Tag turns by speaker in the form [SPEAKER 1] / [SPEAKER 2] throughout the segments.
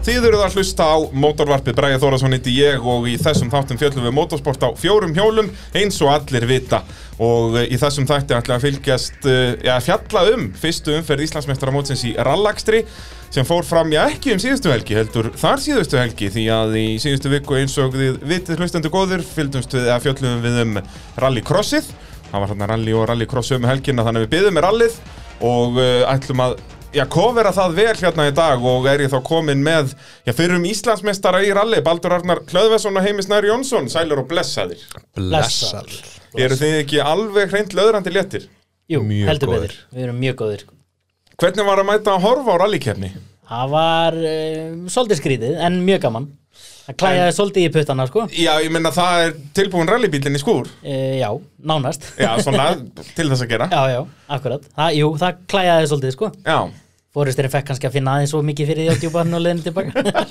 [SPEAKER 1] Þið eruð að hlusta á mótorvarpið Bræði Þórasson heiti ég og í þessum þáttum fjöllum við motorsport á fjórum hjólum eins og allir vita og eh, í þessum þætti ætla að fylgjast, eh, já, fjalla um fyrstu umferð Íslandsmeistara mótsins í rallakstri sem fór fram, já, ekki um síðustu helgi heldur þar síðustu helgi því að í síðustu viku eins og þið vitið hlustandi góður fylgdumst við að fjöllum við um rallycrossið, það var hérna rally og rallycross um helgina þannig að við byðum með rallið og uh, ætlum að Já, kofera það vel hérna í dag og er ég þá komin með, já, fyrrum Íslandsmeistara í ralli, Baldur Arnar Hlöðvesson og Heimis Nær Jónsson, sælir og blessaðir.
[SPEAKER 2] Blessar
[SPEAKER 1] Eru þið ekki alveg hreint löðrandi léttir?
[SPEAKER 3] Jú,
[SPEAKER 2] Mjög
[SPEAKER 3] heldur
[SPEAKER 2] góðir.
[SPEAKER 3] betur, við erum mjög góðir
[SPEAKER 1] Hvernig var að mæta að horfa á rallykefni?
[SPEAKER 3] Það var um, svolítið skrítið en mjög gaman Það klæjaði svolítið í puttana sko uh,
[SPEAKER 1] Já, ég meina það er tilbúin rallybílinn í skúr.
[SPEAKER 3] Já, nánast
[SPEAKER 1] Já, svona til þess að gera.
[SPEAKER 3] já, já, akkurat það, Jú, það klæjaði svolítið sko
[SPEAKER 1] Já,
[SPEAKER 3] Fóristurinn fekk kannski að finna aðeins svo mikið fyrir því á djúbarn og leiðin tilbaka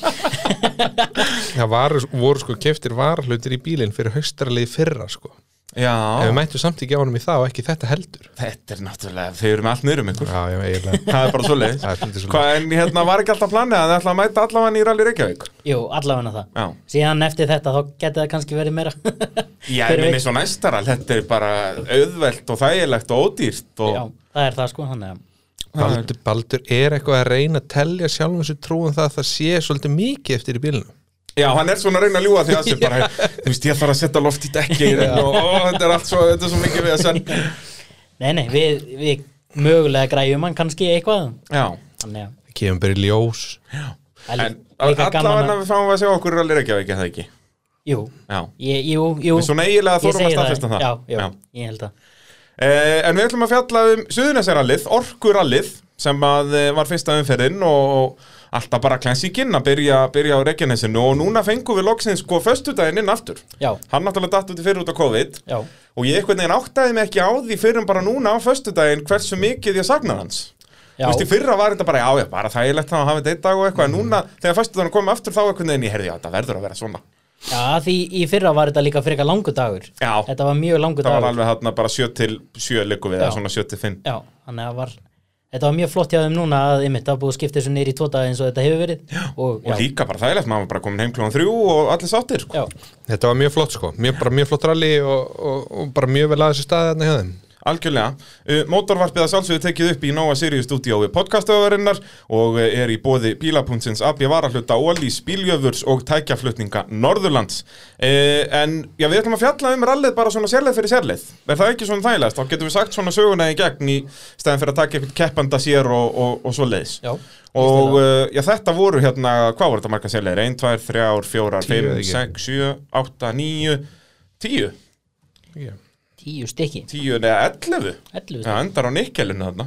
[SPEAKER 2] Það var, voru sko keftir varhlutir í bílinn fyrir haustaralið fyrra sko
[SPEAKER 1] já.
[SPEAKER 2] En við mættum samt ekki á honum í það og ekki þetta heldur
[SPEAKER 1] Þetta er náttúrulega, þau eru með allt niður um ykkur.
[SPEAKER 2] Já, já, eiginlega
[SPEAKER 1] Það er bara svo leið.
[SPEAKER 2] Það er svolítið svoleiðis.
[SPEAKER 1] Hvað, en hérna var ekki alltaf planið að þið ætla að mæta allavega í rally Reykjavík?
[SPEAKER 3] Jú, allavega það
[SPEAKER 1] Já.
[SPEAKER 3] Síðan eftir þetta þá geti það kannski verið meira
[SPEAKER 1] Já, ég
[SPEAKER 3] Hver
[SPEAKER 1] minni
[SPEAKER 3] veit?
[SPEAKER 1] svo næstara, þetta er bara auðvelt og þægilegt og ódýrt og
[SPEAKER 3] Já, það er það sko þannig að
[SPEAKER 2] Baldur, Baldur er eitthvað að reyna að telja sjálfum sér trúum það að það sé svolítið mikið eftir í bílinn
[SPEAKER 1] Já, hann er svona að reyna að ljúga því að þessu bara, þú veist, ég þarf að setja loft í dekki og ó, þetta er allt svo, þetta er svo mikið við að senn
[SPEAKER 3] Nei, nei, við, við mögulega græjum hann kannski eitthvað
[SPEAKER 1] Já,
[SPEAKER 3] Þannig að
[SPEAKER 2] Það kemur bara í ljós
[SPEAKER 3] það er
[SPEAKER 1] en
[SPEAKER 3] líka gaman
[SPEAKER 1] allavega
[SPEAKER 3] að-
[SPEAKER 1] við fáum að sjá okkur er alveg ekki að ekki að það ekki
[SPEAKER 3] Jú,
[SPEAKER 1] Já,
[SPEAKER 3] ég, jú, jú
[SPEAKER 1] Við svona eiginlega
[SPEAKER 3] Ég
[SPEAKER 1] þorum að
[SPEAKER 3] segi
[SPEAKER 1] staðfesta það.
[SPEAKER 3] Já, já,
[SPEAKER 1] Já.
[SPEAKER 3] ég held að
[SPEAKER 1] eh, en við ætlum að fjalla um Suðunessarallið, Orkurallið sem að eh, var fyrsta umferðin og alltaf bara klensikinn að byrja, byrja á Reykjanesinu og núna fengum við loksins sko föstudaginn inn aftur
[SPEAKER 3] Já,
[SPEAKER 1] Hann náttúrulega datt út í fyrir út á COVID
[SPEAKER 3] já,
[SPEAKER 1] og ég einhvern veginn áttaði mig ekki á því fyrir bara núna á föstudaginn hversu mikið ég saknar hans
[SPEAKER 3] já,
[SPEAKER 1] Þú
[SPEAKER 3] Mhm.
[SPEAKER 1] veist, í fyrra var þetta bara, já, já, bara þægilegt þá að hafa þetta einn dag og eitthvað, en núna, þegar föstudaginn kom aftur þá einhvern veginn, ég herði, já, þetta verður að vera svona
[SPEAKER 3] já, því í fyrra var þetta líka frekar langur dagur
[SPEAKER 1] Já.
[SPEAKER 3] Þetta var mjög langur
[SPEAKER 1] Það var
[SPEAKER 3] dagur
[SPEAKER 1] alveg þarna bara sjö til sjö liggum við,
[SPEAKER 3] Já.
[SPEAKER 1] eða svona sjö til finn
[SPEAKER 3] Já, þannig að var Þetta var mjög flott hjá þeim núna að ymmit, það var búið að skipta þessu neyri í tvo daga eins og þetta hefur verið Já, og,
[SPEAKER 1] og
[SPEAKER 3] já,
[SPEAKER 1] líka bara þægilegt, maður var bara komin heim klúan þrjú og allir sáttir, sko.
[SPEAKER 3] já,
[SPEAKER 2] Þetta var mjög flott sko, mjög, bara mjög flott rally og, og, og bara mjög vel aðeins í staði þarna hjá þeim
[SPEAKER 1] Algjörlega. Uh, Mótorvarpið að sjálfsögðu tekið upp í Nóa Sirius stúdíói podcastöðurinnar og uh, er í bóði bílapunktsins AB varahluta Ólís, bíljöfurs og tækjaflutninga Norðurlands. Uh, en já, við ætlum að fjalla um rallið bara svona sérleið fyrir sérleið. Er það ekki svona þægilegast? Þá getum við sagt svona söguna í gegn í stæðan fyrir að taka eitthvað keppanda sér og, og, og svo leiðis.
[SPEAKER 3] já
[SPEAKER 1] Og
[SPEAKER 3] vissulega.
[SPEAKER 1] uh, já, þetta voru hérna, hvað voru þetta marga sérleir? 1, 2, 3, 4,
[SPEAKER 2] Tíu,
[SPEAKER 1] 5, 6, 7, 8, 9, 10,
[SPEAKER 2] eða ekki? Já.
[SPEAKER 3] Tíu stykki,
[SPEAKER 1] 10 eða 11?
[SPEAKER 3] ellu
[SPEAKER 1] Já, endar á nikkelinu þarna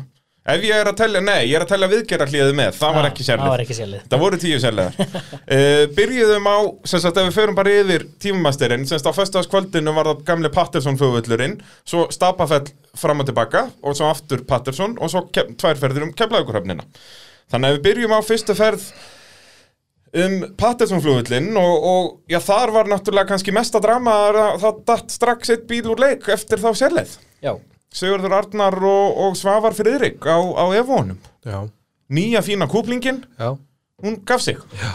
[SPEAKER 1] Ef ég er að telja, nei, ég er að telja viðgerra hlýðið með Það var ekki
[SPEAKER 3] Það var
[SPEAKER 1] sérlið
[SPEAKER 3] ekki sérlið
[SPEAKER 1] Það voru tíu sérliðar uh, Byrjuðum á, sem sagt, ef við förum bara yfir tímumasterinn Sem sagt, á föstudagskvöldinu var það gamli Patterson flugvöllurinn Svo Stapafell fram og tilbaka Og svo aftur Patterson Og svo kem, tværferðir um kemlaugurhöfnina Þannig að við byrjum á fyrstu ferð um Patterson flugvöllinn og, og já, þar var náttúrulega kannski mesta drama að það datt strax eitt bíl úr leik eftir þá sérleið
[SPEAKER 3] Já,
[SPEAKER 1] Sigurður Arnar og, og Svavar Friðrik á, á Evónum.
[SPEAKER 2] Já,
[SPEAKER 1] Nýja fína kúplingin,
[SPEAKER 2] já,
[SPEAKER 1] hún gaf sig.
[SPEAKER 2] já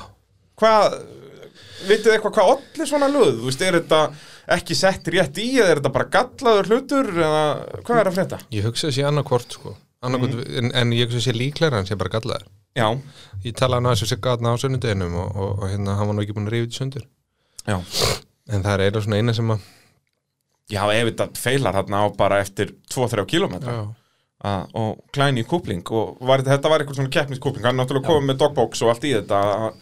[SPEAKER 1] Hvað, vitið þið eitthvað hvað ollir svona löð? Þú veist, er þetta ekki sett rétt í eða er þetta bara gallaður hlutur eða hvað er að frétta?
[SPEAKER 2] Ég hugsa þessi annarkvort sko annarkvort, en, en ég hugsa þessi líklæra hann sé bara gallaður
[SPEAKER 1] Já,
[SPEAKER 2] Ég talaði hann aðeins og sigga hann á sunnudeginum og, og, og hérna hann var nú ekki búin að rífa þetta í sundur
[SPEAKER 1] já.
[SPEAKER 2] En það er eiginlega svona eina sem að
[SPEAKER 1] Já, ef þetta feilar þarna á bara eftir 2-3 kilometra
[SPEAKER 2] já,
[SPEAKER 1] að- og klæni í kúpling og var, þetta- þetta var eitthvað svona keppniskúpling, hann náttúrulega komið með dogbox og allt í þetta að-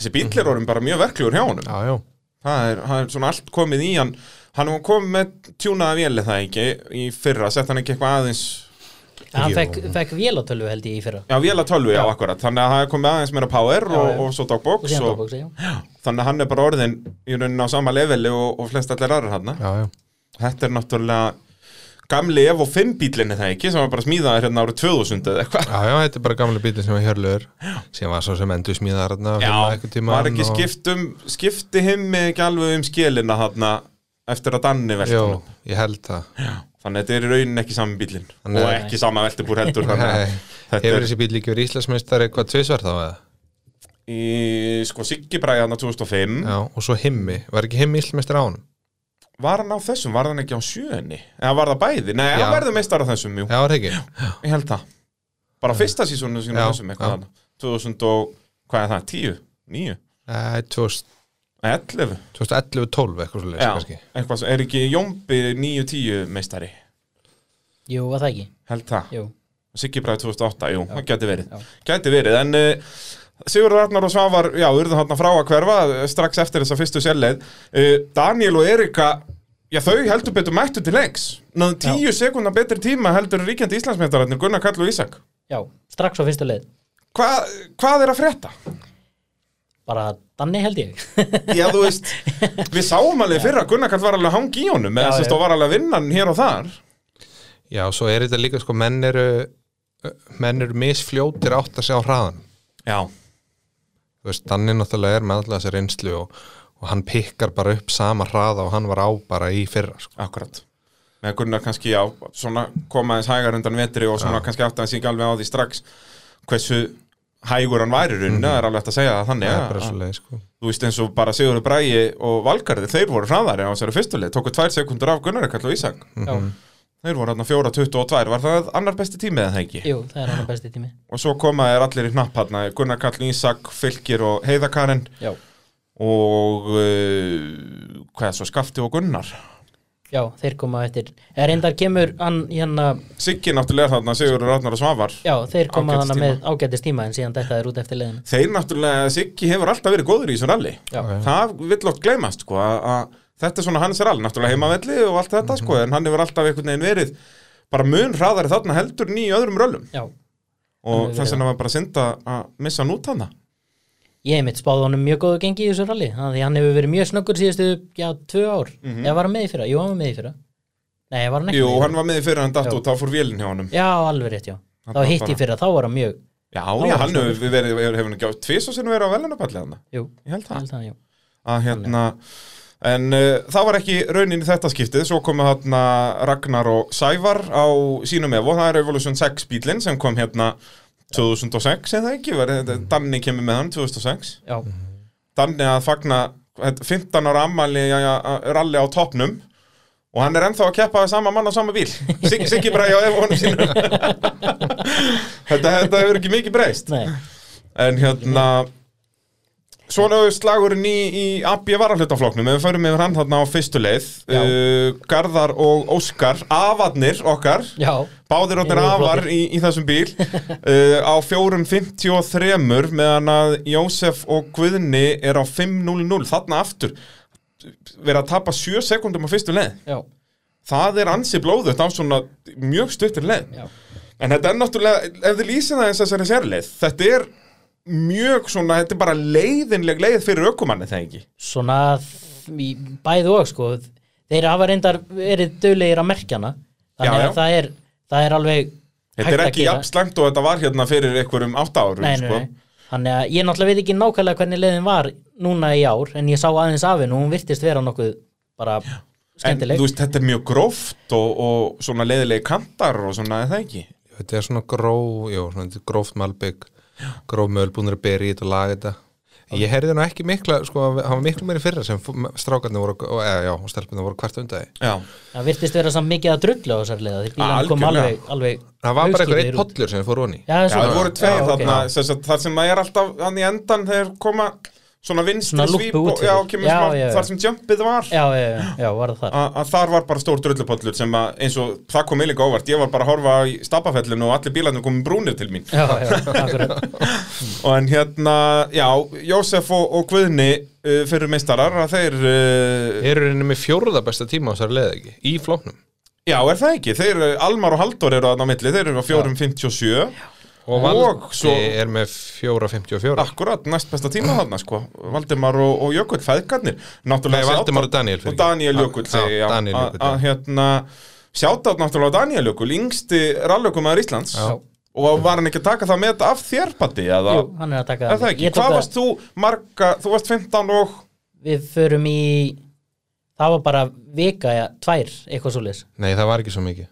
[SPEAKER 1] þessi bíllir orðum bara mjög verklegur hjá honum
[SPEAKER 2] Mhm. já, já,
[SPEAKER 1] það er, það er svona allt komið í hann hann var komið með tjúnaða véli það ekki í fyrra, sett hann ekki eitthvað aðeins
[SPEAKER 3] hann
[SPEAKER 2] Jú.
[SPEAKER 3] fekk, fekk vélatölu held ég í fyrra
[SPEAKER 1] já, vél að tölvu, já, akkurat þannig að það er komið aðeins meira power
[SPEAKER 3] Já,
[SPEAKER 1] og,
[SPEAKER 3] já.
[SPEAKER 1] og svo
[SPEAKER 3] Og
[SPEAKER 1] dogbox
[SPEAKER 3] síðan
[SPEAKER 1] og,
[SPEAKER 3] dagboxi, já
[SPEAKER 1] þannig að hann er bara orðin í rauninni á sama leveli og, og flest allir aðrar hann
[SPEAKER 2] já, já.
[SPEAKER 1] þetta er náttúrulega gamli Evo 5 bílinni það ekki sem var bara smíðaður hérna árið 2000 eða eitthvað
[SPEAKER 2] Já, já, þetta er bara gamlega bílinn sem var hjörlur sem var svo sem endur smíðar hérna
[SPEAKER 1] Já,
[SPEAKER 2] tíma
[SPEAKER 1] var ekki skipt um skipti himmi ekki alveg um skilina þarna eftir að danni velta
[SPEAKER 2] Jó,
[SPEAKER 1] honum.
[SPEAKER 2] ég held það
[SPEAKER 1] Þannig að þetta er í raunin ekki sami bílinn
[SPEAKER 2] Nei.
[SPEAKER 1] og ekki sama veltibúr heldur þannig að
[SPEAKER 2] Nei,
[SPEAKER 1] þetta
[SPEAKER 2] Hefur
[SPEAKER 1] er,
[SPEAKER 2] þessi bíl líka verið Íslandsmeistari hvað tvisvar þá eða?
[SPEAKER 1] í sko Siggi Bræði hann 2005
[SPEAKER 2] Já, og svo himmi, var ekki himmi illmestir á honum?
[SPEAKER 1] var hann á þessum, var hann ekki á sjöunni eða var það bæði, nei,
[SPEAKER 2] Já.
[SPEAKER 1] hann verður meistar á þessum jú.
[SPEAKER 2] Já, var það ekki?
[SPEAKER 1] ég held það, bara fyrsta sísónu sínum á
[SPEAKER 2] Já,
[SPEAKER 1] þessum, eitthvað
[SPEAKER 2] já.
[SPEAKER 1] hann 2000 og, hvað er það, 10, 9
[SPEAKER 2] Nei, 2000
[SPEAKER 1] 11,
[SPEAKER 2] 2011-12 eitthvað svo
[SPEAKER 1] já,
[SPEAKER 2] kannski
[SPEAKER 1] eitthvað, svo- er ekki Jómbi 9-10 meistari,
[SPEAKER 3] Jú, var það ekki?
[SPEAKER 1] held það
[SPEAKER 3] Jú,
[SPEAKER 1] Siggi Bræði 2008, jú, það gæti verið
[SPEAKER 3] já.
[SPEAKER 1] Gæti verið, en uh, Sigurður Arnar og Svavar, já, urðu hann frá að hverfa eh, strax eftir þessa fyrstu sérleið uh, Daniel og Erika, já, þau heldur betur mættu til leiks Náðu tíu sekundar betri tíma heldur en ríkjandi Íslandsmeistararnir Gunnar Kall og Ísak
[SPEAKER 3] já, strax á fyrstu leið
[SPEAKER 1] Hva, Hvað er að frétta?
[SPEAKER 3] bara danni held ég
[SPEAKER 1] Já, þú veist, við sáum alveg fyrra að Gunnar Kall var alveg að hangi í honum
[SPEAKER 3] Já,
[SPEAKER 1] eða
[SPEAKER 3] já.
[SPEAKER 1] sérst og var alveg að vinna hann hér og þar
[SPEAKER 2] Já, svo er þetta líka sko menn eru ö, menn eru misfljótir átt að segja á hraðan
[SPEAKER 1] Já,
[SPEAKER 2] þú veist, Danni náttúrulega er með allar þessi reynslu og, og hann pikkar bara upp sama hraða og hann var á bara í fyrra sko.
[SPEAKER 1] akkurat með Gunnar kannski, já, svona koma aðeins hægar undan vetri og svona kannski átt aðeins ekki alveg á því strax hversu hægur hann væri runna, mm er alveg hægt að segja það þannig
[SPEAKER 2] það
[SPEAKER 1] að-
[SPEAKER 2] er Mhm. bara
[SPEAKER 1] að-
[SPEAKER 2] svo leið sko.
[SPEAKER 1] þú veist eins og bara Sigurður Bræi og Valgarði, þeir voru hraðari á þessari fyrstuleið tóku tvær sekundur af Gunnar Kall og Ísak
[SPEAKER 3] já,
[SPEAKER 1] þeir voru hann 4.22, var það annar besti tími eða það ekki?
[SPEAKER 3] Jú, það er hann besti tími
[SPEAKER 1] Og svo koma þeir allir í hnapp hann Gunnar Kall, Ísak, Fylgir og Heiðakarinn
[SPEAKER 3] Já,
[SPEAKER 1] og uh, hvað er svo, Skafti og Gunnar
[SPEAKER 3] já þeir koma eftir eða reyndar kemur hann hérna
[SPEAKER 1] Siggi náttúrulega þarna, Sigurður Arnar og Svavar
[SPEAKER 3] já, þeir koma
[SPEAKER 1] Ágætis
[SPEAKER 3] hann
[SPEAKER 1] tíma.
[SPEAKER 3] með ágætis tíma en síðan þetta er út eftir leiðinu
[SPEAKER 1] þeir náttúrulega, Siggi hefur alltaf verið góður í þessu ralli
[SPEAKER 3] Já,
[SPEAKER 2] Ok.
[SPEAKER 1] það vill oft gleymast sko, að, að þetta er svona hans rall, náttúrulega heimavelli og allt þetta sko, en hann hefur alltaf einhvern veginn verið bara mun hraðari þarna heldur en í öðrum röllum
[SPEAKER 3] já,
[SPEAKER 1] og
[SPEAKER 3] Alveg
[SPEAKER 1] þess
[SPEAKER 3] verið.
[SPEAKER 1] vegna var bara synd að að missa hann út hann
[SPEAKER 3] ég mitt spáði honum mjög góðu gengi í þessu rally þannig að hann hefur verið mjög snöggur síðustu já, tvö ár, mm -hmm. eða var hann með í fyrra jú, hann var með í fyrra, nei, var hann
[SPEAKER 1] Mhm.
[SPEAKER 3] ekki
[SPEAKER 1] Jú,
[SPEAKER 3] með í fyrra?
[SPEAKER 1] hann var með í fyrir hann datt
[SPEAKER 3] Já.
[SPEAKER 1] og þá fór vélinn hjá honum
[SPEAKER 3] já, alveg rétt, já,
[SPEAKER 1] Hann
[SPEAKER 3] þá
[SPEAKER 1] bara-
[SPEAKER 3] hitt í fyrra þá var hann mjög,
[SPEAKER 1] Já,
[SPEAKER 3] var
[SPEAKER 1] já,
[SPEAKER 3] hann
[SPEAKER 1] hann hefur verið, hefur hefur hann ekki á tvis og sinni verið á velunapalli hann
[SPEAKER 3] jú,
[SPEAKER 1] Ég held það
[SPEAKER 3] held það, já
[SPEAKER 1] að hérna En uh, það var ekki raunin í þetta skiptið, svo komu þarna Ragnar og Sævar á sínum evo, það er Revolution 6 bílinn sem kom hérna 2006 eða ekki, var, Danni kemur með hann 2006
[SPEAKER 3] já,
[SPEAKER 1] Mhm. Danni að fagna þetta, 15 ára ammali ralli á topnum og hann er ennþá að keppa við sama mann á sama bíl Siggi, Siggi bræði á efa honum sínum þetta, þetta hefur ekki mikið breyst
[SPEAKER 3] nei,
[SPEAKER 1] en hérna svona slagurinn í, í AB varahlutafloknum, ef við förum yfir hann þarna á fyrstu leið
[SPEAKER 3] Já.
[SPEAKER 1] uh, Garðar og Óskar, afarnir okkar
[SPEAKER 3] já,
[SPEAKER 1] Báðir orðnir
[SPEAKER 3] Þeir eru
[SPEAKER 1] afar í, í þessum bíl uh, á 4.53 meðan að Jósef og Guðni er á 5.00 þarna aftur verið að tapa 7 sekundum á fyrstu leið
[SPEAKER 3] já,
[SPEAKER 1] það er ansi blóðut á svona mjög stuttir leið
[SPEAKER 3] já
[SPEAKER 1] en þetta er náttúrulega, ef þið lýsir það eins þessari sérleið þetta er mjög svona, þetta er bara leiðinleg leið fyrir ökumanni það ekki
[SPEAKER 3] svona þ- í bæðu og sko þeir hafa reyndar verið döglegir að merkja hana þannig
[SPEAKER 1] Já, já.
[SPEAKER 3] að það er, það er alveg
[SPEAKER 1] þetta er ekki
[SPEAKER 3] gera.
[SPEAKER 1] jafnslangt og þetta var hérna fyrir einhverjum átta árum
[SPEAKER 3] nei, nei,
[SPEAKER 1] sko.
[SPEAKER 3] nei. þannig að ég náttúrulega veit ekki nákvæmlega hvernig leiðin var núna í ár en ég sá aðeins af henn og hún virtist vera nokkuð bara
[SPEAKER 1] En
[SPEAKER 3] skemmtileg
[SPEAKER 1] þú veist, þetta er mjög gróft og, og svona leiðilegi kantar og svona, er það ekki?
[SPEAKER 2] þetta er svona gróf já, svona, þetta er gróft malbygg gróf möl búinir að byrja í þetta og laga þetta ég heyrði nú ekki mikla sko, hann var miklu meiri í fyrra sem fó- strákarnir voru og, eða, já, og stelpunir voru hvert undaði
[SPEAKER 1] Já.
[SPEAKER 3] það virtist vera samt mikið að drullu á þessar leiða því bílan kom
[SPEAKER 1] Algjörlega.
[SPEAKER 3] alveg, alveg
[SPEAKER 2] það var bara einhver
[SPEAKER 3] augsýnilegir
[SPEAKER 2] eitt
[SPEAKER 3] út.
[SPEAKER 2] pollur sem fór honni
[SPEAKER 3] já,
[SPEAKER 1] Já, það voru tveir
[SPEAKER 3] já, ok.
[SPEAKER 1] þarna, sem sagt, þar sem maður er alltaf hann í endan þegar koma svona vinstri
[SPEAKER 3] Svona lúppu
[SPEAKER 1] svíp
[SPEAKER 3] út
[SPEAKER 1] og
[SPEAKER 3] fyrir.
[SPEAKER 1] já, kemur
[SPEAKER 3] Já,
[SPEAKER 1] smá,
[SPEAKER 3] já, já.
[SPEAKER 1] þar sem jumpið var.
[SPEAKER 3] já, já, já, já, var það þar
[SPEAKER 1] Að að þar var bara stór drullupollur sem að, eins og það kom eilig óvart, ég var bara að horfa í stapafellinu og allir bílarnir komum brúnir til mín.
[SPEAKER 3] já, já, akkurat
[SPEAKER 1] Og en hérna, já, Jósef og, og Guðni uh, fyrir meistarar, að þeir, uh,
[SPEAKER 2] eru henni með fjórða besta tíma á þessari leið ekki í flóknum
[SPEAKER 1] já, er það ekki, þeir, uh, Almar og Halldór eru þarna á milli, þeir eru á 4.57.
[SPEAKER 2] og
[SPEAKER 1] Og
[SPEAKER 2] Valdi
[SPEAKER 1] svo- Ah.
[SPEAKER 2] er með 4.54
[SPEAKER 1] Akkurat, næst besta tíma þarna sko Valdimar og, og Jökull, fæðgarnir
[SPEAKER 2] Nei,
[SPEAKER 1] Náttúrulega
[SPEAKER 2] Valdimar
[SPEAKER 1] shoutout-
[SPEAKER 2] og Daniel,
[SPEAKER 1] Og
[SPEAKER 2] fyrirgefðu.
[SPEAKER 1] Daniel Jökull,
[SPEAKER 2] Já,
[SPEAKER 1] segi ég já,
[SPEAKER 2] Daniel
[SPEAKER 1] að-
[SPEAKER 2] Jökull,
[SPEAKER 1] Að
[SPEAKER 2] já.
[SPEAKER 1] hérna, sjátátt náttúrulega á Daniel Jökull Yngsti rallukumæður Íslands
[SPEAKER 2] Já.
[SPEAKER 1] Og var hann ekki að taka það með af þér, Patti? Eða,
[SPEAKER 3] Jú, hann er að taka
[SPEAKER 1] eða það ekki,
[SPEAKER 3] Ég tók
[SPEAKER 1] hvað varst þú marga Þú varst 15 og
[SPEAKER 3] við förum í það var bara vika, ja, tvær eitthvað svoleiðis
[SPEAKER 2] nei það var ekki svo mikið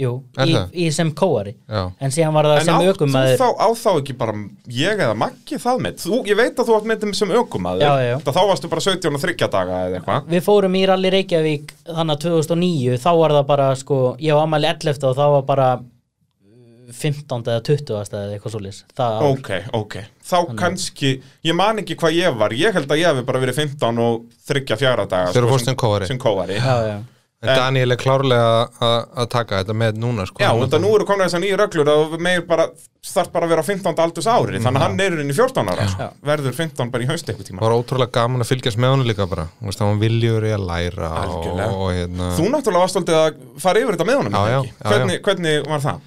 [SPEAKER 3] jú,
[SPEAKER 2] Er
[SPEAKER 3] í,
[SPEAKER 2] það?
[SPEAKER 3] í sem kóari
[SPEAKER 2] Já.
[SPEAKER 3] en síðan var það
[SPEAKER 1] En
[SPEAKER 3] sem
[SPEAKER 1] átt þú
[SPEAKER 3] aukumæður
[SPEAKER 1] þá, á þá ekki bara ég eða Maggi það með? Þú, ég veit að þú átt með þeim sem aukumæður.
[SPEAKER 3] Já, já, já.
[SPEAKER 1] Það þá varstu bara 17 og 30 daga eða eitthvað.
[SPEAKER 3] við fórum í Rally Reykjavík þannig að 2009 þá var það bara sko, ég var ammæli 11 og þá var bara uh, 15. eða 20. eða eitthvað svoleiðis það ár.
[SPEAKER 1] Ok, ok. Þá kannski, ég man ekki hvað ég var. Ég held að ég hefði bara verið 15 og 34 daga. sko,
[SPEAKER 2] Þegar þú fórst sem kóari.
[SPEAKER 1] Sem kóari.
[SPEAKER 3] já, já.
[SPEAKER 2] En Daniel er klárlega að að taka þetta með núna sko.
[SPEAKER 1] Já,
[SPEAKER 2] Hann-
[SPEAKER 1] og þetta nú eru komin þessar nýju reglur að þú meir bara, þarf bara að vera á 15. aldurs ári,
[SPEAKER 2] Mhm.
[SPEAKER 1] þannig að hann er inn í 14 ára, sko. verður 15 bara í haust eitthvað tíma.
[SPEAKER 2] var ótrúlega gaman að fylgjast með honum líka bara Þú veist, hann var viljur í að læra og,
[SPEAKER 1] Algjörlega.
[SPEAKER 2] og hérna,
[SPEAKER 1] Þú náttúrulega varst aldrei að fara yfir þetta með honum,
[SPEAKER 2] Já,
[SPEAKER 1] eða
[SPEAKER 2] já,
[SPEAKER 1] ekki?
[SPEAKER 2] já, já.
[SPEAKER 1] hvernig, hvernig var það?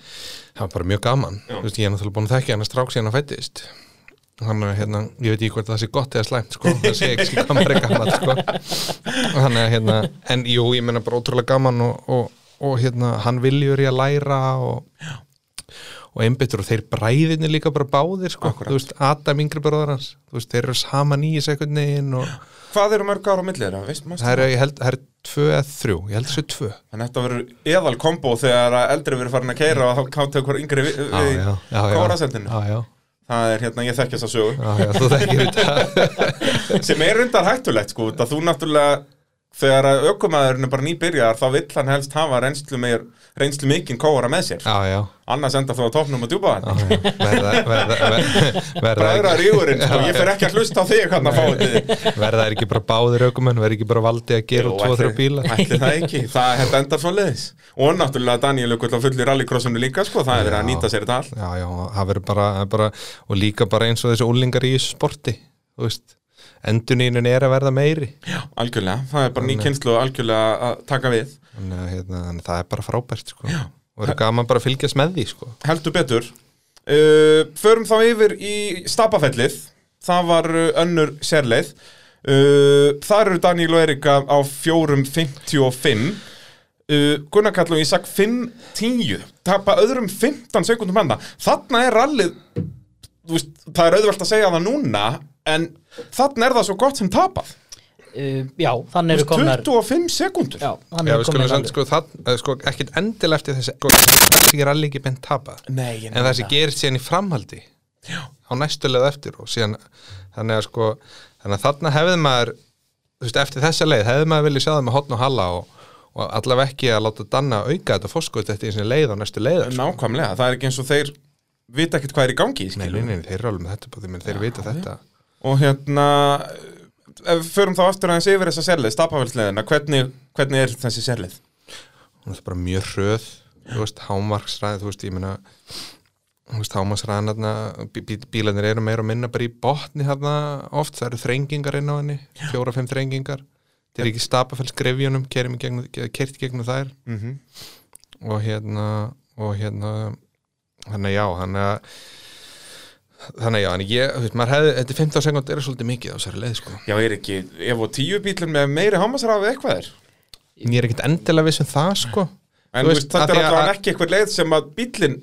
[SPEAKER 2] það var bara mjög gaman Þú veist, ég er náttúrulega búin að þekki hann að strák síðan að fættist þannig að hérna, ég veit ekki hvort það sé gott eða slæmt sko, það sé ekki sé gaman eða gaman sko. þannig að hérna en jú, ég meina bara ótrúlega gaman og, og, og hérna, hann viljur í að læra og, og einbyttur og þeir bræðinni líka bara báðir sko,
[SPEAKER 1] Akkúrat.
[SPEAKER 2] þú veist, Adam yngri bróðar hans þú veist, þeir eru saman í þessu einhvern veginn og
[SPEAKER 1] Hvað eru mörg ára á millir þeirra, veist maður?
[SPEAKER 2] það eru, ég held, það eru tvö eða þrjú, ég held þessu tvö
[SPEAKER 1] En þetta verður eðal kombo þegar að eldri verður farin að keira og þá káttu okkur yngri við, við
[SPEAKER 2] já, já, já.
[SPEAKER 1] kórasendinu.
[SPEAKER 2] já, já,
[SPEAKER 1] Það er hérna, ég þekki þessa sögu,
[SPEAKER 2] já, já, þú þekkir þetta
[SPEAKER 1] sem er reyndar hættulegt sko, það þú náttúrulega, þegar að aukumæðurinn er bara nýbyrjar, þá vill hann helst hafa reynslu, meir, reynslu mikinn kóra með sér.
[SPEAKER 2] já, já,
[SPEAKER 1] Annars endar þú á topnum og djúpa þetta.
[SPEAKER 2] já, já. verða verða, verða, verða
[SPEAKER 1] Bræðra rígurinn, sko, ég fer ekki að hlusta á þig hann að fá þetta.
[SPEAKER 2] verða er ekki bara báðir aukumenn verða ekki bara valdið að gera og tvo þrjá bíla
[SPEAKER 1] Ætli það ekki, það þetta endar svo leiðis. Og náttúrulega Daniel Jökull á fulli rallycrossinu líka, sko, það er verið að
[SPEAKER 2] Já.
[SPEAKER 1] nýta sér þetta allt.
[SPEAKER 2] já, já, það verður bara, bara og líka bara eins og þessi úlingar í þessu sporti þú veist, endunýnun er að verða meiri
[SPEAKER 1] Algjörlega, það er bara ný kynslu og algjörlega að taka við.
[SPEAKER 2] þannig að hérna, þannig að það er bara frábært sko. og verður gaman bara að fylgjast með því sko.
[SPEAKER 1] Heldur betur uh, Förum þá yfir í Stabafellið Það var uh, önnur sérleið uh, Þar eru Daniel og Erika á 4.55 uh, Gunnar Kall og Ísak 5.10 Tapa öðrum 15 sekundum handa Þarna er rallið þú veist, Það er auðvelt að segja það núna En þarna er það svo gott sem tapað
[SPEAKER 3] Uh, já, þannig eru komnar
[SPEAKER 1] 25 sekundur
[SPEAKER 3] já, þannig
[SPEAKER 2] Já,
[SPEAKER 3] eru
[SPEAKER 2] við skulum
[SPEAKER 3] komnar
[SPEAKER 2] samt,
[SPEAKER 3] alveg.
[SPEAKER 2] sko, það, eh, sko, ekkit endil eftir þessi, sko, þessi er allir ekki beint tapað.
[SPEAKER 1] Nei, ég
[SPEAKER 2] En það sem gerist síðan í framhaldi, Já. á næstulega eftir og síðan, þannig að sko, þannig að þarna hefði maður, þú veist, eftir þessa leið, hefði maður viljað sjá það með hotn og halla og, og allavega ekki að láta danna auka þetta fórskot eftir þessi leið á næstu leiðar. Sko.
[SPEAKER 1] Nákvæmlega, það er ekki eins og þeir vita ekkert hvað er í gangi
[SPEAKER 2] Nei,
[SPEAKER 1] skilurðu.
[SPEAKER 2] nei, nei, þeir eru alveg með þetta bóði, menn þeir vita þetta.
[SPEAKER 1] og hérna ef við förum þá aftur aðeins yfir þessa sérlið stapafellsleðina, hvernig, hvernig er þessi sérlið?
[SPEAKER 2] hún er bara mjög hröð þú veist, hámarksræði, þú veist, ég meina þú veist, hámarksræðan hérna, bí, bí, bílanir eru meira og minna bara í botni hérna oft, það eru þrengingar inn á henni fjóra, fimm þrengingar þeir eru ekki stapafells grefjunum, kerum í gegnum kert í gegnum þær
[SPEAKER 1] Mm
[SPEAKER 2] og hérna og hérna þannig að já, þannig að þannig að já, þannig að ég, þú veist, maður hefði þetta 15 sekund er svolítið mikið á þessari leið, sko
[SPEAKER 1] Já, er ekki, ef og tíu bílum með meiri hámasrafi eitthvað er
[SPEAKER 2] en ég er ekkert endilega viss um það, sko
[SPEAKER 1] en
[SPEAKER 2] Þú
[SPEAKER 1] þú
[SPEAKER 2] veist,
[SPEAKER 1] veist, þetta
[SPEAKER 2] af
[SPEAKER 1] er
[SPEAKER 2] því að-
[SPEAKER 1] allavega ekki eitthvað leið sem að bílinn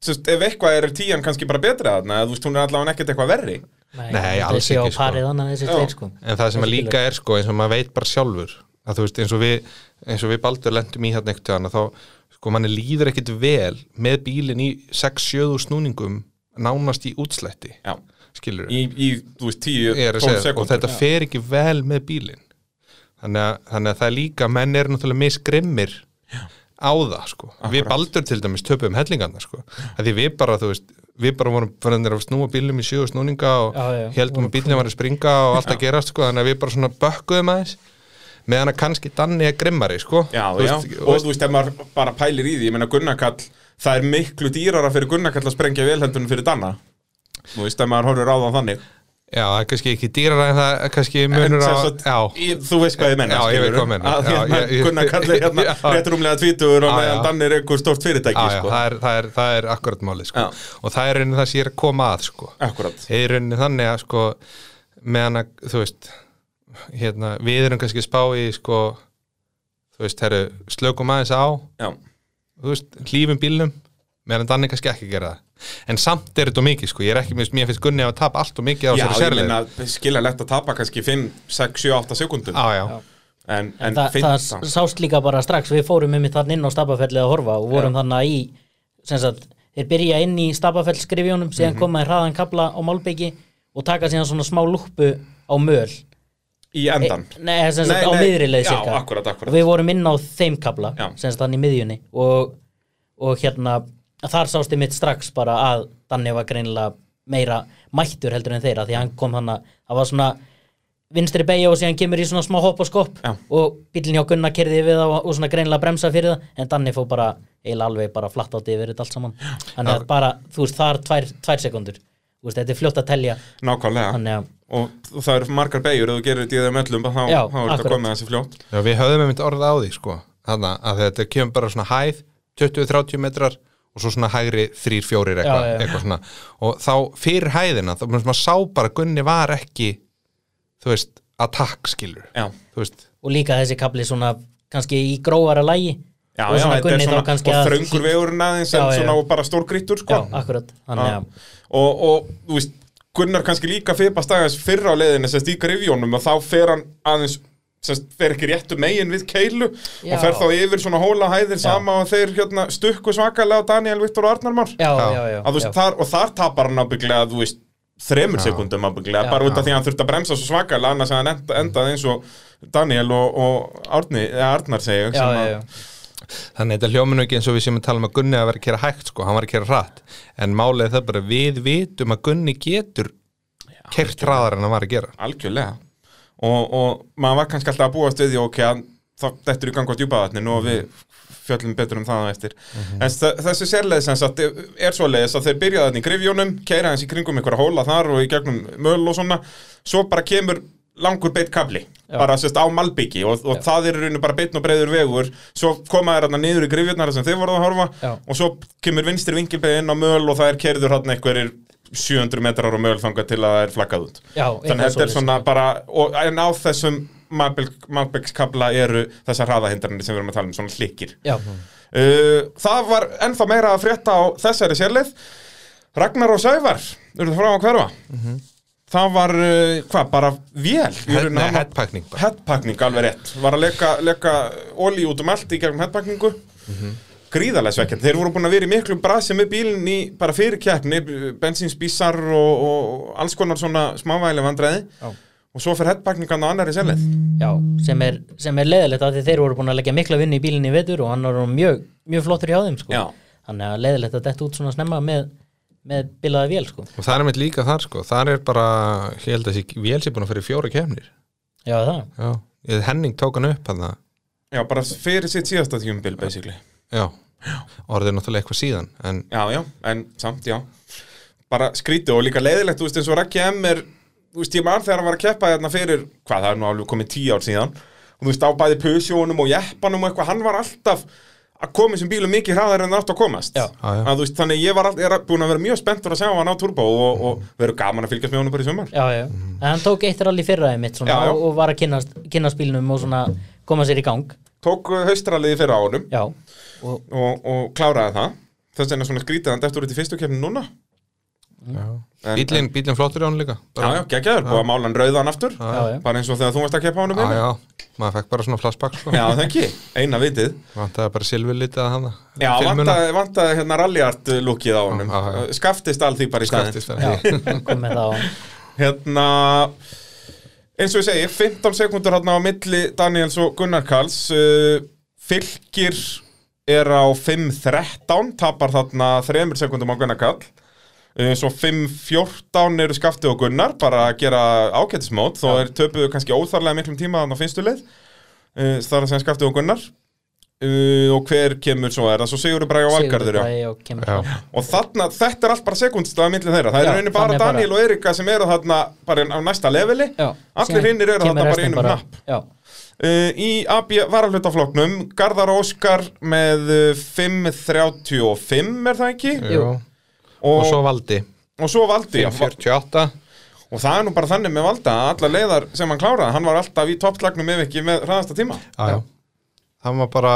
[SPEAKER 1] sem sagt, ef eitthvað er tíjan kannski bara betra þarna, eða þú veist, hún er allavega ekkert eitthvað verri
[SPEAKER 2] Nei, alls
[SPEAKER 3] þessi á
[SPEAKER 2] ekki, sko.
[SPEAKER 3] parið annað þessi
[SPEAKER 1] Já.
[SPEAKER 3] tveir sko
[SPEAKER 2] En það sem að
[SPEAKER 3] Skilur.
[SPEAKER 2] líka er sko eins og maður veit bara sjálfur að þú veist eins og við eins og við baldur lendum í hérna ekkert að þá sko manni líður ekkit vel með bílinn í 6-7 snúningum nánast í útslætti
[SPEAKER 1] Já,
[SPEAKER 2] skilur
[SPEAKER 1] í, í þú veist, tíu,
[SPEAKER 2] við
[SPEAKER 1] tólf
[SPEAKER 2] og
[SPEAKER 1] sekundur
[SPEAKER 2] þetta fer ekki vel með bílinn þannig að, þannig að það er líka menn eru náttúrulega misgrimmir á það sko við baldur til dæmis töpum hellingarna sko að því við bara þú veist við bara vorum fyrir að snúa bílum í sjö snúninga og
[SPEAKER 3] Já, já.
[SPEAKER 2] heldum að bílum var að springa og allt að gerast sko þannig að við bara svona bökkuðum aðeins meðan að kannski danni er grimmari sko
[SPEAKER 1] Já,
[SPEAKER 2] Þú
[SPEAKER 1] já,
[SPEAKER 2] veist,
[SPEAKER 1] og þú veist, ef maður bara pælir í því, ég meina Gunnarkall, það er miklu dýrara fyrir Gunnarkall að sprengja velhendunum fyrir Danna. Þú veist, ef maður horfir á það þannig.
[SPEAKER 2] já, það er kannski ekki dýrar en það er kannski
[SPEAKER 1] En
[SPEAKER 2] munur á
[SPEAKER 1] sem sagt,
[SPEAKER 2] já,
[SPEAKER 1] ég- Þú veist hvað ég menna
[SPEAKER 2] Já, ég veit hvað ég meina. Já, ég- ég-
[SPEAKER 1] Gunnar kallir hérna
[SPEAKER 2] Já.
[SPEAKER 1] rétt rúmlega tvítugur og
[SPEAKER 2] Já,
[SPEAKER 1] meðan
[SPEAKER 2] já.
[SPEAKER 1] Danni er einhver stórt fyrirtæki
[SPEAKER 2] já, já,
[SPEAKER 1] sko.
[SPEAKER 2] það er, það er, það er akkurat máli sko.
[SPEAKER 1] Já.
[SPEAKER 2] og það er raunin það sem ég er að koma að sko.
[SPEAKER 1] Akkurat
[SPEAKER 2] Það er raunin þannig að sko, meðan að, þú veist hérna, við erum kannski að spá í sko, þú veist, herru slökum aðeins á,
[SPEAKER 1] Já,
[SPEAKER 2] þú veist, hlífum bílnum meðan að danni kannski ekki að gera það en samt er þetta of mikið, sko, ég er ekki mér mér finnst Gunni að tapa allt og mikið á
[SPEAKER 1] já ég
[SPEAKER 2] þessari sérlega
[SPEAKER 1] meina skilja lett að tapa kannski 5, 6, 7, 8 sekundum
[SPEAKER 2] á, já,
[SPEAKER 3] Já.
[SPEAKER 1] en, en,
[SPEAKER 3] En það, það
[SPEAKER 1] 15
[SPEAKER 3] sást líka bara strax, við fórum um þann inn á stapafellið að horfa og vorum þannig í, sem sagt, þeir byrja inn í stapafellskrifjónum, síðan koma í hraðan kabla á Málbyggi og taka síðan svona smá lúppu á möl
[SPEAKER 1] í endan
[SPEAKER 3] E, nei, sem sagt,
[SPEAKER 1] Nei,
[SPEAKER 3] á
[SPEAKER 1] nei,
[SPEAKER 3] miðri leið
[SPEAKER 1] já,
[SPEAKER 3] cirka.
[SPEAKER 1] akkúrat, akkúrat.
[SPEAKER 3] Og við vorum inn á þeim kabla,
[SPEAKER 1] Já.
[SPEAKER 3] sem sagt, hann í miðjunni og, og hérna, þar sást ég mitt strax bara að Danni var greinilega meira mættur heldur en þeirra því hann kom hann að, það var svona vinstri beigja og síðan kemur í svona smá hopp og skopp
[SPEAKER 1] Já.
[SPEAKER 3] og bílinn hjá Gunnar kerði við það og, og svona greinilega bremsa fyrir það en Danni fór bara eiginlega alveg bara flatt átti yfir þetta allt saman þannig að bara, þú veist, þar tvær, tvær sekundur þú veist, þetta er fljótt að telja
[SPEAKER 1] nákvæmlega
[SPEAKER 3] þannig að,
[SPEAKER 1] og það eru margar beigur ef þú gerir þetta í þeim öllum þá,
[SPEAKER 3] Já,
[SPEAKER 1] þá er þetta
[SPEAKER 3] akkúrat.
[SPEAKER 1] komið þessi fljótt
[SPEAKER 2] Já, við höfðum einmitt orð á því sko Þannig að þetta kemur bara svona hæð 20-30 metrar og svo svona hægri 3-4 eitthvað,
[SPEAKER 3] Já, já, já.
[SPEAKER 2] eitthvað svona og þá fyrir hæðina, þá maður maður sá bara að Gunni var ekki þú veist, attack skilur
[SPEAKER 1] já,
[SPEAKER 2] þú veist,
[SPEAKER 3] og líka þessi kabli svona kannski í grófara lægi
[SPEAKER 1] já,
[SPEAKER 3] og
[SPEAKER 1] já þetta
[SPEAKER 3] svona
[SPEAKER 1] er
[SPEAKER 3] Gunni þá
[SPEAKER 1] svona
[SPEAKER 3] kannski
[SPEAKER 1] og
[SPEAKER 3] að-
[SPEAKER 1] þröngur vegurinn aðeins en
[SPEAKER 3] Já, já.
[SPEAKER 1] svona og bara stór grítur
[SPEAKER 3] já,
[SPEAKER 1] sko
[SPEAKER 3] akkurat, þannig
[SPEAKER 1] Já.
[SPEAKER 3] að
[SPEAKER 1] og, og þú veist Gunnar kannski líka fipast aðeins fyrra á leiðinni sérst í grifjónum og þá fer hann aðeins sérst fer ekki réttu megin við keilu
[SPEAKER 3] Já.
[SPEAKER 1] og fer þá yfir svona hólahæðir sama og þeir hérna stukku svakalega á Daniel Viktor og Arnar Már
[SPEAKER 3] já,
[SPEAKER 2] Já.
[SPEAKER 3] já, já,
[SPEAKER 1] Að þú veist,
[SPEAKER 3] já.
[SPEAKER 1] þar, og þar tapar hann ábygglega þú veist, þremur sekundum ábygglega bara út af því að hann þurfti að bremsa svo svakalega annars að hann enda, endaði eins og Daniel og, og Árni, eða Arnar segja
[SPEAKER 3] Já, já, já.
[SPEAKER 2] þannig að þetta hljóminu ekki eins og við séum að tala um að Gunni að vera að kera hægt sko, hann var að kera hratt en málið er það bara, að við vitum að Gunni getur kert hraðar en hann var að gera
[SPEAKER 1] algjörlega og, og maður var kannski alltaf að búast við því ok, að þá dettur í gang á djúpaðatnin og við fjöllum betur um það á eftir en þe- þessi sérleið sem sagt er svo leiðis að þeir byrja þarna í grifjónum keira hans í kringum einhverja hóla þar og í gegnum möl og svona, svo bara kemur langur beitt kabli, bara sérst á malbyggi og, og það er í rauninu bara beittn og breiður vegur, svo koma þér þarna niður í grifjurnar sem þið voruð að horfa
[SPEAKER 3] Já.
[SPEAKER 1] og svo kemur vinstri vingilbeig inn á möl og það er kerður hann einhverjir 700 metrar á möl þangað til að það er flaggað út
[SPEAKER 3] Já,
[SPEAKER 1] þannig að þetta er
[SPEAKER 3] svoleiðis.
[SPEAKER 1] svona bara og, en á þessum Malbeckskabla eru þessar hraðahindrarnir sem við erum að tala um, svona hlikir
[SPEAKER 3] Já,
[SPEAKER 1] uh, það var ennþá meira að frétta á þessari sérleið Ragnar og Sævar eru það frá að hverfa það var, uh, hvað, bara vél í
[SPEAKER 2] Head-
[SPEAKER 1] rauninni
[SPEAKER 2] nei,
[SPEAKER 1] hann var-
[SPEAKER 2] headpacking Hérna bara.
[SPEAKER 1] headpacking, alveg rétt var að leka, leka olí út um allt í gegnum headpackingu gríðarlega svekkjandi, þeir voru búin að vera í miklu brasi með bílinn í bara fyrir keppni bensínspísar og, og alls konar svona smávægileg vandræði
[SPEAKER 3] Já.
[SPEAKER 1] og svo fer headpackingan á annari selið
[SPEAKER 3] já, sem er, sem er leðilegt að því þeir voru búin að leggja mikla vinnu í bílinni í vetur og hann var orðinn mjög, mjög flottur hjá þeim sko.
[SPEAKER 1] Já.
[SPEAKER 3] þannig að leðilegt að þetta út svona snemma með, með bilaða vél sko.
[SPEAKER 2] og það er einmitt líka þar sko, þar er bara ég held að þessi vél sé búin að fyrir fjóra kemnir
[SPEAKER 3] Já, það,
[SPEAKER 2] já, Ég- Henning tók hann upp hann
[SPEAKER 1] já, bara fyrir sitt síðasta tímubil basically
[SPEAKER 2] já, orðið er náttúrulega eitthvað síðan en
[SPEAKER 1] Já, já, en samt, já Bara skrítið og líka leiðilegt, þú veist, eins og Raggi M er Þú veist, ég mann þegar hann var að keppa hérna fyrir Hvað, það er nú alveg komið tíu ár síðan Og þú veist, á bæði pusjónum og jeppanum og eitthvað Hann var alltaf að koma sem bílum mikið hraðar en það átt að komast
[SPEAKER 3] Já.
[SPEAKER 2] Já, já.
[SPEAKER 1] Að, þú veist, Þannig ég var all, er búin að vera mjög spenntur að sjá hann á turbo Og, og veru gaman að fylgjast með honum bara í sumar
[SPEAKER 3] já, já En hann tók eitt rally fyrra einmitt svona,
[SPEAKER 1] Mhm. Já, já.
[SPEAKER 3] og- og var að kynnast, kynnast bílnum og svona koma sér í gang
[SPEAKER 1] Tók uh, haustraliði fyrir á honum
[SPEAKER 3] Já, og
[SPEAKER 1] og, og kláraði það Þess vegna svona skrítið hann deftur út í fyrstu kefni núna En-
[SPEAKER 2] bílinn bílinn flottur í hann líka
[SPEAKER 1] Já, já, geggjaður, búið að mála hann rauðan aftur
[SPEAKER 3] Já, já.
[SPEAKER 1] Bara eins og þegar þú varst að keppa á honum
[SPEAKER 2] já,
[SPEAKER 1] Einar.
[SPEAKER 2] já, maður fekk bara svona flashback sko.
[SPEAKER 1] Já, það ekki, eina vitið
[SPEAKER 2] vantaði bara silfurlítið að hana
[SPEAKER 1] Já, vantaði, vantaði hérna rallyart lúkið á honum
[SPEAKER 2] Já, já, já.
[SPEAKER 1] Skaftist all því bara í staðin
[SPEAKER 2] skaftist
[SPEAKER 3] já,
[SPEAKER 2] það
[SPEAKER 3] hann kom með það á
[SPEAKER 1] Hérna eins og ég segi, 15 sekundur hérna á milli Daniels og Gunnar Karls uh, Fylgir er á 5.13 tapar þarna 3 sekundum á Gunnar Karl uh, svo 5.14 eru skaftið og Gunnar bara að gera ágætismót þó er töpuðu kannski óþarlega miklum tíma þannig á finnstu leið uh, þar að segja skaftið og Gunnar uh, og hver kemur svo er það svo Sigurður Bragi og Valgarður já
[SPEAKER 3] Sigurbræði og kemur
[SPEAKER 2] Já.
[SPEAKER 1] Og þarna, þetta er allt bara sekundstæða millir þeirra Það er
[SPEAKER 3] Já,
[SPEAKER 1] rauninni bara
[SPEAKER 3] þannig bara-
[SPEAKER 1] Daniel og Erika sem eru þarna bara á næsta leveli
[SPEAKER 3] Já,
[SPEAKER 1] Allir
[SPEAKER 3] síðan
[SPEAKER 1] hinnir eru
[SPEAKER 3] kemur
[SPEAKER 1] þarna bara um
[SPEAKER 3] restin
[SPEAKER 1] einum napp
[SPEAKER 3] Já,
[SPEAKER 1] uh, Í AB varalutafloknum Garðar og Óskar með uh, 5.35 er það ekki?
[SPEAKER 2] Jú. og svo valdi
[SPEAKER 1] og svo Valdi já,
[SPEAKER 2] 48
[SPEAKER 1] Og það er nú bara þannig með Valda að alla leiðar sem hann kláraði Hann var alltaf í toppslagnum ef ekki með hraðasta tíma
[SPEAKER 2] já, já. hann var bara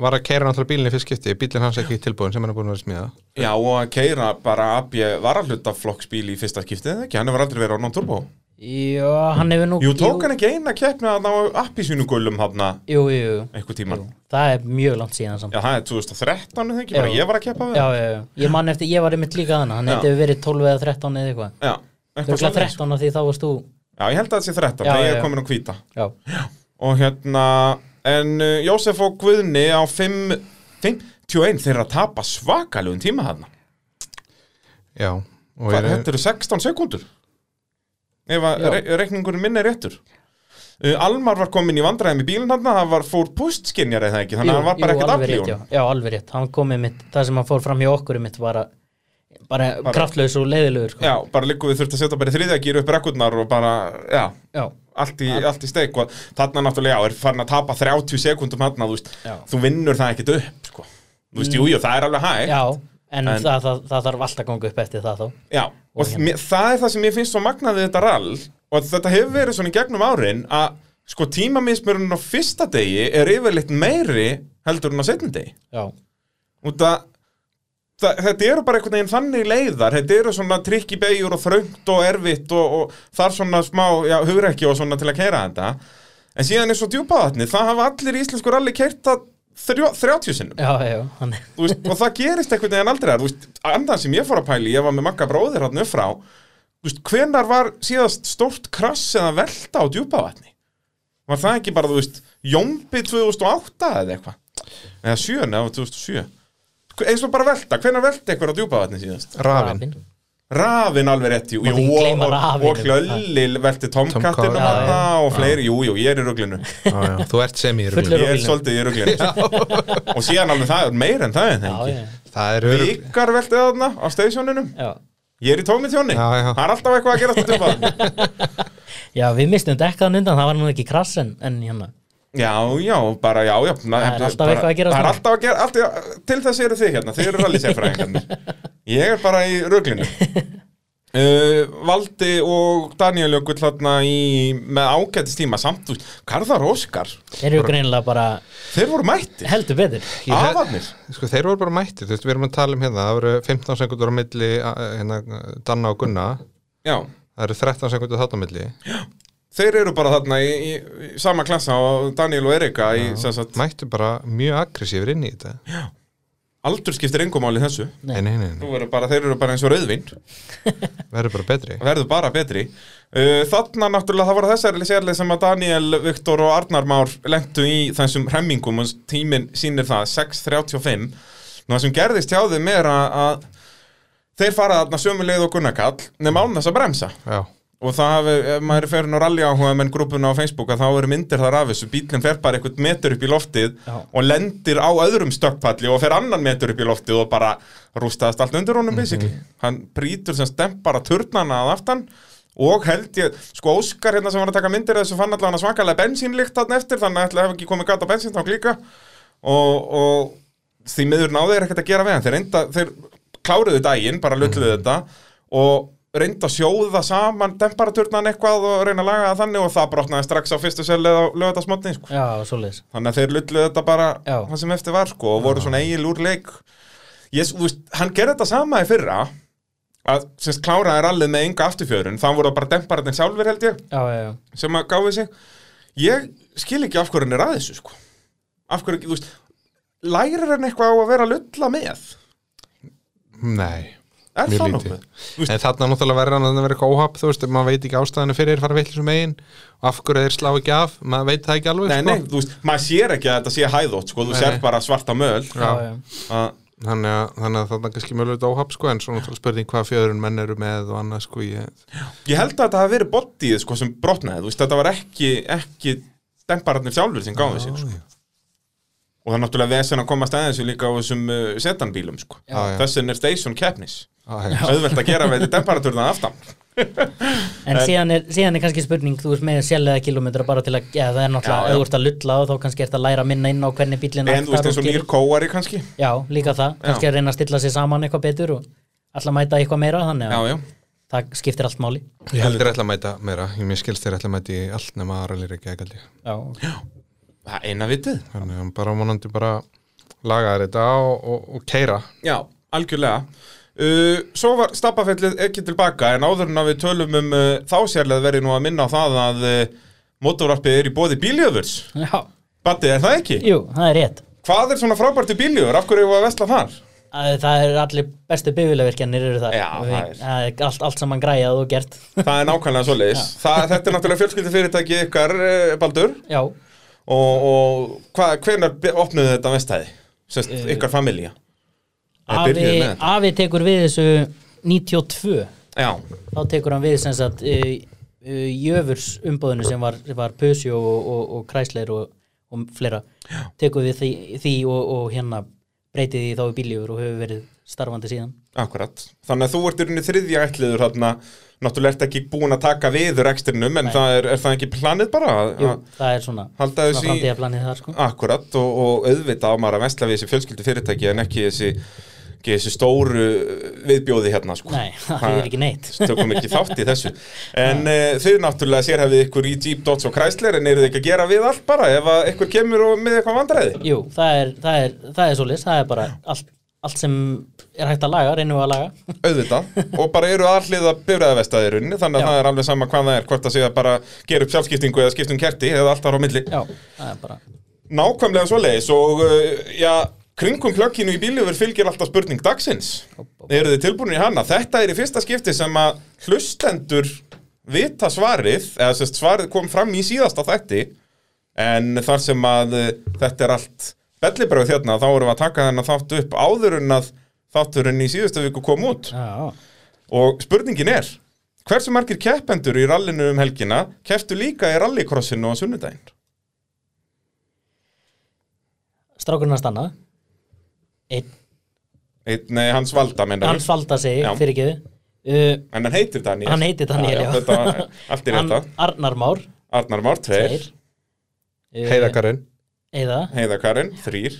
[SPEAKER 2] var að keira náttúrulega bílinni fyrst skipti bílinn hans ekki tilbúin sem hann er búin að vera að smíða
[SPEAKER 1] Já og að keira bara AB varalutaflokksbíl í fyrsta skiptið eða ekki Hann hefur aldrei verið á non-turbo
[SPEAKER 3] já, hann hefur nú
[SPEAKER 1] Jú, tók hann ekki eina keppni að ná appi sínu gullum þarna
[SPEAKER 3] jú, jú, jú,
[SPEAKER 1] einhver tíman.
[SPEAKER 3] það er mjög langt síðan samt
[SPEAKER 1] Já, það er 2013 eða ekki, bara
[SPEAKER 3] Já.
[SPEAKER 1] ég var að keppa við.
[SPEAKER 3] já, já, já, ég man eftir, ég var einmitt líka þannig hann
[SPEAKER 1] Já.
[SPEAKER 3] hefði verið 12 eða 13 eða eitthvað
[SPEAKER 1] já
[SPEAKER 3] það
[SPEAKER 1] eitthvað
[SPEAKER 3] er
[SPEAKER 1] svoleiðis.
[SPEAKER 3] 13 af því þá varst þú
[SPEAKER 1] Já, ég held að það sé 13,
[SPEAKER 3] Já,
[SPEAKER 1] þegar ég
[SPEAKER 3] já,
[SPEAKER 1] er
[SPEAKER 3] já.
[SPEAKER 1] komin á hvíta.
[SPEAKER 3] já,
[SPEAKER 1] Og hérna, en uh, Jósef og Guðni á 5, 51 þeirra tapa svakalugum tíma hann.
[SPEAKER 2] Já, og
[SPEAKER 1] Hvað,
[SPEAKER 2] er,
[SPEAKER 1] þetta eru 16 sekúndur. Ef að
[SPEAKER 3] Já.
[SPEAKER 1] re reikningurinn minn er réttur. Uh, Almar var komin í vandræðum í bílinn hann, það var, fór pústskinjar eða ekki, þannig að
[SPEAKER 3] Jú,
[SPEAKER 1] hann var bara
[SPEAKER 3] jú,
[SPEAKER 1] ekkert
[SPEAKER 3] alveg
[SPEAKER 1] aflíun.
[SPEAKER 3] rétt, já. já, alveg rétt, hann komið mitt það sem hann fór fram hjá okkur mitt var að bara,
[SPEAKER 1] Bara-
[SPEAKER 3] kraftlaus og leiðilegur sko.
[SPEAKER 1] Já, bara líku við þurfti að setja bara í þriðja gýra upp rekkurnar og bara, já,
[SPEAKER 3] já,
[SPEAKER 1] allt í, allt í steik og þarna náttúrulega, já, er farin að tapa 30 sekundum hann, þú veist,
[SPEAKER 3] Já. Mm.
[SPEAKER 1] þú vinnur það ekkit upp, sko. Þú veist, jú, jú, það er alveg hægt.
[SPEAKER 3] já en,
[SPEAKER 1] En-
[SPEAKER 3] það, það, það þarf alltaf að ganga upp eftir það þá
[SPEAKER 1] Já, og
[SPEAKER 3] Og hérna.
[SPEAKER 1] mér, það er það sem ég finnst svo magnaði þetta rall og þetta hefur verið svona í gegnum árin að sko tímamismurinn á fyrsta degi er yfirleitt meiri heldur en á setjum degi
[SPEAKER 3] já,
[SPEAKER 1] út að það- Þetta eru bara einhvern veginn þannig leiðar, þetta eru svona trikk í beigur og þröngt og erfitt og, og þar svona smá, já, hugrekki og svona til að keira þetta. En síðan er svo djúpaðatni, það hafa allir í íslensku ralli keirt það þrjó- 30 sinnum
[SPEAKER 3] já, já, hann,
[SPEAKER 1] þú veist, og það gerist einhvern veginn aldrei þar, þú veist, andan sem ég fór að pæli ég var með makka bróðir hann upp frá þú veist, hvenar var síðast stórt krass eða velta á djúpavatni var það ekki bara, þú veist, Jombi 2008 eða eitthvað eða 7, eða 2007 Hve- eins og bara velta, hvenar velta eitthvað á djúpavatni síðast
[SPEAKER 2] rafin
[SPEAKER 3] Rafinn.
[SPEAKER 1] Rafin alveg rétt, jú,
[SPEAKER 3] Má
[SPEAKER 1] jú
[SPEAKER 3] ekki gleyma
[SPEAKER 1] og, og, og
[SPEAKER 3] Rafinum.
[SPEAKER 1] hlölli velti
[SPEAKER 2] Tomcat,
[SPEAKER 1] Tomkattinu
[SPEAKER 2] já,
[SPEAKER 1] hann
[SPEAKER 3] já.
[SPEAKER 1] og fleiri, jú, jú, ég er í ruglinu
[SPEAKER 2] já, já. Þú ert sem í
[SPEAKER 3] Fullur-
[SPEAKER 2] ruglu
[SPEAKER 1] ég er
[SPEAKER 3] ruglinu.
[SPEAKER 1] svolítið í ruglinu og síðan alveg það er meira en það er það
[SPEAKER 3] já,
[SPEAKER 1] ekki
[SPEAKER 3] já,
[SPEAKER 2] Það er örugl
[SPEAKER 1] Vikar veltið þarna á stationinum
[SPEAKER 3] já
[SPEAKER 1] Ég er í tómitjóni,
[SPEAKER 2] Já, já.
[SPEAKER 1] það er alltaf eitthvað að gera þetta djúpa
[SPEAKER 3] já, við mistum dekkaðan undan, það var nú ekki krass en, en hérna,
[SPEAKER 1] Já, já, bara, já, já na,
[SPEAKER 3] Það er alltaf eitthvað að gera
[SPEAKER 1] Það er
[SPEAKER 3] þarna.
[SPEAKER 1] alltaf að gera, alltaf, til þess eru þið hérna, þið eru rallisefræðingarnir Ég er bara í ruglinu uh, Valdi og Daniel Jökull hérna í, með ágætis tíma samt, þú veist, Garðar og Óskar
[SPEAKER 3] þeir eru greinilega bara
[SPEAKER 1] Þeir voru mættir,
[SPEAKER 3] heldur betur
[SPEAKER 2] Ég hef-
[SPEAKER 1] afarnir
[SPEAKER 2] Sko, þeir voru bara mættir, þú veist, við erum að tala um hérna Það eru 15 sekundur á milli a- hérna, Danna og Gunna
[SPEAKER 1] Já,
[SPEAKER 2] Það eru 13 sekundur þátt á milli
[SPEAKER 1] þeir eru bara þarna í, í, í sama klassa og Daniel og Erika í, sem sagt,
[SPEAKER 2] Mættu bara mjög aggressífur inn í þetta
[SPEAKER 1] aldur skiptir engum máli í þessu
[SPEAKER 3] Nei.
[SPEAKER 2] Nei, nei, nei, nei.
[SPEAKER 1] Nú eru bara, þeir eru bara eins og rauðvind
[SPEAKER 2] verður bara betri
[SPEAKER 1] verður bara betri uh, þarna náttúrulega það voru þessari sérlega sem að Daniel, Viktor og Arnar Már lengtu í þessum hremmingum og tíminn sýnir það 6.35 Nú það sem gerðist hjá þeim er að, að þeir fara þarna sömu leið og Gunnarkall nema án þess að bremsa
[SPEAKER 2] Já,
[SPEAKER 1] og það hafi, ef maður er ferin á rally áhuga menn grúpuna á Facebook að þá eru myndir þar af þessu bílinn fer bara eitthvað metur upp í loftið
[SPEAKER 3] Já.
[SPEAKER 1] og lendir á öðrum stökkpalli og fer annan metur upp í loftið og bara rústaðast allt undir honum basically hann brýtur sem stemp bara turnana að aftan og held ég, sko Óskar hérna sem var að taka myndir af þessu fann allavega svakalega bensínlykt þarna eftir þannig að ætla að hafa ekki komið gata bensíntang líka og, og því miður náðu þeir ekkert að gera við hann þeir, reynda, þeir kláruðu daginn, bara lulluðu þetta og reynda að sjóða saman temperaturnan eitthvað og reyna að laga það þannig og það brotnaði strax á fyrstu selið á lögatarsmotni sko.
[SPEAKER 3] já, svoleiðis
[SPEAKER 1] þannig að þeir lulluðu þetta bara
[SPEAKER 3] Já.
[SPEAKER 1] það sem eftir var sko, og voru svona eigin úr leik ég, þú veist, hann gerði þetta sama í fyrra að sem sagt, kláraði rallið með enga afturfjörun þannig voru það bara demparatinn sjálfur held ég
[SPEAKER 3] já, já, já,
[SPEAKER 1] sem að gáfi sig ég skil ekki af hverju hann er að þessu sko. af hverju ekki, þú veist lærir hann eitthvað á að vera að lulla með
[SPEAKER 2] nei
[SPEAKER 1] er
[SPEAKER 2] Mjög
[SPEAKER 1] það
[SPEAKER 2] lítið.
[SPEAKER 1] nokkuð? Þú veist,
[SPEAKER 2] En þarna náttúrulega verður hann að vera eitthvað óhaf þú veist, maður veit ekki ástæðinu fyrir fara vill sem eigin og af hverju þeir slá ekki af, maður veit það ekki alveg
[SPEAKER 1] nei, nei,
[SPEAKER 2] sko.
[SPEAKER 1] þú veist, maður sér ekki að þetta sé hæðótt sko, þú
[SPEAKER 2] Nei,
[SPEAKER 1] sér
[SPEAKER 2] nei.
[SPEAKER 1] bara svarta möl
[SPEAKER 3] já,
[SPEAKER 2] Já.
[SPEAKER 3] já.
[SPEAKER 1] að,
[SPEAKER 2] þannig að, þannig að þarna kannski mögulegt óhaf sko, en svona spurning hvað fjörun menn eru með og annað sko, ég,
[SPEAKER 1] ég held að þetta hafi verið bodyið sko, sem brotnaði, þú veist, þetta var ekki ekki stempararnir sjálfur sem gáði sig sko. og það er náttúrulega vesen að komast aðeins og líka á þessum uh, setanbílum sko.
[SPEAKER 2] Já, já.
[SPEAKER 1] þessin er station keppnis
[SPEAKER 2] að, já,
[SPEAKER 1] auðvelt að gera við temperaturna aftan
[SPEAKER 3] En síðan er, síðan er kannski spurning, þú veist með sérlega kilometra bara til að, já það er náttúrulega,
[SPEAKER 1] Já, já.
[SPEAKER 3] ef þú ert að lulla og þá kannski ert að læra minna inn á hvernig bílinn
[SPEAKER 1] en þú veist
[SPEAKER 3] aktar
[SPEAKER 1] eins og
[SPEAKER 3] gerir.
[SPEAKER 1] nýr kóari kannski
[SPEAKER 3] Já, líka það,
[SPEAKER 1] Já.
[SPEAKER 3] kannski að reyna að stilla sig saman eitthvað betur og alltaf mæta eitthvað meira þannig
[SPEAKER 1] já,
[SPEAKER 3] að
[SPEAKER 1] já,
[SPEAKER 3] það skiptir allt máli
[SPEAKER 2] ég held þeir ætla að mæta meira ég mér skilst þeir ætla að mæta í allt nema aðralir ekki ekki allir
[SPEAKER 3] Já, ok.
[SPEAKER 1] það er eina vitið
[SPEAKER 2] þannig að bara vonandi bara laga þeir þetta og, og, og keira
[SPEAKER 1] Já, algjörlega Uh, svo var stabbafellið ekki tilbaka en áður en að við tölum um uh, þá sérlega verið nú að minna á það að uh, mótorvarpið er í bóði bíljöfurs
[SPEAKER 3] Já,
[SPEAKER 1] Batti, er það ekki?
[SPEAKER 3] jú, það er rétt
[SPEAKER 1] Hvað er svona frábært í bíljöfur? Af hverju erum við að vesla þar?
[SPEAKER 3] Að Það er allir bestu bifulavirkjarnir eru þar
[SPEAKER 1] Já,
[SPEAKER 3] Og
[SPEAKER 1] það er-
[SPEAKER 3] við- það er allt, allt saman græjað og gert
[SPEAKER 1] Það er nákvæmlega svo leis Þetta er náttúrulega fjölskyldufyrirtæki ykkar, uh, Baldur
[SPEAKER 3] Já,
[SPEAKER 1] Og, og hva, hvenær be- opnuðu þetta vestæði? Sest, ykkar familja Eða byrjuðu
[SPEAKER 3] Eh, afi,
[SPEAKER 1] með þetta?
[SPEAKER 3] afi tekur við þessu 92
[SPEAKER 1] Já,
[SPEAKER 3] þá tekur hann við sem sagt uh, uh, jöfurs umbóðinu sem var, sem var Pusio og, og, og Chrysler og, og fleira tekur við því, því og, og hérna breytið því þá í bíljöfur og hefur verið starfandi síðan
[SPEAKER 1] Akkurat, þannig að þú ert í rauninni þriðja ætliður þarna, náttúrulega ert ekki búin að taka við rekstrinum en það er, er það ekki planið bara að
[SPEAKER 3] Jú,
[SPEAKER 1] að-
[SPEAKER 3] það er svona,
[SPEAKER 1] halda
[SPEAKER 3] svona
[SPEAKER 1] þessu í-
[SPEAKER 3] framtíðaplanið þar sko
[SPEAKER 1] Akkurat og, og auðvitað á maður að vesla við þessi fjölskyldu fyrirtæki en ekki þessi, ekki þessi stóru viðbjóði hérna sko.
[SPEAKER 3] Nei, það er ekki neitt
[SPEAKER 1] Tökum ekki þátt í þessu En uh, þið náttúrulega sérhafið ykkur í Jeep, Dodge og Chrysler en eru þið ekki að gera við allt bara ef að ykkur kemur og með eitthvað vandræði
[SPEAKER 3] Jú, það er, það er, það er svoleiðis, það er bara allt, allt sem er hægt að laga, reynum við að laga
[SPEAKER 1] auðvitað og bara eru alliða bifræðavestaði runni þannig að
[SPEAKER 3] Já.
[SPEAKER 1] það er alveg sama hvað það er hvort að segja bara gera upp sjálfskiptingu eða skiptum kerti eða allt þar á milli
[SPEAKER 3] Já, það er bara
[SPEAKER 1] nákvæmlega svoleiðis og uh, já, kringum klökkinu í bíljöfur fylgir alltaf spurning dagsins eru þið tilbúinu í hana? Þetta er í fyrsta skipti sem að hlustendur vita svarið, eða sérst svarið kom fram í síðasta þætti en þar sem að uh, þetta er allt bellibröð hérna, þá erum við að taka þennan þátt upp áður en að þátturinn í síðustu viku kom út
[SPEAKER 3] Já,
[SPEAKER 1] og spurningin er hversu margir keppendur í rallinu um helgina kepptu líka í rallycrossinu á sunnudaginn?
[SPEAKER 3] strákurinn að stanna Einn,
[SPEAKER 1] Einn, nei, hans valda menna
[SPEAKER 3] hans valda sig,
[SPEAKER 1] Já.
[SPEAKER 3] fyrir ekki uh,
[SPEAKER 1] En hann heitir Daniel
[SPEAKER 3] Hann heitir Daniel,
[SPEAKER 1] já, já.
[SPEAKER 3] já.
[SPEAKER 1] Þetta, Allt í rétta
[SPEAKER 3] An- Arnar Már
[SPEAKER 1] Arnar Már, tveir
[SPEAKER 3] Tveir. Eh,
[SPEAKER 2] heiðakarinn
[SPEAKER 3] Heiða
[SPEAKER 1] Heiða Karin, þrýr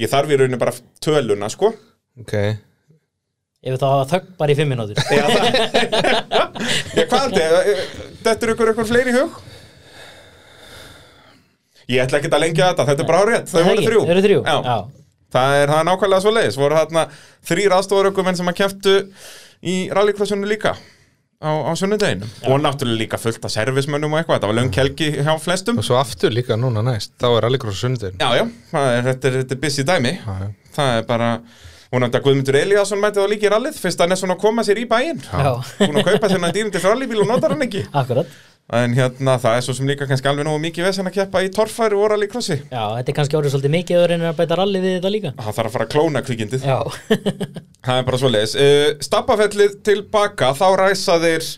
[SPEAKER 1] Ég þarf í rauninu bara töluna, sko
[SPEAKER 2] ok,
[SPEAKER 3] Ef þá hafa þögn bara í fimm minútur
[SPEAKER 1] Já, það Já, hvað aldrei, þetta er ykkur ykkur fleiri í hug Ég ætla ekki að lengja þetta, þetta er bara árétt Þau
[SPEAKER 3] Það
[SPEAKER 1] voru
[SPEAKER 3] ekki,
[SPEAKER 1] þrjú
[SPEAKER 3] þau voru þrjú,
[SPEAKER 1] Já.
[SPEAKER 3] já.
[SPEAKER 1] Það er, það er nákvæmlega svo leiðis Voru þarna þrýr aðstofarökumenn sem að keftu í rallycrossinu líka á, á sunnudeginu Og náttúrulega líka fullt af servismönnum og eitthvað Þetta var löng helgi hjá flestum
[SPEAKER 2] og svo aftur líka núna næst þá er rallycross sunnudin
[SPEAKER 1] Já, já, það er, þetta, er, þetta er busy dæmi Það er bara Hún að Guðmundur Eliasson mætti þá líka í rallið Fyrst hann er svona að koma sér í bæinn
[SPEAKER 3] Já.
[SPEAKER 1] Hún að kaupa þennan dýrindi rallybíl og notar hann ekki
[SPEAKER 3] Akkurat
[SPEAKER 1] En hérna, það er svo sem líka kannski alveg nógu mikið vesen að keppa í torfæri og rallycrossi
[SPEAKER 3] Já, þetta er kannski orðið svolítið mikið ef þú reynir að bæta ralli við þetta líka
[SPEAKER 1] Hann þarf að fara að klóna kvikindið
[SPEAKER 3] Já,
[SPEAKER 1] Það er bara svo leiðis uh, Stabbafellið tilbaka, þá ræsa þeir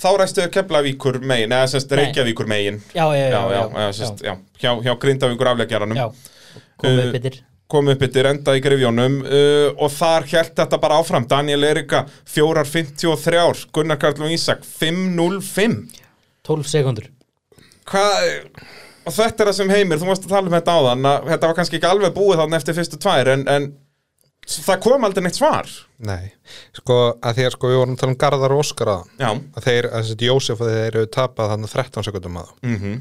[SPEAKER 1] Þá ræstu keflavíkur megin Eða semst
[SPEAKER 3] Nei.
[SPEAKER 1] Reykjavíkur megin
[SPEAKER 3] já, já,
[SPEAKER 1] Já,
[SPEAKER 3] já,
[SPEAKER 1] já,
[SPEAKER 3] já,
[SPEAKER 1] já, semst, já. Hjá, hjá Grindavíkur afleggjaranum
[SPEAKER 3] já. Komum
[SPEAKER 1] Eh,
[SPEAKER 3] upp yfir
[SPEAKER 1] kom upp yttir enda í grifjónum uh, og þar held þetta bara áfram Daniel Erika 4.53 Gunnar Karl og Ísak 5.05
[SPEAKER 3] 12 sekundur
[SPEAKER 1] hvað eh, og þetta er það sem heimir, þú varst að tala um þetta áðan að þetta var kannski ekki alveg búið þannig eftir fyrstu tvær en, en það kom aldrei neitt svar
[SPEAKER 2] nei, sko að því að sko við vorum að tala um Garðar og Óskar aðan
[SPEAKER 1] já,
[SPEAKER 2] að þeir, að þessi Jósef að þeir eru tapað þannig 13 sekundum að þá
[SPEAKER 1] mhm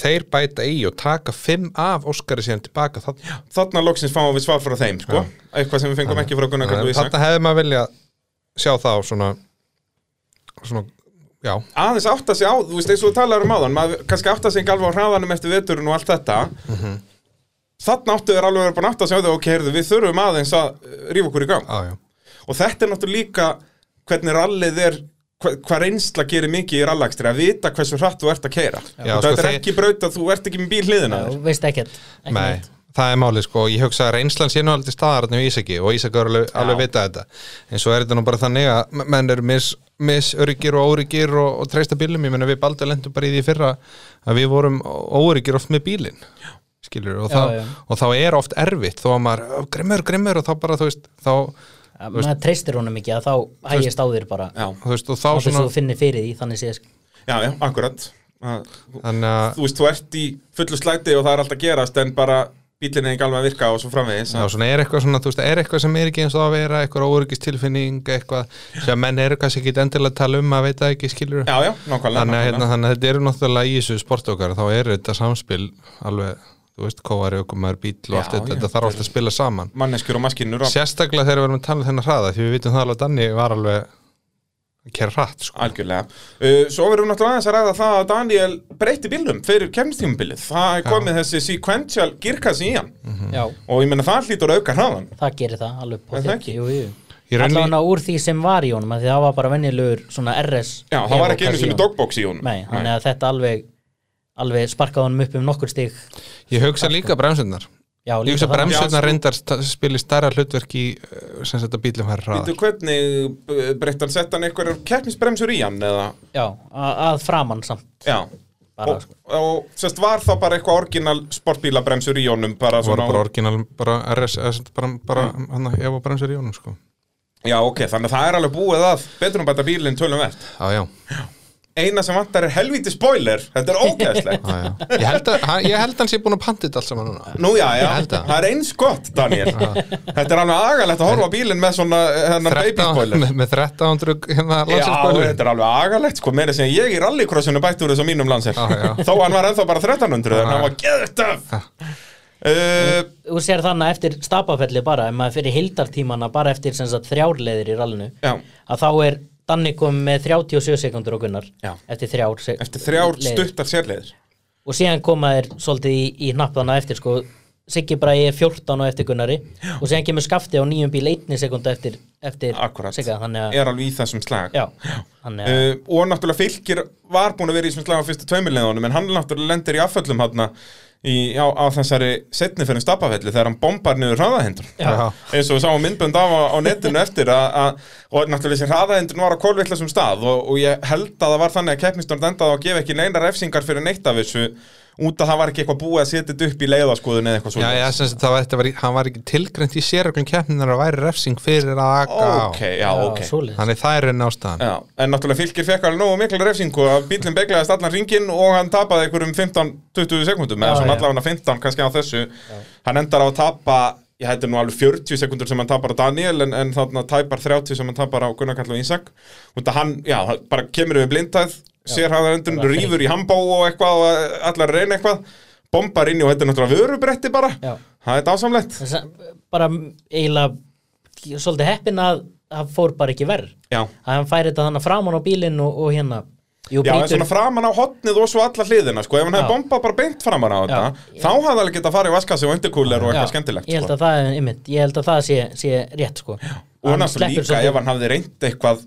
[SPEAKER 2] þeir bæta í og taka 5 af Óskari síðan tilbaka þannig
[SPEAKER 1] þarna loksins fáum við svar frá þeim sko. eitthvað sem við fengum ekki frá Gunnar Karl og Ísak
[SPEAKER 2] þannig hefði maður vilja sjá þá svona svona, já,
[SPEAKER 1] aðeins átta sig á, þú veist eins og þú talar um áðan maður kannski átta sig ekki alveg á hraðanum eftir veturinn og allt þetta
[SPEAKER 2] Mhm.
[SPEAKER 1] þarna áttu þeir alveg að vera búin að átta sig á þau ok, heyrðu, við þurfum aðeins að eh, rífa okkur í gang
[SPEAKER 2] á, já
[SPEAKER 1] og þetta er náttúrulega líka hvernig rallið er hva- hvað reynsla gerir mikið í rallakstri að vita hversu hratt þú ert að keira
[SPEAKER 2] Já,
[SPEAKER 1] þetta
[SPEAKER 2] sko,
[SPEAKER 1] er
[SPEAKER 2] þeir-
[SPEAKER 1] ekki braut að þú ert ekki með bíl hliðina á þér.
[SPEAKER 3] Þú veist ekkert, ekkert
[SPEAKER 2] Nei, það er málið sko, ég hugsa að reynslan sé nú aldrei staðarinn við Ísaki og Ísaki er alveg, alveg vita þetta en svo er þetta nú bara þannig að m- menn eru mis, misörgir og óryggir og, og treysta bílum, ég menna við baldur lendum bara í því fyrra að við vorum óryggir oft með bílinn skilur, og,
[SPEAKER 3] Já,
[SPEAKER 2] þá,
[SPEAKER 3] já.
[SPEAKER 2] og þá er oft erfitt þó að maður, "Ó, grimmur, grimmur og þá bara þú veist, þá,
[SPEAKER 3] Að Maður treystir honum ekki að þá hægist á þér bara
[SPEAKER 1] já,
[SPEAKER 2] þú veist og þá
[SPEAKER 3] Þess að
[SPEAKER 2] svona,
[SPEAKER 3] þú finnir fyrir því, þannig séð sko.
[SPEAKER 1] já, já, akkurat Að-
[SPEAKER 2] þannig að
[SPEAKER 1] þú veist, þú ert í fullu slæti og það er alltaf að gerast en bara bílinn er ekki alveg að virka og svo framvegis
[SPEAKER 2] Já, svona er eitthvað svona, þú veist, er eitthvað sem er ekki eins og það að vera, eitthvað óöryggistilfinning, eitthvað sem menn eru kannski ekki endilega að tala um að veita ekki skilur.
[SPEAKER 1] já, já, nákvæmlega
[SPEAKER 2] þannig að,
[SPEAKER 1] nákvæmlega.
[SPEAKER 2] hérna, þannig að þetta eru náttúrulega í þessu sport okkar þá eru þetta samspil alveg þú veist, kóari, ökumar, bíl og allt
[SPEAKER 1] Já,
[SPEAKER 2] þetta,
[SPEAKER 1] já.
[SPEAKER 2] þetta þarf alltaf að spila saman
[SPEAKER 1] manneskjur og maskinnur á-
[SPEAKER 2] sérstaklega þegar við erum að tala um þennan hraða því við vitum það alveg að Danni var alveg að kæra hratt sko.
[SPEAKER 1] Algjörlega. Uh, svo verðum við náttúrulega aðeins að ræða það að Daniel breytti bílum fyrir kemnistímubilið. Það er komið þessi sequential girkas í hann
[SPEAKER 2] Mhm.
[SPEAKER 3] já,
[SPEAKER 1] og ég menna það hlýtur að auka hraðan.
[SPEAKER 3] það gerir það alveg upp á
[SPEAKER 1] Er það ekki?
[SPEAKER 3] þekki jú, jú.
[SPEAKER 2] Í rauninni-
[SPEAKER 3] allavega úr því sem var í honum af því það var bara venjulegur svona RS
[SPEAKER 1] Já, það var ekki einu sinni
[SPEAKER 3] Evo-kassíón.
[SPEAKER 1] dogbox í honum.
[SPEAKER 3] Nei, þannig að þetta alveg alveg sparkaði honum upp um nokkur stig
[SPEAKER 2] ég hugsa líka bremsunar
[SPEAKER 3] Já,
[SPEAKER 2] ég
[SPEAKER 1] Já,
[SPEAKER 2] hugsa
[SPEAKER 3] það.
[SPEAKER 1] sko.
[SPEAKER 2] bremsunar reyndar sta- spili stærra hlutverk í uh, sem þetta bílum hær hraðar
[SPEAKER 1] Býtu hvernig uh, breytti hann sett hann einhverjar keppnisbremsur í hann eða...
[SPEAKER 3] Já, að, að framan samt
[SPEAKER 1] Já.
[SPEAKER 3] Bara, sko.
[SPEAKER 1] og, og sérst var þá bara eitthvað orginal sportbílabremsur í honum bara
[SPEAKER 2] voru
[SPEAKER 1] svona
[SPEAKER 2] bara orginal bara RS eða sem sagt bara, bara hann að ef að bremsur í honum sko
[SPEAKER 1] já ok þannig að það er alveg búið að betur um bæta bílinn tölum verð
[SPEAKER 2] á já,
[SPEAKER 1] eina sem vantar er helvíti spoiler þetta er ógæðslegt
[SPEAKER 2] á, já. Ég, held að, hann- ég held að hann sé búin að panta þetta allt saman núna
[SPEAKER 1] Nú já, já,
[SPEAKER 2] Ég held að.
[SPEAKER 1] það er eins gott Daniel Þetta er alveg agalegt að horfa á bílinn með svona hennar baby
[SPEAKER 2] 13
[SPEAKER 1] spoiler
[SPEAKER 2] með, með 1300 hérna
[SPEAKER 1] Já,
[SPEAKER 2] landsinsbólur
[SPEAKER 1] þetta er alveg agalegt sko, meira sem ég í rallycrossinu bætti úr þessu á mínum landsir
[SPEAKER 2] Já, já.
[SPEAKER 1] Þó hann var ennþá bara 1300 en
[SPEAKER 2] Já,
[SPEAKER 1] hann var geðtöf uh,
[SPEAKER 3] Þú sér þannig að eftir stapafelli bara ef maður fyrir hildartímana bara eftir sem sagt þrjárleðir í rallinu
[SPEAKER 1] Já,
[SPEAKER 3] að þá er Danni kom með 37 sekundur og Gunnar
[SPEAKER 1] Já.
[SPEAKER 3] eftir þrjár se-
[SPEAKER 1] eftir þrjár
[SPEAKER 3] leiðir.
[SPEAKER 1] stuttar sérleiðir
[SPEAKER 3] og síðan koma þér svolítið í, í hnappana eftir sko Siggi Bræði er 14 og eftir Gunnari og síðan kemur skafti á nýjum bíl einni sekundu eftir, eftir
[SPEAKER 1] Akkurat,
[SPEAKER 3] Sigga þannig að,
[SPEAKER 1] er alveg í þessum slag
[SPEAKER 3] já, þannig að
[SPEAKER 1] Uh, og náttúrulega Fylkir var búin að vera í þessum slag á fyrstu tveimurleðunum en hann náttúrulega lendir í afföllum hann á, á þessari setni fyrir stapafelli þegar hann bombar niður hraðahendur
[SPEAKER 2] Já.
[SPEAKER 1] eins og við sáum myndbönd af á, á netinu eftir að, að, og náttúrulega þessi hraðahendurinn var á kolvillasum stað og, og ég held að það var þannig að keppnistjórn endaði á að gefa ekki neina refsingar fyrir neitt af þessu út að það var ekki eitthvað búið að setja þetta upp í leiðaskoðun eða eitthvað
[SPEAKER 2] já,
[SPEAKER 1] svona
[SPEAKER 2] já, sem sagt það var, þetta var, í- hann var ekki tilgrænt í séröglum keppninar að væri refsing fyrir að aga á
[SPEAKER 1] ok, já, ok
[SPEAKER 3] svoleiðis.
[SPEAKER 2] þannig það er enn ástæðan
[SPEAKER 1] Já, en náttúrulega fylgir fekk alveg nógu mikla refsingu að bílinn beglaðist allan ringin og hann tapaði einhverjum 15-20 sekundum eða
[SPEAKER 3] Já,
[SPEAKER 1] svona
[SPEAKER 3] já.
[SPEAKER 1] allavega 15 kannski á þessu hann endar á að tapa ég hætti nú alveg 40 sekundur sem hann tapar á Daniel en, en þarna tæpar 30 sem hann tapar á Gunnar Karl og Ísak og hann, já, hann bara kemur við blindæð sér hann endur
[SPEAKER 3] bara
[SPEAKER 1] rýfur í hambó og eitthvað og allar reyna eitthvað bombar inn í og þetta er náttúrulega vörubretti bara
[SPEAKER 3] Já.
[SPEAKER 1] það er dásamlegt
[SPEAKER 3] þess að bara eiginlega svolítið heppin að það fór bara ekki verð
[SPEAKER 1] Já.
[SPEAKER 3] að hann færi þetta þannig framan á bílinn og, og hérna jú,
[SPEAKER 1] Já, en
[SPEAKER 3] brýtur-
[SPEAKER 1] svona framan á hotnið og svo alla hliðina sko, ef hann hefði
[SPEAKER 3] Já.
[SPEAKER 1] bombað bara beint framan á þetta
[SPEAKER 3] Já.
[SPEAKER 1] þá hefði alveg getað farið í vaskassi og undirkúler og eitthvað
[SPEAKER 3] Já,
[SPEAKER 1] skemmtilegt
[SPEAKER 3] ég held
[SPEAKER 1] sko.
[SPEAKER 3] að það, er einmitt, ég held að það sé, sé rétt sko.
[SPEAKER 1] og hann náttúrulega líka ef hann hafði reynd eitthvað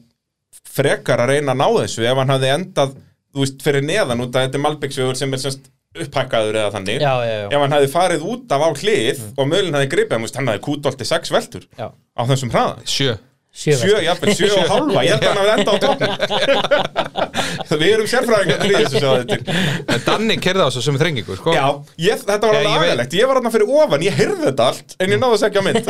[SPEAKER 1] frekar að reyna að ná þessu ef hann hafði endað, þú veist, fyrir neðan út að þetta er malbyggsvegur sem er semst upphækkaður eða þannig,
[SPEAKER 3] já, já, já, já.
[SPEAKER 1] ef hann hafði farið út af á hlið og mögulinn hafði gripið, hann, þú veist, hann hafði kútolti sex veltur
[SPEAKER 3] já.
[SPEAKER 1] á þessum hraða
[SPEAKER 2] sjö
[SPEAKER 3] Sjö,
[SPEAKER 1] Sjö, jafnveg, sjö og halva, ég held að hann hafði enda á toppnum Við erum sérfræðingar í þessu, sjáðu þetta til
[SPEAKER 2] en Danni kerði á þessu sem þrengingu sko
[SPEAKER 1] Já, ég, þetta var
[SPEAKER 2] Já,
[SPEAKER 1] alveg
[SPEAKER 2] ég veit.
[SPEAKER 1] aðeinlegt, ég var hérna fyrir ofan, ég heyrði þetta allt en ég náðu þess ekki á mynd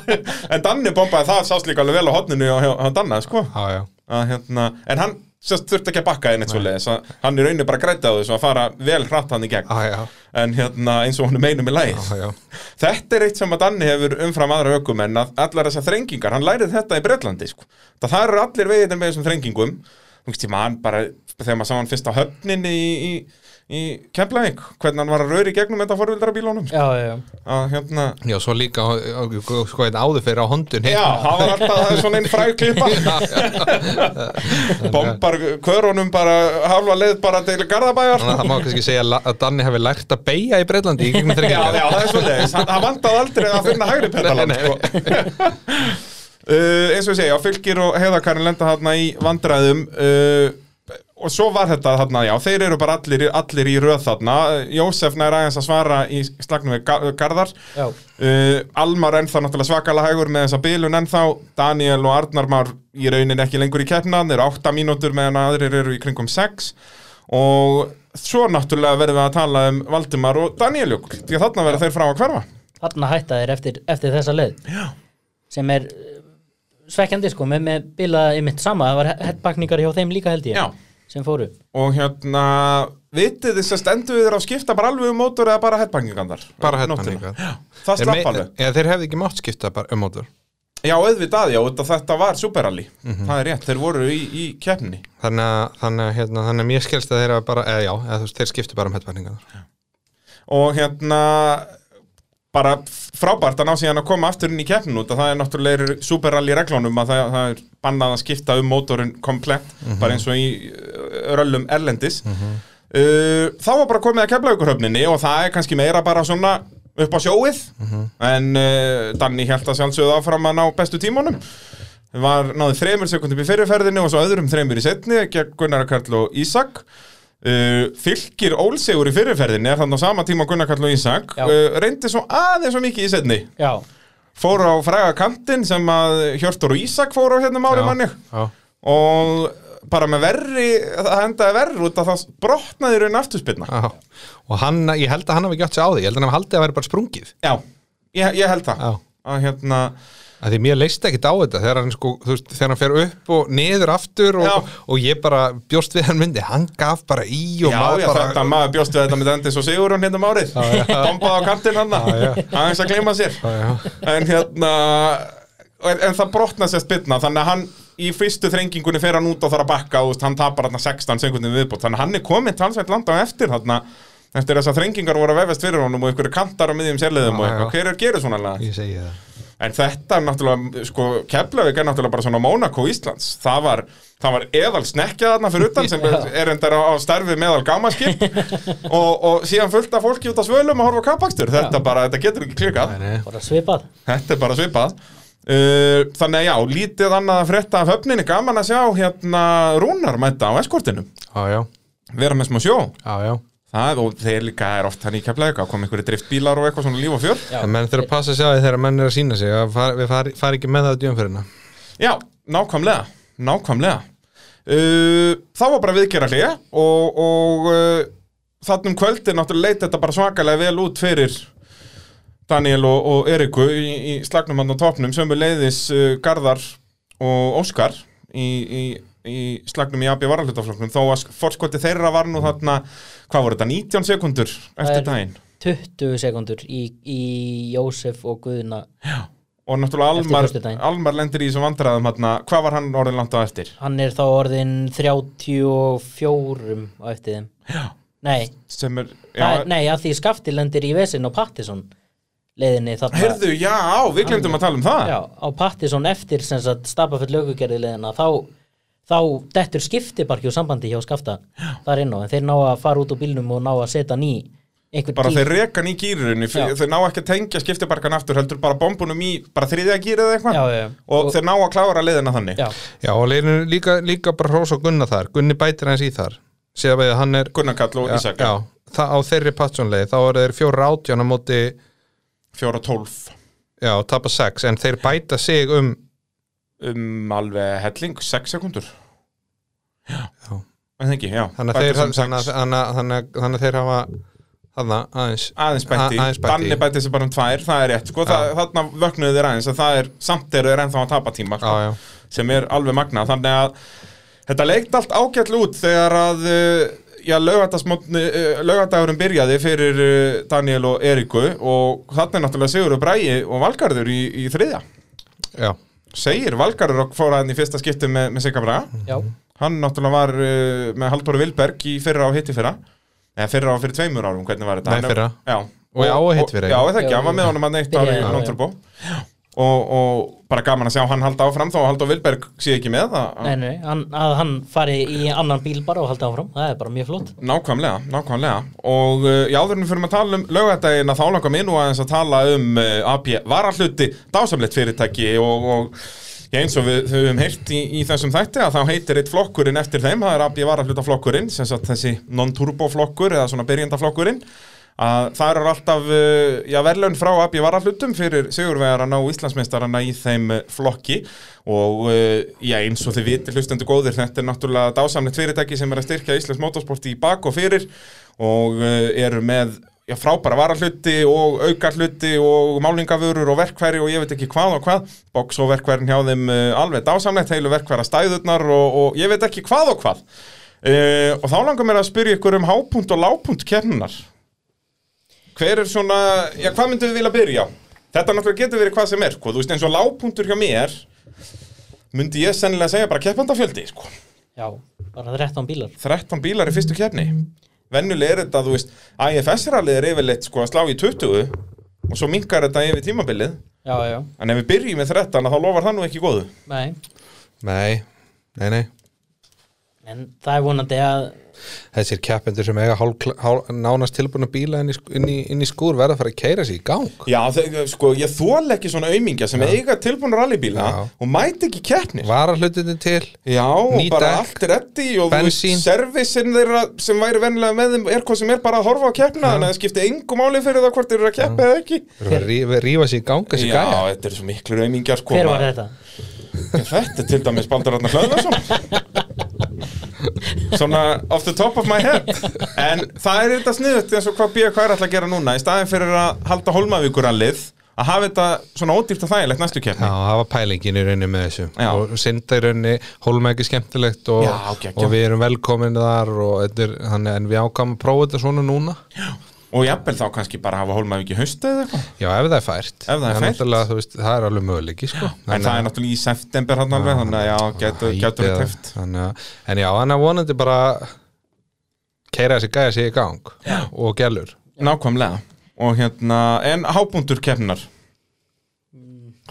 [SPEAKER 1] En Danni bombaði það, sást líka alveg vel á hotninu á, á Danna, sko
[SPEAKER 2] já, já.
[SPEAKER 1] að, hérna, En hann sérst þurfti ekki að bakka inn eitt svo leiðis Hann í rauninu bara græti á þessu að fara vel hratt hann í gegn
[SPEAKER 2] Á, já.
[SPEAKER 1] En hérna, eins og honum einum í lægið
[SPEAKER 2] Á, Ah. já.
[SPEAKER 1] Þetta er eitt sem að Danni hefur umfram aðra ökumenn að allar þessar þrengingar, hann lærið þetta í Bretlandi sko. það þar eru allir veginn með þessum þrengingum þú veist ég man bara þegar maður sá hann fyrst á höfninni í, í, í Keflavík, hvernig hann var að rauri í gegnum þetta forvildara bílónum sko.
[SPEAKER 3] já, já, já.
[SPEAKER 1] að, hérna,
[SPEAKER 2] já, svo líka á- á- sko einn áður fyrir á hondun
[SPEAKER 1] Já, það var alltaf það er svona einn frægklippa Bombar kvörunum bara halva leið bara til Garðabæjar
[SPEAKER 2] Þannig að það má kannski segja la- að Danni hefði lært að beigja í Breitlandi í gegnum
[SPEAKER 1] Já,
[SPEAKER 2] þrengingar
[SPEAKER 1] já, það er svolítið, hann vandaði aldrei að finna hægri petalan
[SPEAKER 2] Nei, nei.
[SPEAKER 1] sko. uh, eins og ég segja, fylgir og heiðakarinn lenda þarna í vandræðum uh, og svo var þetta þarna, já, þeir eru bara allir, allir í röð þarna, Jósef nær aðeins að svara í slagnum við Ga- Garðar
[SPEAKER 3] Já.
[SPEAKER 1] uh, Almar ennþá náttúrulega svakalega hægur með þessa bilun ennþá Daniel og Arnar Már í raunin ekki lengur í keppna, þeir eru 8 mínútur meðan aðrir eru í kringum 6 og svo náttúrulega verðum við að tala um Valdimar og Daniel Jökul því að þarna verða þeir frá að hverfa
[SPEAKER 3] þarna hætta þeir eftir, eftir þessa leið já. sem er uh, svekkjandi sko, með, með bilaða í mitt sama það var hettpakningar hjá þeim líka held ég
[SPEAKER 1] Já.
[SPEAKER 3] sem fóru
[SPEAKER 1] og hérna, vitið þess að stendu við þeir á að skipta bara alveg um mótor eða bara headbangingandar
[SPEAKER 2] Bara
[SPEAKER 1] Nóttina.
[SPEAKER 2] headbandingar
[SPEAKER 1] það slapp alveg,
[SPEAKER 2] Eða þeir hefði ekki mátt skipta bara um mótur
[SPEAKER 1] já auðvitað já þetta, þetta var superalli,
[SPEAKER 2] Mhm.
[SPEAKER 1] það er rétt þeir voru í, í keppni
[SPEAKER 2] Þannig að, þannig, að, hérna, þannig að mér skilst að þeir hafa bara, eða já, eða þú veist, þeir skiptu bara um headbandingar
[SPEAKER 1] og hérna bara frábært að ná síðan að koma aftur inn í keppnin út að það er náttúrulega superrally reglunum að það, það er bannað að skipta um mótorun komplett, bara eins og í uh, röllum erlendis uh, þá var bara komið að kepla ykkur höfninni og það er kannski meira bara svona upp á sjóið en uh, Danni held að sjálfsögðu áfram að ná bestu tímunum var náði þremur sekundum í fyrirferðinni og svo öðrum þremur í setni gegn Gunnar Karl og Ísak Uh, fylgir ólsegur í fyrirferðinni er þannig á sama tíma og Gunnar Karl og Ísak
[SPEAKER 3] Já.
[SPEAKER 1] uh, reyndi svo aðeins og mikið í setni
[SPEAKER 3] já,
[SPEAKER 1] fór á fræga kantinn sem að Hjörtur og Ísak fór á hérna máli manni
[SPEAKER 2] já,
[SPEAKER 1] og bara með verri, það endaði verri út að það brotnaði í raun afturspilna
[SPEAKER 2] já. og hann, ég held að hann hafi ekki átt sig á því ég held að hann haldið að vera bara sprungið
[SPEAKER 1] Já, ég, ég held það
[SPEAKER 2] Já.
[SPEAKER 1] að hérna,
[SPEAKER 2] að því mér leist ekkit á þetta þegar hann, sko, þú veist, þegar hann fer upp og niður aftur og,
[SPEAKER 1] Já.
[SPEAKER 2] og ég bara bjóst við hann myndi hann gaf bara í og
[SPEAKER 1] já,
[SPEAKER 2] maður
[SPEAKER 1] já
[SPEAKER 2] bara
[SPEAKER 1] þetta maður bjóst við þetta með endis og sigur hann hérna um árið bombaði á kantinn hann aðeins að gleyma sér
[SPEAKER 2] já, já.
[SPEAKER 1] en hérna en, en það brotna sér spilna þannig að hann í fyrstu þrengingunni fer hann út og þarf að bakka og hann tapar hann 16 sekundum viðbútt þannig að hann er kominn talsvægt landa á eftir þarna eftir þess að þrengingar voru að vefast fyrir honum og ykkur kantar á miðjum sérleðum og
[SPEAKER 2] Já,
[SPEAKER 1] eitthvað,
[SPEAKER 2] já.
[SPEAKER 1] hver er að gera svona lag?
[SPEAKER 2] ég segi það
[SPEAKER 1] En þetta er náttúrulega, sko, Keflavík er náttúrulega bara svona Mónaco Íslands. Það var, það var eðal snekkja þarna fyrir utan sem er- er endar á, á starfi meðal gámaskip og, og síðan fullt af fólki út á svölum að horfa á kappakstur. Þetta bara, þetta getur ekki klikað.
[SPEAKER 3] bara svipað
[SPEAKER 1] Þetta er bara svipað. Uh, þannig að já, lítið annað að frétta af höfninni. Gaman að sjá hérna Rúnar mæta á eskortinu.
[SPEAKER 2] já, já,
[SPEAKER 1] Vera með smá sjó.
[SPEAKER 2] já, já.
[SPEAKER 1] Það, og þeir líka er oft hann í Keflavík að koma einhverju driftbílar og eitthvað svona líf og fjör.
[SPEAKER 3] Já.
[SPEAKER 2] En menn þurfa að passa sig á því þegar menn er að sína sig að far, við fari, fari ekki með það út í umferðina
[SPEAKER 1] Já, nákvæmlega, nákvæmlega. Uh, það var bara viðgerra hliða og, og uh, þannig um kvöldin náttúrulega leit þetta bara svakalega vel út fyrir Daniel og, og Eriku í, í slagnum hann á topnum sem leiðis uh, Garðar og Óskar í, í, í slagnum í AB varalutaflokknum þó að fórskvöldi þeirra var nú þarna, hvað voru þetta, 19 sekundur
[SPEAKER 3] Það er-
[SPEAKER 1] eftir daginn
[SPEAKER 3] 20 sekundur í, í Jósef og Guðna
[SPEAKER 1] og náttúrulega
[SPEAKER 3] Eftir
[SPEAKER 1] Almar,
[SPEAKER 3] föstudaginn.
[SPEAKER 1] Almar lendir í þessum vandræðum þarna, hvað var hann orðin langt á eftir?
[SPEAKER 3] hann er þá orðin 34 á eftir þeim já. nei,
[SPEAKER 1] sem er, já,
[SPEAKER 3] það, nei að því skafti lendir í Vesin og Pattison leiðinni þarna
[SPEAKER 1] Herðu, já, við glemdum að tala um það
[SPEAKER 3] já, á Pattison eftir sem sagt stapafell lögugerði leiðina þá, þá dettur skiptibarki og sambandi hjá skafta já. þar inn á en þeir ná að fara út úr bílnum og ná að setja ný einhver
[SPEAKER 1] Bara
[SPEAKER 3] dýr-
[SPEAKER 1] þeir reka hann í gýrurinn
[SPEAKER 3] Já.
[SPEAKER 1] Þeir ná ekki að tengja skiptibarkan aftur Heldur bara bombunum í, bara þriðja gýrið eða eitthvað
[SPEAKER 3] Já, já, já.
[SPEAKER 1] Og, þeir ná að klára leiðina þannig
[SPEAKER 3] já,
[SPEAKER 2] Já, og leirinu líka, líka bara hrós og Gunna þar Gunni bætir hans í þar Sér að við hann er
[SPEAKER 1] Gunnar Kall og
[SPEAKER 2] já,
[SPEAKER 1] Ísak
[SPEAKER 2] já, það, á þeirri patsjónlegi þá eru þeir fjóra átján á móti
[SPEAKER 1] Fjóra tólf
[SPEAKER 2] já, tapa sex, en þeir bæta sig um
[SPEAKER 1] Um alveg helling, sex sekundur
[SPEAKER 2] Já.
[SPEAKER 1] En það ekki, já
[SPEAKER 2] þannig að
[SPEAKER 1] Bætir
[SPEAKER 2] þeir,
[SPEAKER 1] sem
[SPEAKER 2] þannig,
[SPEAKER 1] sex.
[SPEAKER 2] að- þannig, að- þannig, að- þannig að þeir hafa þarna aðeins
[SPEAKER 1] Aðeins bætti,
[SPEAKER 2] A- aðeins bætt í.
[SPEAKER 1] Danni bætti sér bara um tvær, það er rétt sko, það, þarna vöknuðu þeir aðeins að það er, samt eru þeir ennþá að tapa tíma sko.
[SPEAKER 2] Já, já,
[SPEAKER 1] sem er alveg magna þannig að þetta leikt allt ágætlu út þegar að uh, já, lögatagurum eh, byrjaði fyrir uh, Daniel og Eriku og þannig er náttúrulega Sigurður Bræi og Valgarður í, í þriðja
[SPEAKER 2] já,
[SPEAKER 1] segir Valgarður og fór að hann í fyrsta skipti með, með Sigga Braga
[SPEAKER 3] Mhm. já,
[SPEAKER 1] hann náttúrulega var uh, með Halldóru Vilberg í fyrra og hitti fyrra eða fyrra og fyrir tveimur árum, hvernig var þetta?
[SPEAKER 2] Nei,
[SPEAKER 1] Hann er-
[SPEAKER 2] fyrra.
[SPEAKER 1] Já,
[SPEAKER 2] Og í á og hitt fyrra,
[SPEAKER 1] Já,
[SPEAKER 2] já.
[SPEAKER 1] það ekki, hann var með honum að neitt ári
[SPEAKER 3] Byrjaði,
[SPEAKER 1] í
[SPEAKER 3] já,
[SPEAKER 1] Nónturbó og, og bara gaman að sjá hann halda áfram þá að Halldór Vilberg sé ekki með það
[SPEAKER 3] nei, nei, eh, hann, að hann fari í annan bíl bara og halda áfram, það er bara mjög flott
[SPEAKER 1] Nákvæmlega, nákvæmlega og uh, í áðurinn fyrir að tala um lögadagina þá langar mér nú aðeins að tala um uh, AP varahluti, dásamlegt fyrirtæki og, og já, eins og við við höfum heyrt í, í þessum þætti að þá heitir eitt flokkurinn eftir þeim, það er AP varahluta flokkurinn sem sagt þessi non-turbo flokkur eða svona byrjandaflokkurinn að það eru alltaf uh, já, verðlaun frá AB varahlutum fyrir sigurvegarana og Íslandsmeistarana í þeim uh, flokki og uh, já, eins og þið viti hlustendu góðir þetta er náttúrulega dásamlegt fyrirtæki sem er að styrkja Íslands motorsporti í bak og fyrir og uh, eru með já, frábæra varahluti og aukarhluti og málingavörur og verkfæri og ég veit ekki hvað og hvað box og verkfærin hjá þeim uh, alveg dásamlegt heilu verkfæra stæðurnar og, og ég veit ekki hvað og hvað uh, og þá langar mér að spyrja ykkur um hápunkt og lágpunkt kemnar Hver er svona, já hvað myndum við vilja byrja á? Þetta náttúrulega getur verið hvað sem er, sko, þú veist eins og lágpunktur hjá mér myndi ég sennilega segja bara keppandafjöldi, sko
[SPEAKER 3] já, bara 13 bílar
[SPEAKER 1] 13 bílar í fyrstu keppni vennulega er þetta, þú veist IFS-rallið er yfirleitt sko að slá í 20 og svo minkar þetta yfir tímabilið
[SPEAKER 3] já, já,
[SPEAKER 1] en ef við byrjum með 13 þá lofar það nú ekki góðu
[SPEAKER 3] nei
[SPEAKER 2] Nei, nei, nei
[SPEAKER 3] en það er vonandi að
[SPEAKER 2] Þessir keppendur sem eiga hál, hál, nánast tilbúna bíla inn í, sk- inn, í, inn í skúr verða að fara að keira sig í gang
[SPEAKER 1] Já, þe- sko, ég þóla ekki svona aumingja sem eiga tilbúin rallybíla
[SPEAKER 2] Já.
[SPEAKER 1] og mæti ekki keppnir
[SPEAKER 2] Vara hlutinni til
[SPEAKER 1] Já, og
[SPEAKER 2] Ný
[SPEAKER 1] bara
[SPEAKER 2] dekk,
[SPEAKER 1] allt reddi og
[SPEAKER 2] bensín.
[SPEAKER 1] servisin þeirra sem væri venlega með þeim er hvað sem er bara að horfa á keppna þannig að það skipti engu máli fyrir það hvort þeir eru að keppa eða ekki
[SPEAKER 2] verða að rífa, rífa sig í gang þessi
[SPEAKER 1] Já,
[SPEAKER 2] gæja
[SPEAKER 1] þetta eru svo miklu raumingjar sko
[SPEAKER 3] hver var þetta?
[SPEAKER 1] Þetta er til dæmis Baldur Arnar Hlöðvarsson Svona off the top of my head En það er þetta sniðut eins og hvað BK er alltaf að gera núna í staðin fyrir að halda Hólmavíkurallið að hafa þetta svona ódýrt og þægilegt næstu keppni
[SPEAKER 2] Já, það var pælingin í rauninni með þessu
[SPEAKER 1] Já.
[SPEAKER 2] og synda í rauninni, hólum ekki skemmtilegt og,
[SPEAKER 1] Já, geggjað.
[SPEAKER 2] og við erum velkomin þar og þetta er, þannig, en við ákvæmum að prófa þetta svona núna
[SPEAKER 1] Og jafnvel þá kannski bara hafa Hólmavík í haustu eða eitthvað
[SPEAKER 2] Já, ef það er fært
[SPEAKER 1] það er fært.
[SPEAKER 2] náttúrulega, þú veist, það er alveg möguleiki sko.
[SPEAKER 1] En það er náttúrulega í september hann alveg Þannig að já, getur getu við teft
[SPEAKER 2] þannig að, En já, hann er vonandi bara keira þessi gæja sig í gang og gælur
[SPEAKER 1] Nákvæmlega Og hérna, en hábúndur keppnar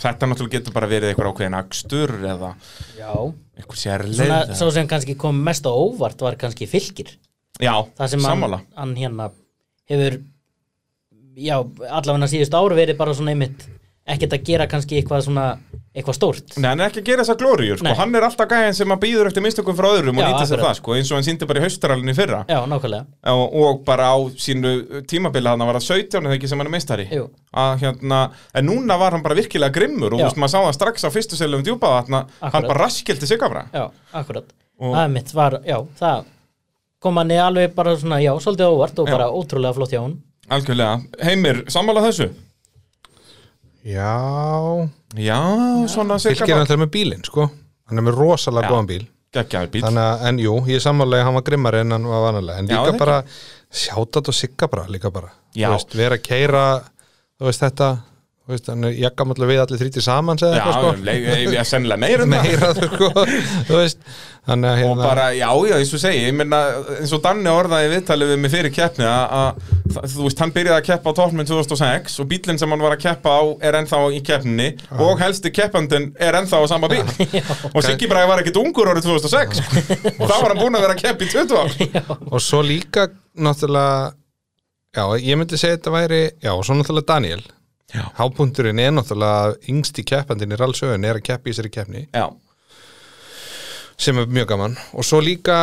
[SPEAKER 1] Þetta náttúrulega getur bara verið eitthvað ákveðin akstur eða
[SPEAKER 3] já,
[SPEAKER 1] eitthvað sérleið
[SPEAKER 3] svona
[SPEAKER 1] eða-
[SPEAKER 3] svo sem kannski kom mest á óvart var kannski fylgir
[SPEAKER 1] Já,
[SPEAKER 3] það sem hann,
[SPEAKER 1] sammála
[SPEAKER 3] hann hérna hefur já, allavega síðust ár verið bara svona einmitt ekkert að gera kannski eitthvað svona eitthvað stórt
[SPEAKER 1] Nei, hann er ekki að gera þessa glóriur, sko,
[SPEAKER 3] Nei.
[SPEAKER 1] hann er alltaf gæðin sem að býður eftir mistökum frá öðrum
[SPEAKER 3] Já,
[SPEAKER 1] og nýta sér
[SPEAKER 3] akkurat.
[SPEAKER 1] það, sko, eins og hann síndi bara í haustaralinu fyrra
[SPEAKER 3] já, nákvæmlega
[SPEAKER 1] og, og bara á sínu tímabili hann var að 17 eða ekki sem hann er meistari
[SPEAKER 3] Jú.
[SPEAKER 1] að hérna, en núna var hann bara virkilega grimmur og
[SPEAKER 3] Já.
[SPEAKER 1] þú veist, maður sá það strax á fyrstu selum djúpa þarna,
[SPEAKER 3] Akkurat.
[SPEAKER 1] hann bara raskildi sig afra
[SPEAKER 3] já, akkurat
[SPEAKER 1] Og-
[SPEAKER 3] það mitt var, já, það kom hann í alveg bara svona, já, svolítið á óvart og
[SPEAKER 1] Já.
[SPEAKER 3] bara ótrúlega flott hjá hún
[SPEAKER 1] algjörlega, Heimir, sammála þessu?
[SPEAKER 2] Já,
[SPEAKER 1] Já, svona
[SPEAKER 2] fylgir
[SPEAKER 1] cirka
[SPEAKER 2] hann alltaf með bílinn sko. Hann er með rosalega
[SPEAKER 1] Já.
[SPEAKER 2] góðan bíl
[SPEAKER 1] geggjaður bíl
[SPEAKER 2] Þannig að, en jú, ég er sammálega að hann var grimmari en hann var vanalega En
[SPEAKER 1] Já,
[SPEAKER 2] líka
[SPEAKER 1] það
[SPEAKER 2] bara, sjátat og sigga bara líka bara
[SPEAKER 1] Já.
[SPEAKER 2] Þú veist, vera að keira, þú veist þetta Þú veist, hann er jakkam allir við allir þrítir saman
[SPEAKER 1] Já,
[SPEAKER 2] segja eitthvað sko
[SPEAKER 1] leið- leið- leið- sennilega meir en það
[SPEAKER 2] Meira, þú sko, þú veist Þannig
[SPEAKER 1] og
[SPEAKER 2] að hérna
[SPEAKER 1] bara, já, já, eins og ég segi ég meina, eins og Danni orðaði í viðtalið við mig fyrir keppni að- að, þa- þú veist, hann byrjaði að keppa á toppnum 2006 og bílinn sem hann var að keppa á er ennþá í keppninni og helsti keppandinn er ennþá á sama bíl og Siggi Bræði var ekkit ungur árið 2006 og þá var hann búinn að vera að keppa í 20 ár
[SPEAKER 2] og svo líka náttúrulega já, ég myndi segja þetta væri já, og svo náttúrulega Daniel
[SPEAKER 1] Já.
[SPEAKER 2] hápunturinn er náttúrulega yngsti keppandinn í rallsögun er að keppi í þessari keppni
[SPEAKER 1] Já,
[SPEAKER 2] sem er mjög gaman og svo líka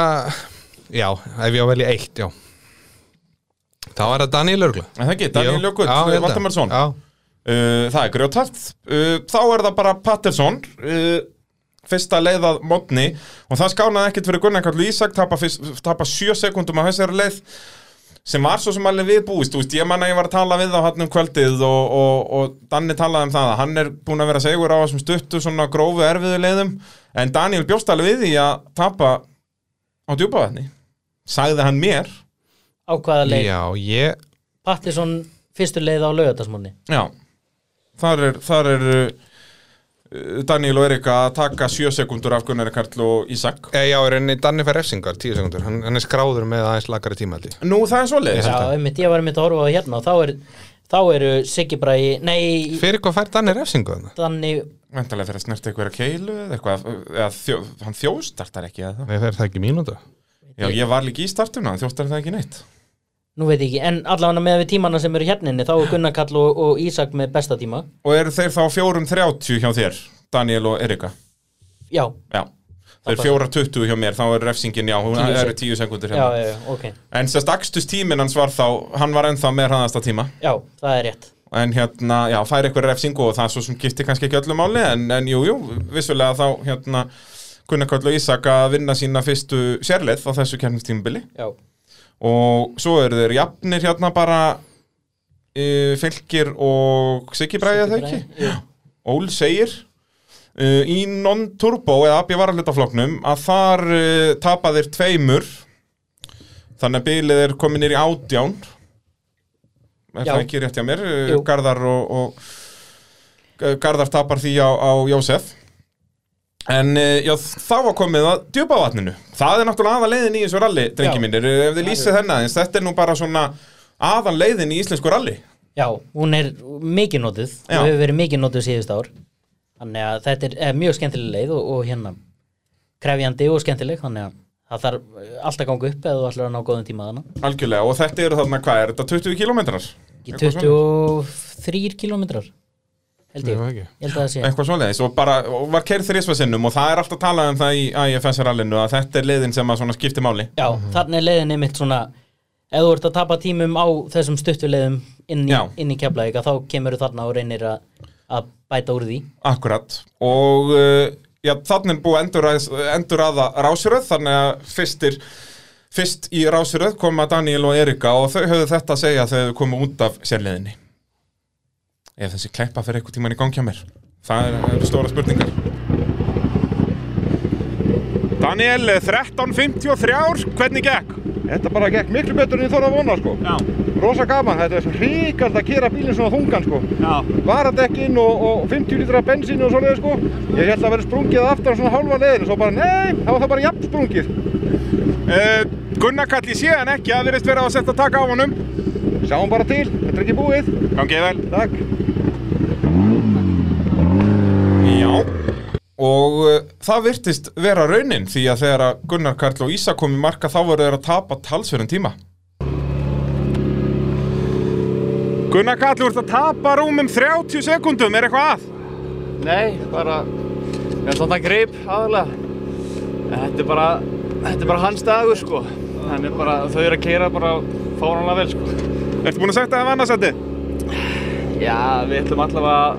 [SPEAKER 2] já, ef ég á að velja eitt, já þá er það Daniel örgla
[SPEAKER 1] en það ekki, Daniel Jökull, Valdamarsson uh,
[SPEAKER 2] já,
[SPEAKER 1] Eh, það er grjótart uh, þá er það bara Patterson uh, fyrsta leið að modni og það skánaði ekkit fyrir Gunnar Karl Ísak tapa, fyrst, tapa sjö sekundum á þessari leið sem var svo sem alveg viðbúist þú veist, ég manna ég var að tala við á hann um kvöldið og, og, og Danni talaði um það að hann er búin að vera segur á þessum stuttu svona grófu erfiðu leiðum en Daniel bjóst alveg við því að tapa á djúpavætni sagði hann mér
[SPEAKER 3] á hvaða leið,
[SPEAKER 2] já, ég
[SPEAKER 3] Pattisson fyrstu leið á laugardagsmónni
[SPEAKER 1] já, þar er, þar er uh, Daniel og Erika að taka sjö sekundur af Gunnar Karl og Ísak
[SPEAKER 2] eh, já, er enni Danni fær refsingar, tíu sekundur hann, hann er skráður með aðeins lagari tímaldi
[SPEAKER 1] nú það er svoleiðis
[SPEAKER 3] já, einmitt, ég var einmitt að horfa á það hérna og þá, er, þá eru Siggi Bræði nei,
[SPEAKER 2] fyrir hvað fær Danni refsingu þannig?
[SPEAKER 3] þannig
[SPEAKER 1] Væntalega þegar snerti eitthvað keilu eða eitthvað, eða þjó, hann þjóstartar ekki eða það.
[SPEAKER 2] Nei, það er það ekki mínúta
[SPEAKER 1] Já, ég var líka í startuna, hann þjóstartar það ekki neitt.
[SPEAKER 3] nú veit ég ekki, en allavega með við tímana sem eru hérninni, þá er Gunnar Kall og, og Ísak með besta tíma,
[SPEAKER 1] Og eru þeir þá 4.30 hjá þér, Daniel og Erika?
[SPEAKER 3] já,
[SPEAKER 1] Já. Þeir
[SPEAKER 3] bara-
[SPEAKER 1] 4.20 hjá mér, þá er refsingin, já, hún
[SPEAKER 3] Tíu
[SPEAKER 1] er
[SPEAKER 3] sek-
[SPEAKER 1] 10 sekundur
[SPEAKER 3] já,
[SPEAKER 1] hérna.
[SPEAKER 3] já, já, ok
[SPEAKER 1] En sérst, akstust tíminn hans var þá, hann var ennþá með hraðasta tíma.
[SPEAKER 3] já, það er rétt,
[SPEAKER 1] En hérna, já, fær eitthvað refsingu og það svo sem gifti kannski ekki öllu máli, en, en jú, jú, vissulega þá, hérna, Gunnar Karl og Ísak að vinna sína fyrstu sérleið á þessu kjarnistímubili.
[SPEAKER 3] já,
[SPEAKER 1] og svo eru þeir jafnir hérna bara uh, fylgir og Siggi Bræði þeir ekki
[SPEAKER 3] Jú.
[SPEAKER 1] Ól segir uh, í non-turbo eða abbi varalitafloknum að þar uh, tapa þeir tveimur þannig að bilið er komið nýr í átján er
[SPEAKER 3] Já.
[SPEAKER 1] það ekki rétt hjá mér uh,
[SPEAKER 3] Jú.
[SPEAKER 1] eh, Garðar og, og Garðar tapar því á, á Jósef En eh, já, þá var komið að djúpa vatninu. Það er náttúrulega aðan leiðin í þessu ralli, drengi
[SPEAKER 3] Já.
[SPEAKER 1] mínir, Eh, ef þið lýsið þennan, eins, þetta er nú bara svona aðan leiðin í íslensku ralli.
[SPEAKER 3] Já, hún er mikið notuð
[SPEAKER 1] Já.
[SPEAKER 3] og hefur verið mikið notuð síðust ár þannig að þetta er, er mjög skemmtileg leið og, og hérna krefjandi og skemmtileg þannig að það þarf alltaf að ganga upp eða þú ætlar að ná góðum tíma þarna
[SPEAKER 1] Algjörlega, og þetta eru þarna, hvað er þetta, 20 kilometrar?
[SPEAKER 3] Ekki 23 kilometrar held ég,
[SPEAKER 2] Nei, það ekki.
[SPEAKER 3] ég held að það sé
[SPEAKER 1] Eitthvað svoleiðis, og bara, og var kerð þrísvarsinnum og það er alltaf talað um það í IFS-rallinu að þetta er leiðin sem að svona skipti máli.
[SPEAKER 3] Já, þarna er leiðin einmitt svona ef þú ert að tapa tímum á þessum stuttu leiðum inn í,
[SPEAKER 1] Já.
[SPEAKER 3] inn í keflaðika þá kemur þú þarna og reynir að, að bæta úr því
[SPEAKER 1] Akkurat og uh, já, þannig er búið að endurræðs- endurraða rásröð þannig að fyrstir fyrst í rásröð koma Daniel og Erika og þau höfðu þetta að segja þegar þau komu út af sérleðinni ef þessi kleppa fyrir eitthvað tíman í gangi að mér það er- eru stóra spurningar Daniel, 13.53 hvernig gekk?
[SPEAKER 4] Þetta bara gekk miklu betur en ég þorði að vona sko
[SPEAKER 5] Já,
[SPEAKER 4] Rosa gaman, þetta er svo hríkald að gera bílinn svona þungan sko
[SPEAKER 5] já,
[SPEAKER 4] Varadekkin og, og 50 litra bensín og svoleiði sko Ég held að vera sprungið aftur svona hálfa leiðin Svo bara nei, þá var það bara jafn sprungið
[SPEAKER 1] Uh, Gunnar Kalli síðan ekki að verðist vera að setja taka á honum
[SPEAKER 4] Sjáum bara til, þetta er ekki búið
[SPEAKER 1] Gangið vel
[SPEAKER 4] Takk
[SPEAKER 1] Já Og uh, það virtist vera raunin því að þegar að Gunnar Karl og Ísa kom í marka þá voru þeir að tapa talsverðin tíma Gunnar Karl, þú ert að tapa rúmum 30 sekundum, er eitthvað að?
[SPEAKER 5] nei, bara, ég ætla að grip aðalega. En Þetta er bara, þetta er bara hans dagur sko. Hann er bara, þau eru að keira bara fáránlega vel sko.
[SPEAKER 1] Ertu búin að setja það af annarsætti?
[SPEAKER 5] Já, við ætlum allavega að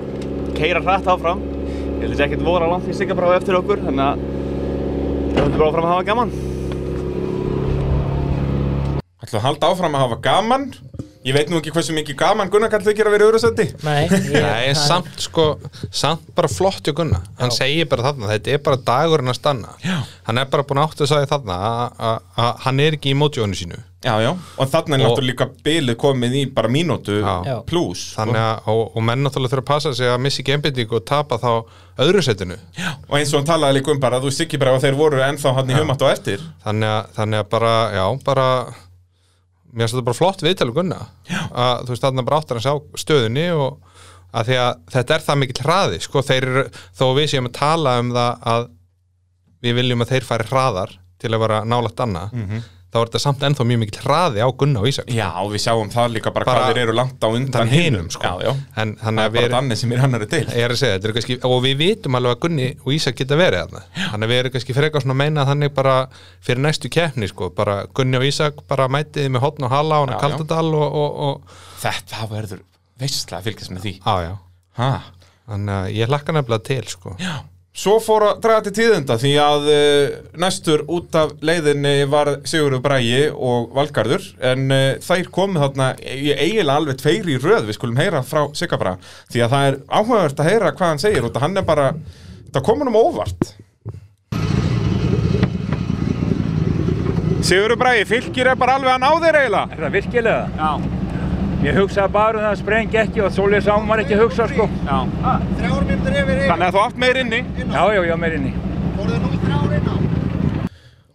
[SPEAKER 5] keira hratt áfram. Ég held að þetta ekkert voru langt í sigga bara á eftir okkur, þannig að við höfum bara áfram að hafa gaman.
[SPEAKER 1] Ætlu að halda áfram að hafa gaman Ég veit nú ekki hversu mikið gaman Gunnar Karl þykir að vera í öðru sætti
[SPEAKER 3] Nei, ég,
[SPEAKER 2] Nei, en
[SPEAKER 3] það-
[SPEAKER 2] samt sko, samt bara flott í Gunna Hann segir bara þarna, þetta er bara dagurinn að stanna Já. Hann er bara búin átt að segja þarna að- að að hann er ekki í mótjónu sínu
[SPEAKER 1] Já, já, og þarna er
[SPEAKER 2] Og-
[SPEAKER 1] náttúrulega líka bilið komið í bara mínútu
[SPEAKER 2] Já.
[SPEAKER 3] Já.
[SPEAKER 1] pluss
[SPEAKER 2] Þannig að, og, og menn náttúrulega þurfa að passa sig að missa ekki einbytting og tapa þá öðru setinu
[SPEAKER 1] Og eins og hann talaði líka um bara, þú sikki bara að þeir voru ennþá hann í humat og eftir
[SPEAKER 2] þannig að, þannig að bara, já, bara mér finnst þetta bara flott viðtal við Gunna að þú veist þarna bara áttar hans á stöðunni og að því að þetta er það mikill hraði sko, þeir eru, þó við séum að tala um það að við viljum að þeir fari hraðar til að vera nálægt annað þá er þetta samt ennþá mjög mikill hraði á Gunna og Ísak
[SPEAKER 1] Mhm. Já, og við sjáum það líka bara,
[SPEAKER 2] Bara-
[SPEAKER 1] hvað þeir eru langt á undan
[SPEAKER 2] þannig
[SPEAKER 1] hinum
[SPEAKER 2] hinum sko.
[SPEAKER 1] Já, já,
[SPEAKER 2] en þannig
[SPEAKER 1] það er
[SPEAKER 2] að við
[SPEAKER 1] bara
[SPEAKER 2] erum
[SPEAKER 1] danni sem er hannar til
[SPEAKER 2] Ég er að segja, þetta er kannski, og við vitum alveg að Gunni og Ísak geta verið þarna þannig að við erum kannski frekar svona að meina þannig bara fyrir næstu keppni, sko, bara Gunni og Ísak bara mætiði með hotn og hala og
[SPEAKER 1] Já, já.
[SPEAKER 2] kaldadal og, og, og
[SPEAKER 1] Þetta verður veistlega að fylgjast með því
[SPEAKER 2] á, já,
[SPEAKER 1] ha.
[SPEAKER 2] þannig að ég hlakka nefnilega til, sko já,
[SPEAKER 1] Svo fór að draga til tíðenda því að uh, næstur út af leiðinni var Sigurður Brægi og Valgarður en uh, þær komu þarna ég eiginlega alveg tveir í röð við skulum heyra frá Sigabra því að það er áhugavert að heyra hvað hann segir og hann er bara, það komur um óvart Sigurður Brægi, fylgir er bara alveg að ná þér eiginlega
[SPEAKER 6] Er það virkilega?
[SPEAKER 5] Já,
[SPEAKER 6] Ég hugsaði bara um það að spreng ekki og svoleiðis á maður ekki að hugsa sko.
[SPEAKER 5] já.
[SPEAKER 1] Þannig að þú átt meir inni
[SPEAKER 6] Já, já, já, mér inni.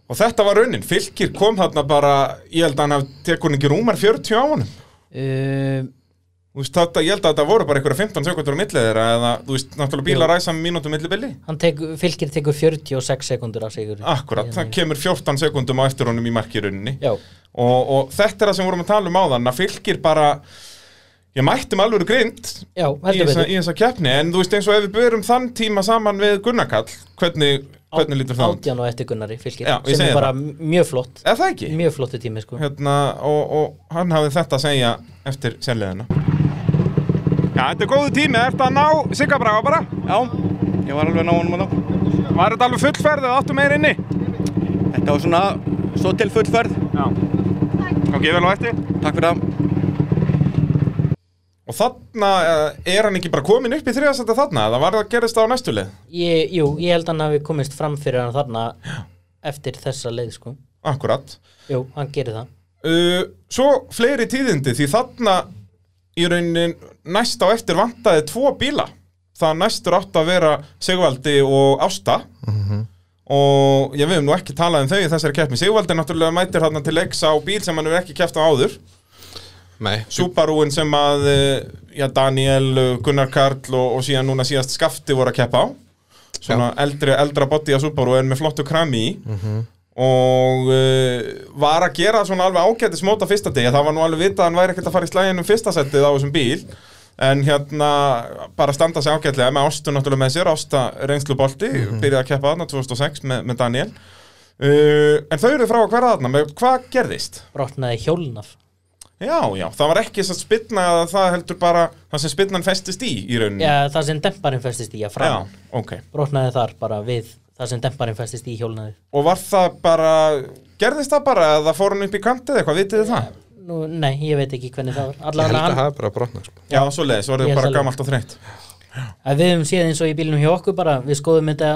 [SPEAKER 1] Og þetta var raunin, Fylkir kom þarna bara, ég held að hann hafði tekun ekki rúmar 40 á honum
[SPEAKER 3] Um,
[SPEAKER 1] Þú veist, þetta, ég held að þetta voru bara einhverja 15 sekundur á millið þeirra eða, þú veist, náttúrulega bílar ræsa mínútu milli billi
[SPEAKER 3] hann tek, fylgir tekur 46 sekundur af sigur
[SPEAKER 1] Akkurat, það kemur 14 sekundum á eftir honum í marki rauninni
[SPEAKER 3] Já,
[SPEAKER 1] og, og þetta er það sem vorum að tala um áðan, að Fylkir bara Ég mættum alveg grind í
[SPEAKER 3] já, heldur
[SPEAKER 1] þessa,
[SPEAKER 3] betur
[SPEAKER 1] í þessa keppni, en þú veist eins og ef við börum þann tíma saman við Gunnarkall, hvernig, hvernig lítur það? út?
[SPEAKER 3] Átján og eftir Gunnari fylgir
[SPEAKER 1] Já, ég
[SPEAKER 3] sem
[SPEAKER 1] segi
[SPEAKER 3] er bara mjög flott
[SPEAKER 1] Er það ekki?
[SPEAKER 3] mjög flottu tími sko
[SPEAKER 1] hérna, og, og hann hafði þetta að segja eftir sérleðina Já, þetta er góðu tími, ertu að ná Sigga Braga bara?
[SPEAKER 4] Já, ég var alveg náðunum að þá
[SPEAKER 1] Var þetta alveg fullferð eða áttu meir inni?
[SPEAKER 4] Þetta var svona, svo til fullferð
[SPEAKER 1] Ok, vel á eftir
[SPEAKER 4] Takk fyrir það
[SPEAKER 1] Og þarna eh, er hann ekki bara komin upp í þriðasætta þarna, eða var það að gerist það á næstu lið?
[SPEAKER 3] ég, Jú, ég held hann hafi komist fram fyrir hann þarna eftir þessa leið sko
[SPEAKER 1] Akkurat
[SPEAKER 3] Jú, hann gerir það
[SPEAKER 1] uh, Svo fleiri tíðindi, því þarna í raunin næst á eftir vantaði tvo bíla það næstur átt að vera Sigvaldi og Ásta og ég við höfum nú ekki talað um þau í þessari keppni Sigvaldi náttúrulega mætir þarna til leiks á bíl sem hann hefur ekki keppt á áður
[SPEAKER 2] Nei,
[SPEAKER 1] Subaruin sem að eh, já, Daniel, eh, Gunnar Karl og, og síðan núna síðast Skafti voru að keppa á svona eldri, eldra body að Subaru en með flottu krami í og uh, var að gera svona alveg ágætis móta fyrsta degi, það var nú alveg vitað að hann væri ekkert að fara í slægin um fyrsta setið á þessum bíl en hérna bara standa sig ágætlega með Ástu náttúrulega með sér, Ásta reynslubolti byrjaði að keppa þarna 2006 með, með Daniel uh, en þau eru frá að hverja þarna, með hvað gerðist?
[SPEAKER 3] brotnaði hjólnaf
[SPEAKER 1] Já, já, það var ekki þess að spilna að það heldur bara það sem spilnan festist í í rauninni.
[SPEAKER 3] Já, það sem demparinn festist í að frá
[SPEAKER 1] Mm. já, ok.
[SPEAKER 3] brotnaði þar bara við það sem demparinn festist í hjólnaði
[SPEAKER 1] Og var það bara, gerðist það bara eða fór hann upp í kant eða eitthvað, vitið þið það?
[SPEAKER 3] Nú, nei, ég veit ekki hvernig það var
[SPEAKER 2] ég held
[SPEAKER 3] allavega
[SPEAKER 2] að
[SPEAKER 3] hann,
[SPEAKER 2] það er bara brotna sko.
[SPEAKER 1] Já, svo leiðis, voruð
[SPEAKER 3] Ég
[SPEAKER 1] þið bara
[SPEAKER 3] sagði-
[SPEAKER 1] gamalt og þreytt.
[SPEAKER 3] að við höfum séð eins og í bílunum hjá okkur bara við skoðum þetta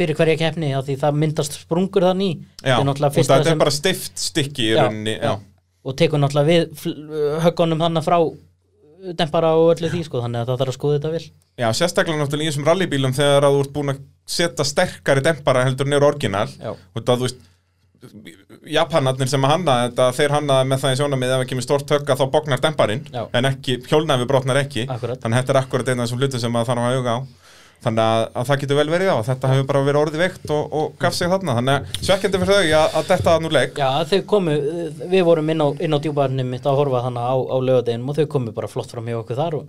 [SPEAKER 3] fyrir hverja keppni af því það myndast sprungur þannig í.
[SPEAKER 1] Já,
[SPEAKER 3] þetta er
[SPEAKER 1] og
[SPEAKER 3] náttúrulega
[SPEAKER 1] þetta
[SPEAKER 3] fyrsta
[SPEAKER 1] er bara stift stykki í rauninni, já.
[SPEAKER 3] og tekur náttúrulega við fl- höggunum þannig frá uh, dempara og öllu því sko þannig að það þarf að skoða þetta vel
[SPEAKER 1] Já, sérstaklega náttúrulega í þessum rallybílum þegar að þú ert búin að setja sterkari dempara heldur en eru orginal.
[SPEAKER 3] Já.
[SPEAKER 1] Og það, þú veist, Japanarnir sem að hannaði þetta, þeir hannaði með það í sjónamið ef ekki með stórt högga þá bognar demparinn,
[SPEAKER 3] Já.
[SPEAKER 1] en ekki, hjólnæfi brotnar ekki.
[SPEAKER 3] Akkúrat.
[SPEAKER 1] Þannig að þetta er akkurat einn af þessum hlutum sem maður þarf að huga á. Þannig að, að það getur vel verið á, þetta hefur bara verið orðið veikt og, og gaf sig þarna. Þannig að svekkjandi fyrir þau að, að detta þann úr leik.
[SPEAKER 3] Já, þau komu, uh, við vorum inn á, inn á djúbarnum mitt að horfa þannig á, á lögadeginum og þau komu bara flott fram hjá okkur þar og,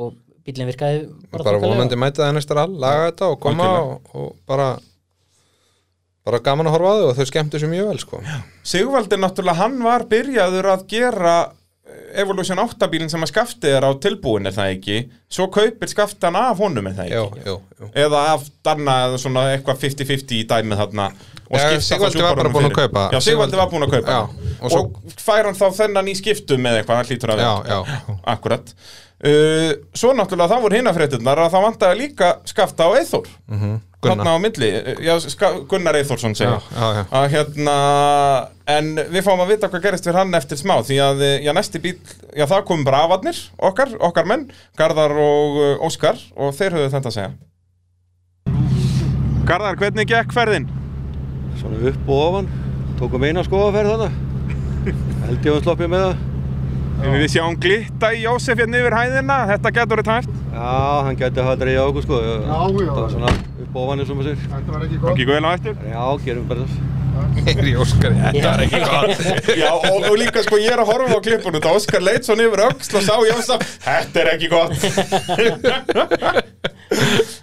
[SPEAKER 3] og bílinn virkaði bara,
[SPEAKER 2] bara
[SPEAKER 3] þokkalega.
[SPEAKER 2] vonandi mæta það næsta all laga þetta og koma
[SPEAKER 1] Algjörlega.
[SPEAKER 2] og, og bara bara gaman að horfa á þau og þau skemmtu sér mjög vel sko.
[SPEAKER 1] Sigvaldi náttúrulega, hann var byrjaður að gera eh, Evolution 8 bílinn sem að skafti er á tilbúin er það ekki, svo kaupir skafti hann af honum er það
[SPEAKER 2] já,
[SPEAKER 1] ekki
[SPEAKER 2] já, já.
[SPEAKER 1] eða af Danna eða svona eitthvað 50-50 í dæmið þarna og
[SPEAKER 2] Já,
[SPEAKER 1] skipta þá
[SPEAKER 2] Sigvaldi var bara
[SPEAKER 1] Subarunum
[SPEAKER 2] búinn að
[SPEAKER 1] fyrir.
[SPEAKER 2] kaupa.
[SPEAKER 1] Já, Sigvaldi var búin að kaupa
[SPEAKER 2] Já,
[SPEAKER 1] og,
[SPEAKER 2] og svo-
[SPEAKER 1] fær hann þá þennan í skiptum með eitthvað, hann hlýtur að
[SPEAKER 2] Já,
[SPEAKER 1] vera.
[SPEAKER 2] já, já.
[SPEAKER 1] Akkurat uh, Svo náttúrulega það voru hinafréttirnar að það vantaði líka skafta á Eithor
[SPEAKER 2] Mhm. Gunnar.
[SPEAKER 1] Þarna á milli, já, ska, Gunnar Eithorsson segja
[SPEAKER 2] Já, já, já.
[SPEAKER 1] að hérna en við fáum að vita hvað gerist fyrir hann eftir smá því að, eh, já, næsti bíl, já, það kom bara afarnir, okkar, okkar menn Garðar og uh, Óskar og þeir höfðu þetta að segja Garðar, hvernig gekk ferðin?
[SPEAKER 7] Svona upp og ofan, tókum eina skoðaferð þarna Held ég að sloppið með það
[SPEAKER 1] Við sjáum glitta í Jósef hérna yfir hæðina, þetta getur þetta hægt
[SPEAKER 7] Já, hann gæti að hafa dreigja á okkur sko Já, já Það var svona upp og ofan eins og maður sér
[SPEAKER 1] Gangi vel á eftir
[SPEAKER 7] Já, gerum bara það
[SPEAKER 2] Heyri Óskar, þetta er ekki
[SPEAKER 1] Já, og, og líka sko, ég er að horfa á klippunum þetta Óskar leit svona yfir öxl og sá Jósef Þetta er ekki gott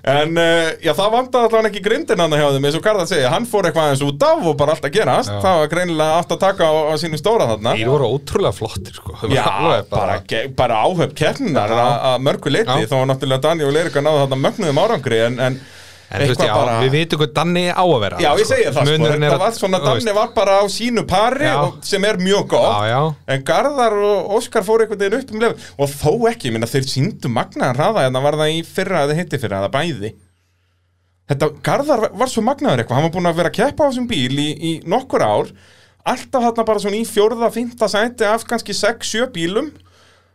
[SPEAKER 1] En uh, já, það vandaði allavega ekki grindin hann hjá þeim eins og Garðar segja, hann fór eitthvað aðeins út af og bara allt að gerast,
[SPEAKER 2] Já.
[SPEAKER 1] það var greinilega allt að taka á, á sínum stóra þarna
[SPEAKER 2] Þeir voru ótrúlega flottir sko. Þau voru
[SPEAKER 1] Já, bara,
[SPEAKER 2] alveg
[SPEAKER 1] bara, ge- bara áhöfn keppninar að að mörgu leiti,
[SPEAKER 2] Já.
[SPEAKER 1] þá var náttúrulega Daniel og Leirika náðu þarna mögnuðum árangri en, en
[SPEAKER 2] En þú veist, já, við vitum hvað Danni á að vera
[SPEAKER 1] Já, ég segja það sko,
[SPEAKER 2] Munurinn er
[SPEAKER 1] þetta
[SPEAKER 2] að-
[SPEAKER 1] var svona,
[SPEAKER 2] þú
[SPEAKER 1] Danni
[SPEAKER 2] veist,
[SPEAKER 1] var bara á sínu pari
[SPEAKER 2] Já.
[SPEAKER 1] og, sem er mjög gott,
[SPEAKER 2] Já, já.
[SPEAKER 1] en Garðar og Óskar fóru einhvern veginn upp um lefn og þó ekki, ég minna þeir síndu magnaðan hraða en það var það í fyrra eða hitti fyrra, það bæði Þetta, Garðar var- var svo magnaður eitthvað, hann var búin að vera að keppa á þessum bíl í, í nokkur ár alltaf þarna bara svona í fjórða, fymta sæti af kannski 6-7 bílum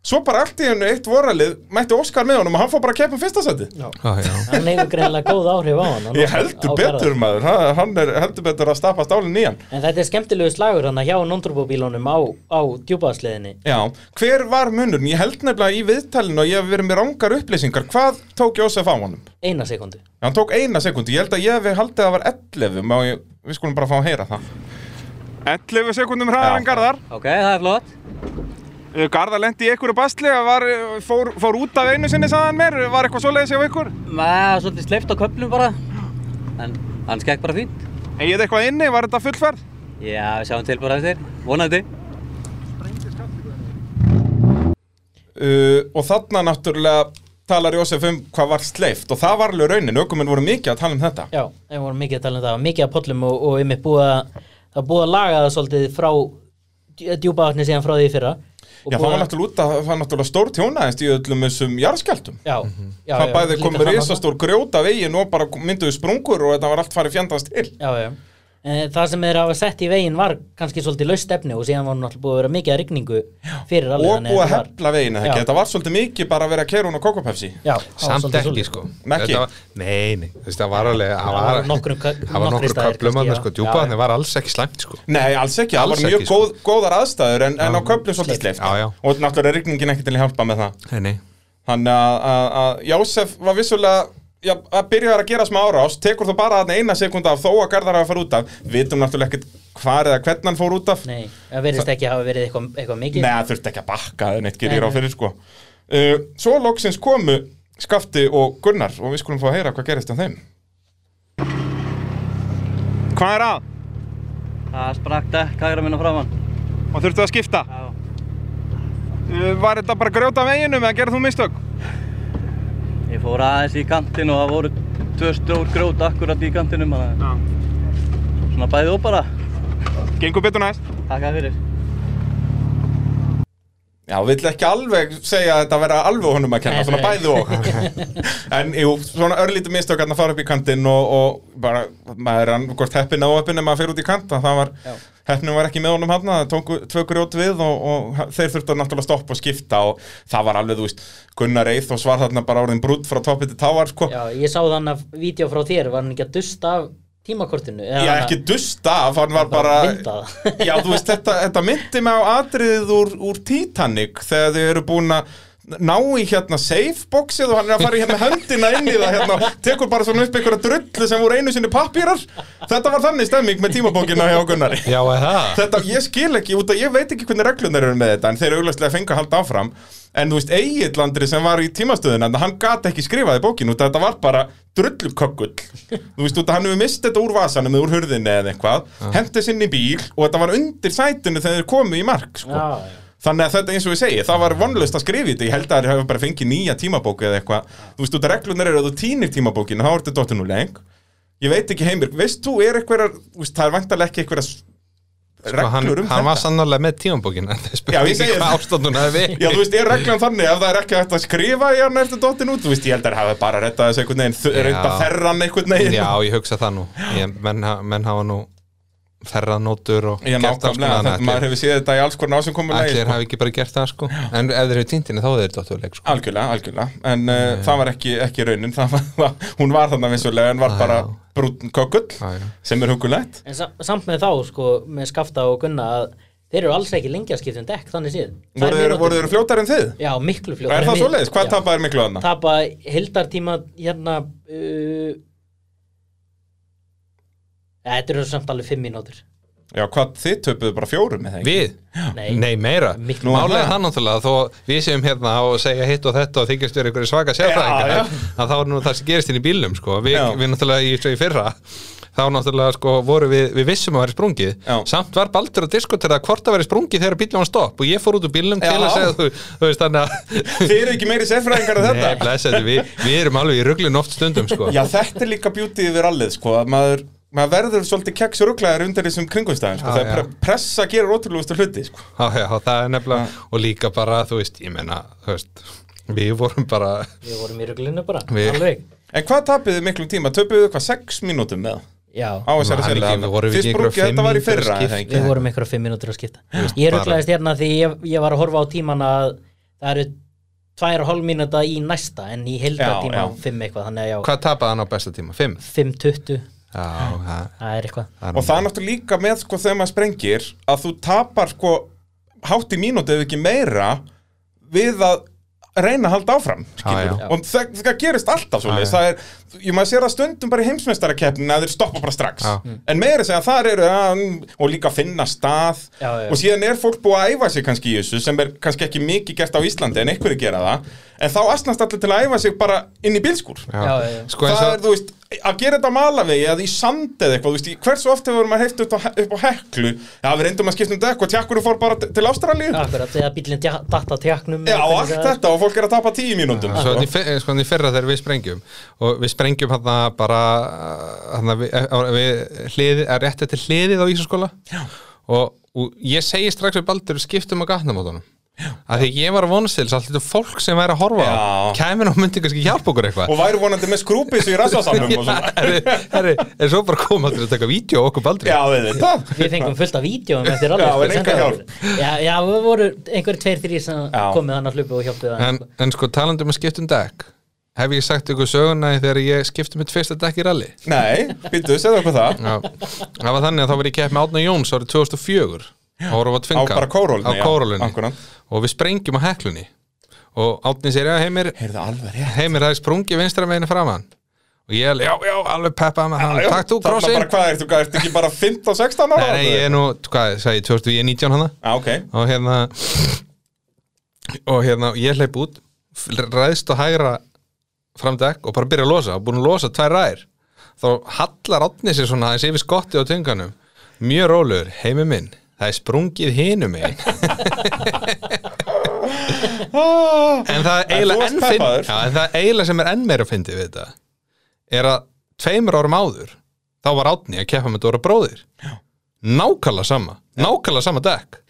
[SPEAKER 1] svo bara allt í hennu eitt voralið mætti Óskar með honum og hann fór bara að keppa um fyrsta sæti
[SPEAKER 2] Já, já
[SPEAKER 3] Hann hefur greinilega góð áhrif á hann
[SPEAKER 1] Ég heldur
[SPEAKER 3] á
[SPEAKER 1] betur
[SPEAKER 3] Garðar.
[SPEAKER 1] maður, ha- hann er heldur betur að stappa stálinn í hann
[SPEAKER 3] En þetta er skemmtilegu slagur hann að hjá non-turbóbílunum á, á djúbaðsleðinni
[SPEAKER 1] Já, hver var munurinn? Ég held nefnilega í viðtalinu og ég hef verið með rangar upplýsingar. Hvað tók Jósef á honum?
[SPEAKER 3] eina sekundu
[SPEAKER 1] Hann tók eina sekundi, ég held að ég hef haldið að það var 11, má ég, við skulum bara fá að heyra það. 11 sekundum hraðar en Garðar.
[SPEAKER 7] Ok, það er flott
[SPEAKER 1] Uh, Garðar lendi í einhverju basli, var, uh, fór, fór út af einu sinni, sagðan mér, var eitthvað svoleiðis hjá ykkur?
[SPEAKER 7] Nei, svolítið sleift á köflum bara En hann skekk bara fínt
[SPEAKER 1] Egið eitthvað inni, var þetta fullferð?
[SPEAKER 7] Já, við sjáum til bara eftir, vonandi
[SPEAKER 1] Uh, og þarna náttúrulega talar Jósef um hvað var sleift og það var alveg raunin, ökuminn voru mikið að tala um þetta.
[SPEAKER 3] Já, við vorum mikið að tala um það, mikið að pollum og, og einmitt búið að, það er búið að laga það svolítið frá djúbaðatni síðan frá því í fyrra Og
[SPEAKER 1] Já, það
[SPEAKER 3] búið
[SPEAKER 1] var
[SPEAKER 3] að-
[SPEAKER 1] náttúrulega út að það var náttúrulega stór tjónaðist í öllum þessum jarðskjaldum.
[SPEAKER 3] Já, já,
[SPEAKER 1] Mhm. það
[SPEAKER 3] já,
[SPEAKER 1] bæði
[SPEAKER 3] líka
[SPEAKER 1] komur
[SPEAKER 3] fram á það.
[SPEAKER 1] risastór grjóta veginn og bara mynduðu sprungur og þetta var allt farið fjandast til
[SPEAKER 3] Já, já, Eh, Það sem þeir hafa sett í veginn var kannski svolítið laust efni og síðan var náttúrulega búið að vera mikið að rigningu fyrir alveg
[SPEAKER 1] og búið að
[SPEAKER 3] þetta var-
[SPEAKER 1] hefla veginn eða ekki,
[SPEAKER 3] Já.
[SPEAKER 1] þetta var svolítið mikið bara að vera að kera hún á kokopepsi
[SPEAKER 3] Já,
[SPEAKER 2] Samt ekki sko
[SPEAKER 1] Ekki?
[SPEAKER 2] Þetta var- Nei, nei, þú veist, það var alveg
[SPEAKER 3] Það
[SPEAKER 2] var-
[SPEAKER 3] var nokkrum köp-
[SPEAKER 2] Það var
[SPEAKER 3] nokkrir
[SPEAKER 2] nokkur
[SPEAKER 3] staðir
[SPEAKER 2] köplum
[SPEAKER 3] kannski,
[SPEAKER 2] að
[SPEAKER 3] já.
[SPEAKER 2] sko
[SPEAKER 3] Já, já.
[SPEAKER 2] Djúpaðni var alls ekki slæmt sko
[SPEAKER 1] Nei, alls ekki, það
[SPEAKER 2] Alls
[SPEAKER 1] voru mjög
[SPEAKER 2] ekki, sko.
[SPEAKER 1] góð, góðar aðstæður en, en á köflum svolítið
[SPEAKER 3] Sleipt.
[SPEAKER 1] sleift
[SPEAKER 2] Já, já.
[SPEAKER 1] og náttúrulega er rigningin ekki til að hjálpa með það
[SPEAKER 2] Nei, nei
[SPEAKER 1] Þannig að- að að Jósef var vissulega Já, að byrjaður að gera smá árás, tekur þú bara þarna eina sekund af þó að Garðar hafa að fara út af Vitum náttúrulega ekkert hvar eða hvernig hann fór út af
[SPEAKER 3] Nei, það verðist ekki hafa verið eitthvað, eitthvað mikið
[SPEAKER 1] Nei, það þurfti ekki að bakka en eitt
[SPEAKER 3] Nei,
[SPEAKER 1] gerir á
[SPEAKER 3] nei.
[SPEAKER 1] fyrir sko uh, Svo loksins komu Skafti og Gunnar og við skulum fá að heyra hvað gerist á þeim Hvað er að?
[SPEAKER 8] Það sprakk dekk hægra minna framann.
[SPEAKER 1] Og þurftu að skipta?
[SPEAKER 8] Já.
[SPEAKER 1] Uh, var þetta bara grjóta af veginum eða gerði þú mistök?
[SPEAKER 8] Ég fór aðeins í kantinn og það voru tvö stór grjót akkurat í kantinum. Þannig að svona bæði og bara.
[SPEAKER 1] Gengur betur næst?
[SPEAKER 8] Takk að fyrir.
[SPEAKER 1] Já, vill ekki alveg segja að þetta vera alveg honum að kenna,
[SPEAKER 3] Nei,
[SPEAKER 1] svona
[SPEAKER 3] nei.
[SPEAKER 1] bæði og En jú, svona örlítið mistök að fara upp í kantinn og, og bara, maður er hann, hvort heppin á heppin ef maður fer út í kanta, það var heppnum var ekki með honum hann, það tóku tvö grjót við og, og þeir þurftu að náttúrulega stoppa og skipta og það var alveg, þú veist, Gunnar Eith og svar þarna bara orðin brútt frá toppi til táar, sko
[SPEAKER 3] Já, ég sá þann að vídeo frá þér, var hann ekki að dusta af tímakortinu? Eða
[SPEAKER 1] Ég
[SPEAKER 3] hann að-
[SPEAKER 1] ekki dusta, hann var
[SPEAKER 3] Það var
[SPEAKER 1] bara
[SPEAKER 3] myndað.
[SPEAKER 1] Já, þú veist, þetta, þetta myndi mig á atriðið úr, úr Titanic þegar þau eru búin að ná í hérna safeboxið og hann er að fara í hérna höndina inn í það hérna og tekur bara svona upp einhverja drullu sem voru einu sinni pappýrar Þetta var þannig stemming með tímabókina hjá Gunnari
[SPEAKER 2] Já, eða það Sko,
[SPEAKER 1] Þetta, ég skil ekki, út að ég veit ekki hvernig reglunar eru með þetta en þeir eru auglastlega að fenga að halda áfram en þú veist, Egillandri sem var í tímastöðuna hann gat ekki skrifaði bókin út að þetta var bara drullukökkull þú veist, út að hann hefur mist þetta úr vasanum eða úr hurðinni eða eitthvað, hendis inn í bíl og þetta var undir sætinu þegar þeir komu í mark sko.
[SPEAKER 3] Já, já.
[SPEAKER 1] Þannig að þetta eins og ég segi, það var vonlust að skrifa þetta, ég held að þeir hafa bara fengið nýja tímabóku eða eitthvað. Þú veist, út að reglunar eru að þú týnir tímabókinu, þá ertu dottir nú leng. Ég veit ekki heimir, veist þú, er eitthvað, veist, það er vantarlega ekki eitthvað
[SPEAKER 2] Sko, hann,
[SPEAKER 1] reglur um
[SPEAKER 2] hann var
[SPEAKER 1] þetta.
[SPEAKER 2] sannarlega með tímanbókin en það
[SPEAKER 1] Já, ég
[SPEAKER 2] spurði ekki
[SPEAKER 1] segi
[SPEAKER 2] hvað
[SPEAKER 1] það.
[SPEAKER 2] ástandun hafi verið
[SPEAKER 1] Já, þú veist, er reglan þannig, ef það er ekki hægt að skrifa í hann ertu dottir nú, þú veist, ég held að þeir hafa bara rettað þessu einhvern veginn, þau-
[SPEAKER 2] Já.
[SPEAKER 1] reynda að þerra hann einhvern veginn.
[SPEAKER 2] Já, ég hugsa það nú ég, menn, ha- menn hafa nú ferranótur og
[SPEAKER 1] Já,
[SPEAKER 2] alls
[SPEAKER 1] nákvæmlega,
[SPEAKER 2] konar,
[SPEAKER 1] þetta
[SPEAKER 2] ætli-
[SPEAKER 1] maður hefur séð þetta í alls konar um ásinkomulegi.
[SPEAKER 2] Ætlir hafi ekki bara gert það sko En ef þeir eru tíntinni þá er þeir dotturleik sko
[SPEAKER 1] Algjörlega, algjörlega, en uh, það var ekki, ekki raunin, það var, hún var þarna vissulega en var
[SPEAKER 2] Já,
[SPEAKER 1] bara
[SPEAKER 2] já.
[SPEAKER 1] brúnn kokull
[SPEAKER 2] Já, já.
[SPEAKER 1] sem er hugulegt
[SPEAKER 3] En sa- samt með þá, sko, með Skafta og Gunna að þeir eru alls ekki lengi að skipta um dekk, þannig síðan.
[SPEAKER 1] Voru þeir- voru þeir fljótar en þið?
[SPEAKER 3] Já, miklu fljótt.
[SPEAKER 1] Er það svoleiðis? Hvað tapar miklu þarna?
[SPEAKER 3] Tapa hildartíma hérna uh, ja, Þetta eru samt alveg fimm mínútur
[SPEAKER 1] Já, hvað þið töpuðu bara fjórum með það? ekki?
[SPEAKER 2] Við?
[SPEAKER 3] Nei.
[SPEAKER 2] Nei, meira
[SPEAKER 3] Miklu
[SPEAKER 2] Málega
[SPEAKER 1] meira.
[SPEAKER 2] það náttúrulega þó við séum hérna og segja hitt og þetta og þykjast vera einhverju svaka
[SPEAKER 1] Já,
[SPEAKER 2] sérfræðingar
[SPEAKER 1] já.
[SPEAKER 2] að þá er nú það sem gerist inn í bílnum sko Vi,
[SPEAKER 1] Já.
[SPEAKER 2] Við náttúrulega í, svo í fyrra þá náttúrulega sko voru við, við vissum að vera sprungið
[SPEAKER 1] Já.
[SPEAKER 2] samt var Baldur að diskutera hvort að vera sprungið þegar bílum var stopp og ég fór út úr bílnum til
[SPEAKER 1] Já.
[SPEAKER 2] að segja þú, þú veist þannig að
[SPEAKER 1] Þið eru ekki meiri seffræðingar en
[SPEAKER 2] Nei,
[SPEAKER 1] þetta?
[SPEAKER 2] blessaðu, við, við erum alveg í ruglun oft stundum sko
[SPEAKER 1] Já, þetta er líka bjútið yfir allið, sko, að maður, maður verður svolítið keks og rugglegar undir þessum kringumstæðin, sko,
[SPEAKER 2] Já,
[SPEAKER 1] þegar
[SPEAKER 2] Ah, já.
[SPEAKER 1] pre pressa gerir ótrúlegustu hluti, sko.
[SPEAKER 2] Já, já, það er nefnilega, og líka bara, þú veist, ég menna, þú veist, við vorum bara,
[SPEAKER 3] Við vorum í ruglinu bara,
[SPEAKER 2] Við-
[SPEAKER 3] alveg
[SPEAKER 1] En hvað tapiðu miklum tíma? Töpuðu hvað, sex mínútum með?
[SPEAKER 3] Já,
[SPEAKER 1] Á þessari
[SPEAKER 2] Man
[SPEAKER 1] selja
[SPEAKER 2] ekki, voru við ekki
[SPEAKER 1] Fyrst brúkið,
[SPEAKER 2] einhverjar
[SPEAKER 1] þetta var í
[SPEAKER 2] fimm
[SPEAKER 1] fyrra, eða
[SPEAKER 2] mínútur skipti?
[SPEAKER 1] ekki?
[SPEAKER 3] Við vorum ykkur á fimm mínútur að skipta Ég rugglaðist hérna því ég, ég var að horfa á tíman að það eru tvær og hálf mínúta í næsta en í hildartíma
[SPEAKER 1] Já, já.
[SPEAKER 3] fimm eitthvað þannig að já,
[SPEAKER 2] hvað tapaði hann á besta tíma? Fimm?
[SPEAKER 3] 5.20
[SPEAKER 2] Já, það,
[SPEAKER 3] það er eitthvað
[SPEAKER 2] það er
[SPEAKER 1] og það er náttúrulega líka með sko þegar maður sprengir að þú tapar sko hátt í mínúti ef ekki meira við að reyna að halda áfram
[SPEAKER 2] Já,
[SPEAKER 1] skilur,
[SPEAKER 2] já.
[SPEAKER 1] og það, það gerist alltaf svo
[SPEAKER 2] Já,
[SPEAKER 1] það er, ég maður sér það stundum bara í heimsmeistarakeppnin að þeir stoppa bara strax
[SPEAKER 2] Já.
[SPEAKER 3] Mm.
[SPEAKER 1] en meira segja þar eru að, og líka finna stað
[SPEAKER 3] Já, já.
[SPEAKER 1] og síðan er fólk búið að æfa sig kannski í þessu sem er kannski ekki mikið gert á Íslandi en einhverju gera það en þá astnast allir til að æfa sig bara inn í bílskúr
[SPEAKER 2] Já,
[SPEAKER 3] Já, já, já.
[SPEAKER 2] Sko eins
[SPEAKER 1] það er,
[SPEAKER 2] og,
[SPEAKER 1] þú veist, að gera þetta á malavegi eða í sand eða eitthvað, þú veist, í- hversu oft hefur maður heift upp á, upp á heklu já, við reyndum að skipta um dekk og tjakkurum fór bara t- til Ástralíu já,
[SPEAKER 3] Akkurat, þegar bílinn datt á tjáknum
[SPEAKER 1] og allt þetta og fólk er að tapa tíu mínúndum
[SPEAKER 2] svo hann í fe- sko hann í fyrra þegar við sprengjum, og við sprengjum hann bara, hann við, eh, á- við eh, hliði, að rétti til hliðið á Ísaskóla, og, og ég segi strax við Baldur, skiptum að gatnamótunum. að því ég var að vonast til þess að allt þetta fólk sem væri að horfa á
[SPEAKER 1] Já.
[SPEAKER 2] kæmin og myndi kannski hjálpa okkur eitthvað
[SPEAKER 1] Og væri vonandi með skrúpis í rassasamnum og svona
[SPEAKER 2] Herri, herri, en svo bara koma til að taka vídeo á okkur baldri
[SPEAKER 1] Já, við þetta
[SPEAKER 3] Við fengum fullt af vídjóum eftir
[SPEAKER 1] Já,
[SPEAKER 3] alveg
[SPEAKER 1] en enga hjálp.
[SPEAKER 3] Já, já, við voru einhverjir tveir þrý sem
[SPEAKER 1] Já.
[SPEAKER 3] komið hann að hlupa og hjálpið hann
[SPEAKER 2] en, en sko talandi um að skipta um dekk hef ég sagt ykkur söguna þegar ég skipti mitt fyrsta dekk í rally
[SPEAKER 1] Nei, býttu, segðu okkur það
[SPEAKER 2] Já, það var þannig að þá var ég kepp með Átna Jóns árið 2004 Ára
[SPEAKER 1] Á
[SPEAKER 2] var tvinga
[SPEAKER 1] bara kórólunni
[SPEAKER 2] Á kórólunni.
[SPEAKER 1] Akkurat
[SPEAKER 2] og við sprengjum á heklunni og Átni sér, já heimir
[SPEAKER 1] Heyrðu alveg rétt
[SPEAKER 2] heimir það er sprungið vinstra meginu framann og ég, alveg, já, já, alveg peppaði með hann takk þú,
[SPEAKER 1] Þarna
[SPEAKER 2] krossin
[SPEAKER 1] bara hvað ertu, hvað ertu ekki bara 15-16 ára?
[SPEAKER 2] Nei, nei, ég er nú, hvað, sagði ég, 20, ég er 19 hana
[SPEAKER 1] Já, ok
[SPEAKER 2] og hérna og hérna, ég hleyp út f- ræðst á hægra framdekk og bara byrja að losa, og búin að losa tvær ræðir þá hallar átni sér svona aðeins yfir skotti á tunganum mjög rólegur, heimi minn það er sprungið hinu megin en það er
[SPEAKER 1] þú
[SPEAKER 2] eiginlega
[SPEAKER 1] varst
[SPEAKER 2] enn fynd-
[SPEAKER 1] peppaður.
[SPEAKER 2] Já, en það er eiginlega sem er enn meira fyndið við þetta er að tveimur árum áður þá var átni að keppa með Dóra bróðir nákvæmlega sama, nákvæmlega sama dekk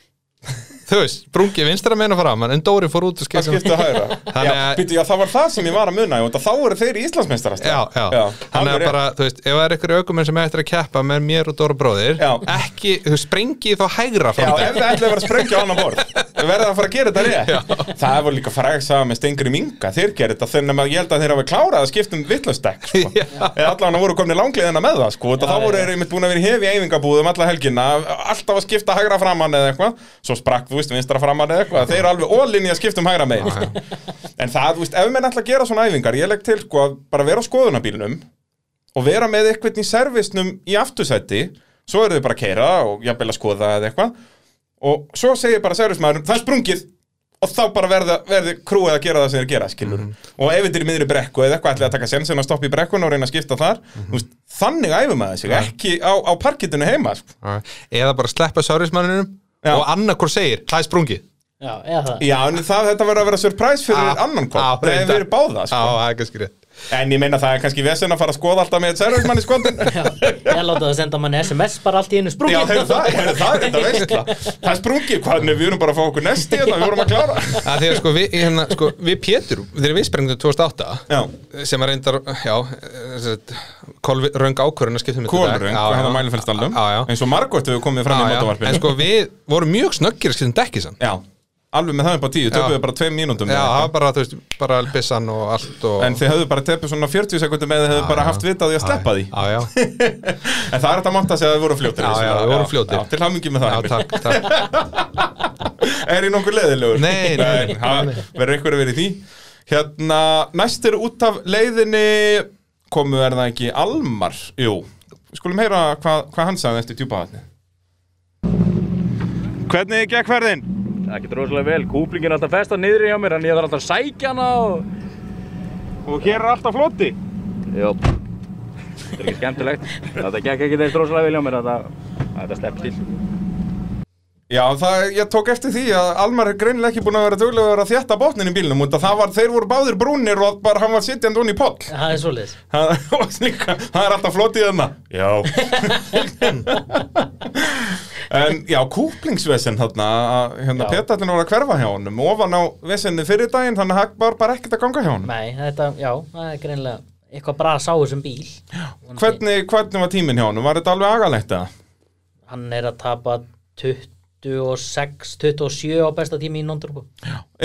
[SPEAKER 2] þú veist, brungið vinstra meina framann en Dóri fór út og
[SPEAKER 1] Það
[SPEAKER 2] skipti um
[SPEAKER 1] skipti að hæra
[SPEAKER 2] Þannig
[SPEAKER 1] já,
[SPEAKER 2] að-
[SPEAKER 1] býttu, já, það var það sem ég var að muna og þá eru þeir í Íslandsmeistarast
[SPEAKER 2] Já, já, þannig
[SPEAKER 1] alveg
[SPEAKER 2] að
[SPEAKER 1] rétt.
[SPEAKER 2] bara, þú veist, ef það er ykkur aukumenn sem er eftir að keppa með mér og Dóra bróðir
[SPEAKER 1] Já.
[SPEAKER 2] ekki, þú sprengið þá hægra
[SPEAKER 1] Já, ef
[SPEAKER 2] framdekk
[SPEAKER 1] þið ætlaði að vera að sprengja á annan borð Við verðum að fara að gera þetta rétt Það var líka fræg saga með Stengri Minga Þeir gerir þetta þannig að ég held að þeir hafa klárað að skipta um vitlausdekk sko.
[SPEAKER 2] Já.
[SPEAKER 1] Eða allan voru komin langliðina með það sko. já, Þá voru þeir einmitt búin að vera í hefi æfingabúðum alla helgina Alltaf að skipta hægra framann eða eitthvað Svo sprakk, þú veist, vinstra framann eða eitthvað Þeir eru alveg ólinni að skipta um hægra megin sko. En það, þú veist, ef menn ætla að gera svona æfingar Ég legg til sko, að bara vera á skoðunabílnum og vera með eitthvað í servisnum í aftursæti svo eru þau bara að keira og jafnvel að skoða eða eitthvað og svo segir bara servismæðurum það er sprungið og þá bara verða, verði krúið að gera það sem þeir gera skilur og ef þetta er í miðri brekku eða eitthvað ætlaði að taka sensin að stoppa í brekkun og reyna að skipta þar mm veist, þannig æfum maður sig ekki á, á parkitinu heima sko.
[SPEAKER 2] eða bara sleppa sárismanninum
[SPEAKER 1] Já.
[SPEAKER 2] og annarkur segir, það er sprungið
[SPEAKER 3] Já, eða það
[SPEAKER 1] já en það, þetta verður að vera surprise fyrir
[SPEAKER 2] Á,
[SPEAKER 1] annan
[SPEAKER 2] á,
[SPEAKER 1] kom þegar
[SPEAKER 2] reyndar.
[SPEAKER 1] við erum báða
[SPEAKER 2] á,
[SPEAKER 1] sko.
[SPEAKER 2] það er kannski rétt
[SPEAKER 1] en ég meina það er kannski vesen að fara að skoða alltaf með servismann í skotin
[SPEAKER 3] Já, ég láta það að senda manni SMS bara allt í einu
[SPEAKER 1] Já,
[SPEAKER 3] sprungið
[SPEAKER 1] heyrðu það, heyrðu það, þetta veistla Það er sprungið, hvað með við erum bara að fá okkur nesti Þannig við vorum að klára
[SPEAKER 2] að því að sko við, hérna, sko, við Pétur þegar við sprengdum 2008
[SPEAKER 1] Já.
[SPEAKER 2] sem að reyndar, já sagt, kolvi, röng ákvörðun að um skiptum
[SPEAKER 1] Kólröng, hvað hefða mælifælstallum
[SPEAKER 2] en,
[SPEAKER 1] Eins og margótt hefur komið fram í
[SPEAKER 2] en
[SPEAKER 1] mótavarpinu
[SPEAKER 2] sko við vorum mjög snöggir að um skiptum dekkisann
[SPEAKER 1] Já, alveg með það upp á tíu,
[SPEAKER 2] Já.
[SPEAKER 1] töpuðu bara tveim mínútum
[SPEAKER 2] já,
[SPEAKER 1] eða
[SPEAKER 2] það
[SPEAKER 1] eitthvað.
[SPEAKER 2] var bara, þú veist, bara bissan og allt og
[SPEAKER 1] um En þið höfðu bara tepið svona 40 sekundum eða þið höfðu bara haft vitað því að sleppa því
[SPEAKER 2] já, já,
[SPEAKER 1] En það er þetta að mátta sig að þið voru fljótir í
[SPEAKER 2] Já,
[SPEAKER 1] þessu.
[SPEAKER 2] já, við vorum fljótir.
[SPEAKER 1] já, Til hamingi með það
[SPEAKER 2] já,
[SPEAKER 1] Emil.
[SPEAKER 2] takk, takk
[SPEAKER 1] Er ég nokkuð leðilegur?
[SPEAKER 2] Nei, nei, nei.
[SPEAKER 1] Verður einhver að vera í því Hérna, næstir út af leiðinni komu er það ekki Almar, jú Við Skulum heyra hvað, hvað hann sagði eftir djúpaðatni Hvernig gekk verðin?
[SPEAKER 5] Það getur rosalega vel, kúplingin er alltaf festa niður hjá mér en ég þarf alltaf að sækja hana og...
[SPEAKER 1] Og hér er alltaf floti
[SPEAKER 5] Jó, þetta er ekki skemmtilegt. Þetta gekk ekki þeirst rosalega vel hjá mér, þetta, þetta slepp til.
[SPEAKER 1] Já, það, ég tók eftir því að Almar er greinilega ekki búin að vera duglega að vera að þjætta botnin í bílnum út að það var, þeir voru báðir brúnir og bara hann var sitjandi hún í poll
[SPEAKER 3] Það er svoleiðis
[SPEAKER 1] Það var líka, það er alltaf flotið þarna Já En já, kúplingsvesen þarna, að, hérna petallin var að hverfa hjá honum ofan á vesenni fyrir daginn þannig að það var bara ekkert að ganga hjá honum
[SPEAKER 3] Nei, þetta, já, það er greinilega eitthvað bras á þessum bíl Vonandi-
[SPEAKER 1] Hvernig, hvernig var tíminn hjá honum? Var þetta alveg agalegt eða?
[SPEAKER 3] Hann er að tapa 26, 27 á besta tími í non-turbo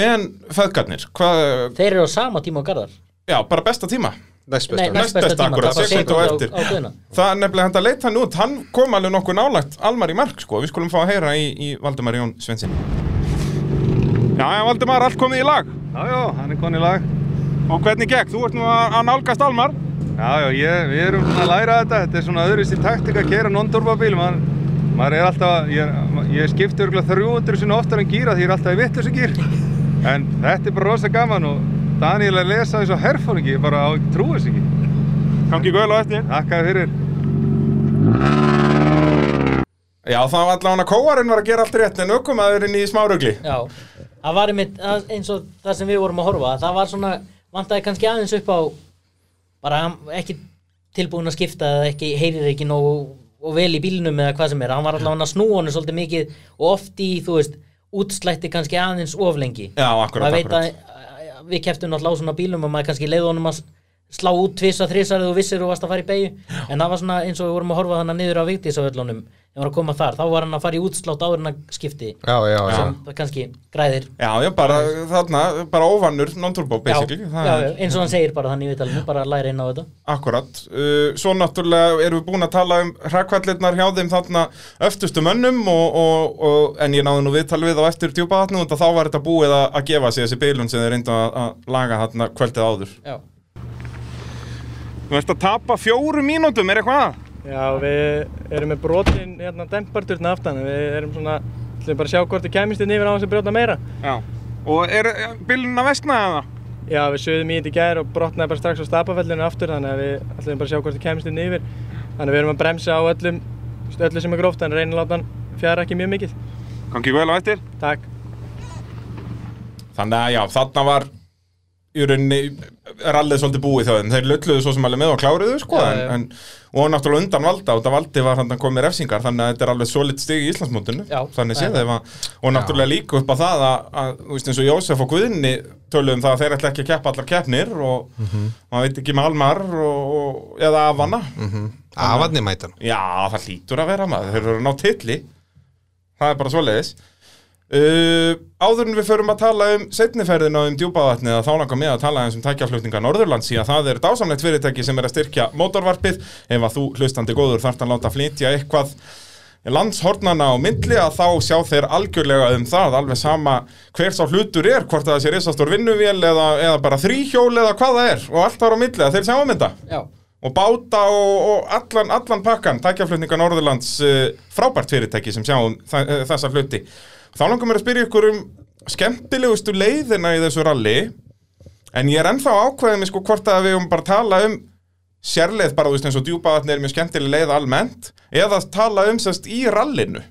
[SPEAKER 1] En feðgarnir, hvað,
[SPEAKER 3] Þeir eru á sama tíma á garðar
[SPEAKER 1] já, bara besta tíma
[SPEAKER 2] næst
[SPEAKER 3] Nei,
[SPEAKER 2] besta
[SPEAKER 3] næst besta
[SPEAKER 1] Næstbesta
[SPEAKER 3] tíma
[SPEAKER 1] akkurat,
[SPEAKER 3] tapa
[SPEAKER 1] sekúndu á eftir.
[SPEAKER 3] á, á guðuna
[SPEAKER 1] Það er nefnilega hægt að leita hann út, hann kom alveg nokkuð nálægt Almar í mark sko, við skulum fá að heyra í, í Valdemar Jón Svensson Já, já, Valdemar, allt komið í lag
[SPEAKER 7] Já, já, hann er konið lag.
[SPEAKER 1] Og hvernig gekk, þú ert nú að, að nálgast Almar
[SPEAKER 7] Já, já, ég, við erum svona að læra þetta, þetta er svona öðruvísi taktik að kera non-turbabíl, maður, maður er alltaf, ég, er- ég skipti örgulega 300 sinni oftar en gýra því ég er alltaf í vittlösa gýr, en þetta er bara rosa gaman og Daniel er að lesa eins og herfóringi, ég bara á trúið sig ekki,
[SPEAKER 1] Gangi göl á eftir
[SPEAKER 7] þakkaði fyrir.
[SPEAKER 1] Já, það var allavega hann að kóarinn var að gera allt rétt en ökumæðurinn í smárugli
[SPEAKER 3] Já, það var einmitt það- eins og það sem við vorum að horfa það var svona, vantaði kannski aðeins upp á bara hann ekki tilbúin að skipta eða ekki, heyrir ekki nóg og vel í bílnum eða hvað sem er, hann var allavega að snúa honum svolítið mikið og oft í, þú veist, útslætti kannski aðeins of lengi
[SPEAKER 1] Já, akkurat,
[SPEAKER 3] maður veit
[SPEAKER 1] akkurat.
[SPEAKER 3] að, að- að við keftum náttúrulega á svona bílum og maður kannski leiði honum að s- slá út tvisa þrisar eða þú vissir og varst að fara í beigju en það var svona eins og við vorum að horfa þannig niður á vigtísavöllunum þegar var að koma þar, þá var hann að fara í útslátt áður en að skipti
[SPEAKER 2] já, já, já.
[SPEAKER 3] sem það kannski græðir
[SPEAKER 1] Já, já, bara þarna, bara óvannur non-turbo
[SPEAKER 3] já,
[SPEAKER 1] basically,
[SPEAKER 3] já,
[SPEAKER 1] það
[SPEAKER 3] já,
[SPEAKER 1] er
[SPEAKER 3] eins og hann segir bara þannig í viðtalinu bara læra inn á þetta
[SPEAKER 1] akkurat uh, Svo náttúrulega erum við búin að tala um hrakkvallirnar hjá þeim þarna öftustu mönnum og, og, og, en ég náði nú viðtalið við á eftir djúpa þarna og þá var þetta búið að, að gefa sig þessi bilun sem þeir reyndu að, að laga þarna kvöldið áður
[SPEAKER 3] já.
[SPEAKER 1] Þú veist að tapa fjóru mínútum, er eitthvað?
[SPEAKER 5] Já, við erum með brotin hérna demparturna aftan, við erum svona, ætlum bara að sjá hvort þið kæmist inn yfir á þess að brjóta meira.
[SPEAKER 1] Já Og er bilun að vestna eða?
[SPEAKER 5] Já, við sögðum í þetta í gær og brotnaði bara strax á stapafellinu aftur, þannig að við ætlum bara að sjá hvort þið kæmist inn yfir. Þannig að við erum að bremsa á öllum, öllu sem er gróft, en reyna að láta hann fjara ekki mjög mikið.
[SPEAKER 1] Gangi vel á eftir
[SPEAKER 5] Takk.
[SPEAKER 1] Þannig að já, þarna var í rauninni rallið svolítið búið hjá þeim þeir lölluðu svo sem alveg með og kláruðu sko,
[SPEAKER 3] Já,
[SPEAKER 1] en,
[SPEAKER 3] já.
[SPEAKER 1] En, og náttúrulega undan valda og það valdi var hann komið refsingar þannig að þetta er alveg svolít stig í Íslandsmótinu
[SPEAKER 3] Já,
[SPEAKER 1] þannig
[SPEAKER 3] já.
[SPEAKER 1] séð þeim að, og náttúrulega líka upp á það að, að þú veist eins og Jósef og Guðni töluðum það að þeir ætla ekki að keppa allar keppnir og
[SPEAKER 3] Mhm.
[SPEAKER 1] maður veit ekki með Almar og, og, eða Afana
[SPEAKER 2] Afarni Ah, mætan
[SPEAKER 1] Já, það hlýtur að vera maður, þeir eru að ná tilli Það er bara svoleiðis uh, Áður en við förum að tala um setniferðina um djúpaðatnið að þá langar mig að tala um tækjaflutninga Norðurlands því að það er dásamlegt fyrirtæki sem er að styrkja mótorvarpið ef að þú hlustandi góður þarft að láta flytja eitthvað landshornana á myndli að þá sjá þeir algjörlega um það alveg sama hver sá hlutur er hvort að það sé risastór vinnuvél eða, eða bara þríhjól eða hvað það er og allt þar á myndli að þeir sjá um þetta
[SPEAKER 3] Já.
[SPEAKER 1] og báta og, og allan, allan pakkan tækjaflutninga Norðurlands uh, frábært fyrirtæki sem sjáum þa- eh, þessa hluti þá langar mér að spyrja ykkur um skemmtilegustu leiðina í þessu ralli en ég er ennþá ákveðið mig sko hvort að við um bara að tala um sérleið bara þú veist eins og djúpaðatni er mjög skemmtileg leið almennt eða tala um sérst í rallinu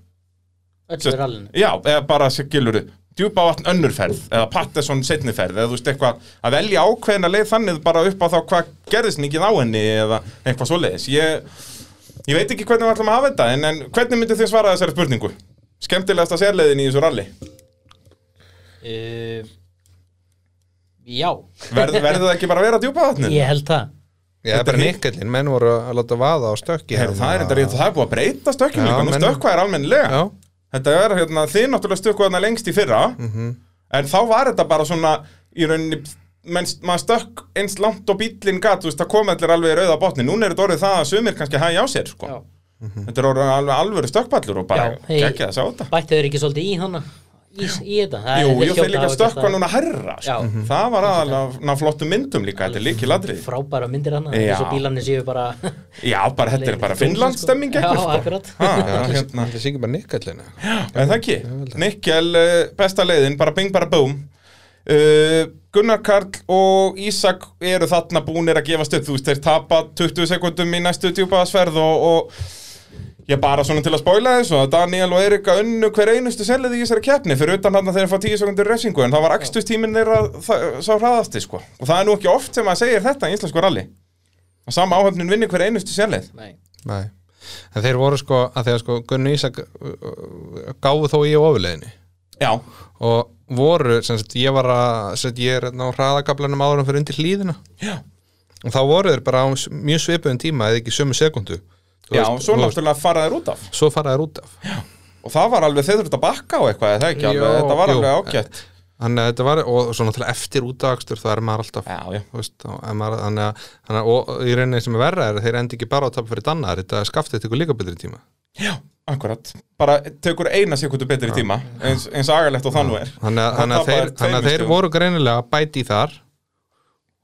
[SPEAKER 3] öll er allinu
[SPEAKER 1] já, eða bara skilur þið djúpavatn önnurferð eða Patterson setniferð eða þú veist eitthvað að velja ákveðna leið þannig bara upp á þá hvað gerðist mikið á henni eða eitthvað svoleiðis ég, ég veit ekki hvernig við ætlum að hafa þetta en, en hvernig myndið þið svara þessari spurningu skemmtilegasta sérleiðin í þessu ralli
[SPEAKER 3] uh, já,
[SPEAKER 1] Verð, verður það ekki bara að vera djúpavatnin
[SPEAKER 3] ég held það
[SPEAKER 2] Já, það er bara nikkellin, menn voru að láta vaða á hérna. stökki
[SPEAKER 1] Heru, það er þetta rétt, það er búið að breyta stökkjum
[SPEAKER 2] Já,
[SPEAKER 1] líka, nú
[SPEAKER 2] menn-
[SPEAKER 1] stökkvað er almennilega
[SPEAKER 2] Já, Mhm.
[SPEAKER 1] Þetta er hérna, þið náttúrulega stökkuð þarna lengst í fyrra En þá var þetta bara svona Í rauninni, menn, maður stökk Eins langt og bíllinn gat, þú veist, það kom allir alveg í rauða botni Núna er þetta orðið það að sumir kannski hægja á sér, sko
[SPEAKER 3] Já.
[SPEAKER 2] Mhm.
[SPEAKER 1] Þetta er orðið alveg alvöru stökkpallur Og bara
[SPEAKER 3] Já, hey.
[SPEAKER 1] geggja þess á þetta
[SPEAKER 3] bættu þeir ekki svolítið í hana í, í þetta Það-
[SPEAKER 1] Jú, jú,
[SPEAKER 3] hljóta
[SPEAKER 1] þeir líka
[SPEAKER 3] hafa gert
[SPEAKER 1] stökkva
[SPEAKER 3] það.
[SPEAKER 1] núna herra sko.
[SPEAKER 3] Já. Mhm.
[SPEAKER 1] Það var aðalega ná flottum myndum líka, þetta er líkil
[SPEAKER 3] frábæra myndir hana
[SPEAKER 1] Já.
[SPEAKER 3] eins og bílarnir séu bara
[SPEAKER 1] Já, bara þetta er bara
[SPEAKER 3] Leiðin í
[SPEAKER 1] Finnlandsstemming
[SPEAKER 3] fjósi,
[SPEAKER 1] eitthvað,
[SPEAKER 3] sko.
[SPEAKER 1] sko.
[SPEAKER 3] Já, akkurat.
[SPEAKER 1] Ha,
[SPEAKER 2] það
[SPEAKER 1] hérna.
[SPEAKER 2] er sikið bara nikkellin
[SPEAKER 1] En það ekki, Nikkel, eh, besta leiðin, bara bing, bara boom uh, Gunnar Karl og Ísak eru þarna búnir að gefast upp Þú veist, þeir tapa 20 sekundum í næstu djúpaðasverð og, og ég bara svona til að spóla þessu að Daniel og Erika unnu hver einustu selið í þessari keppni fyrir utan hann að þeir fá 10 sekundir refsingu en það var akstustíminn þeirra þa- sá hraðasti sko og það er nú ekki oft sem maður segir þetta í íslensku ralli og sama áhöfnin vinni hver einustu selið
[SPEAKER 3] Nei.
[SPEAKER 2] Nei, en þeir voru sko að þegar sko Gunni Ísak uh, uh, gáfu þó í á ofuleginni
[SPEAKER 1] Já,
[SPEAKER 2] og voru, sem sagt, ég var að sem sagt, ég er hérna á hraðakablanum áðurum fyrir undir hlýðina
[SPEAKER 1] já,
[SPEAKER 2] og þá voru þeir bara á s- mjög svipuðum tíma eða ekki sömu sekundu
[SPEAKER 1] já svo náttúrulega fara þeir út af
[SPEAKER 2] Svo fara þeir út af
[SPEAKER 1] Og það var alveg, þeir þurftu að bakka á eitthvað, er það ekki alveg,
[SPEAKER 2] Jó,
[SPEAKER 1] þetta var
[SPEAKER 2] jú.
[SPEAKER 1] alveg ágætt.
[SPEAKER 2] Þannig að þetta var, og svo náttúrulega eftir útdagstur það er maður alltaf
[SPEAKER 1] Já, já.
[SPEAKER 2] þú veist, og, ef maður, þannig, að, þannig að, og í rauninni sem er verra er að þeir endi ekki bara á að tapa fyrir dannar þetta skaftið ykkur líka betri tíma
[SPEAKER 1] Já, akkurat. Bara tekur eina sekundu betri tíma, eins, eins agalegt og það nú er.
[SPEAKER 2] þannig að,
[SPEAKER 1] Það
[SPEAKER 2] þannig að,
[SPEAKER 1] tapaði
[SPEAKER 2] þeir, þannig að
[SPEAKER 1] tveimur
[SPEAKER 2] þeir
[SPEAKER 1] stigum.
[SPEAKER 2] voru greinilega að bæti í þar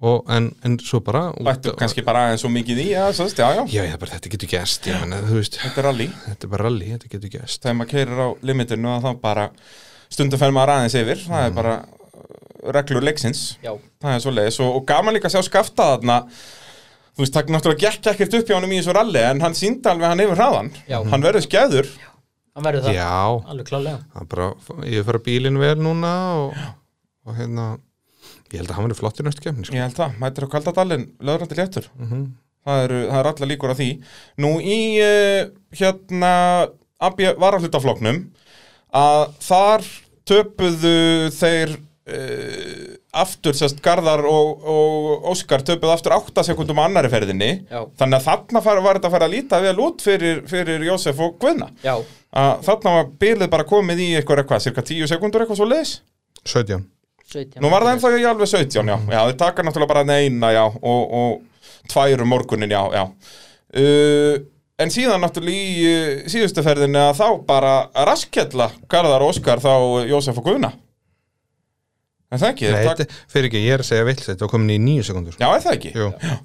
[SPEAKER 2] og, en, en svo bara út-
[SPEAKER 1] Bættu kannski bara aðeins svo mikið í, já, sást, já, já,
[SPEAKER 2] já, já, bara þetta getur gæst ég menna, þú veist,
[SPEAKER 1] þetta er rally.
[SPEAKER 2] þetta er bara rally, þetta getur gæst
[SPEAKER 1] Þegar maður keirir á limitinu að þá bara stundum fer maður aðeins yfir, það er bara uh, reglur leiksins.
[SPEAKER 3] Já.
[SPEAKER 1] Það er svoleiðis og, og gaman líka að sjá skafta þarna Þú veist, það náttúrulega gekk ekkert upp hjá honum í þessu ralli en hann síndi alveg hann yfir hraðan
[SPEAKER 3] Já.
[SPEAKER 1] Hann verður skæður
[SPEAKER 3] hann verður það,
[SPEAKER 2] já,
[SPEAKER 3] alveg klálega
[SPEAKER 2] hann bara, ég fara bílinn vel núna og, og hérna ég held að hann verið flott í næstu kemni sko.
[SPEAKER 1] Ég held það, mætir á kaldadalinn löðrandi léttur það, eru, það eru allar líkur að því Nú í eh, uh, hérna AB varaflutafloknum að þar töpuðu þeir uh, aftur, sérst Garðar og, og Óskar töpuðu aftur 8 sekundum á annari ferðinni
[SPEAKER 3] Já.
[SPEAKER 1] þannig að þarna far, var þetta að fara að líta vel út fyrir, fyrir Jósef og Guðna
[SPEAKER 3] Já,
[SPEAKER 1] að þarna var bilið bara komið í eitthvað eitthvað, cirka 10 sekundur eitthvað svo leis
[SPEAKER 2] 17
[SPEAKER 3] 17
[SPEAKER 1] Nú var það ennþá í alveg 17, já, já þeir taka náttúrulega bara þarna eina, já, og, og tvær um morgunin, já, já uh, En síðan náttúrulega í uh, síðustu ferðinni að þá bara raskjalla Garðar og Óskar þá uh, Jósef og Guðna En það ekki, þeir
[SPEAKER 2] Nei,
[SPEAKER 1] taka-
[SPEAKER 2] þetta- fyrir ekki, ég er að segja vill þetta var komin í 9 sekundur
[SPEAKER 1] Já, er það ekki?
[SPEAKER 2] Jú.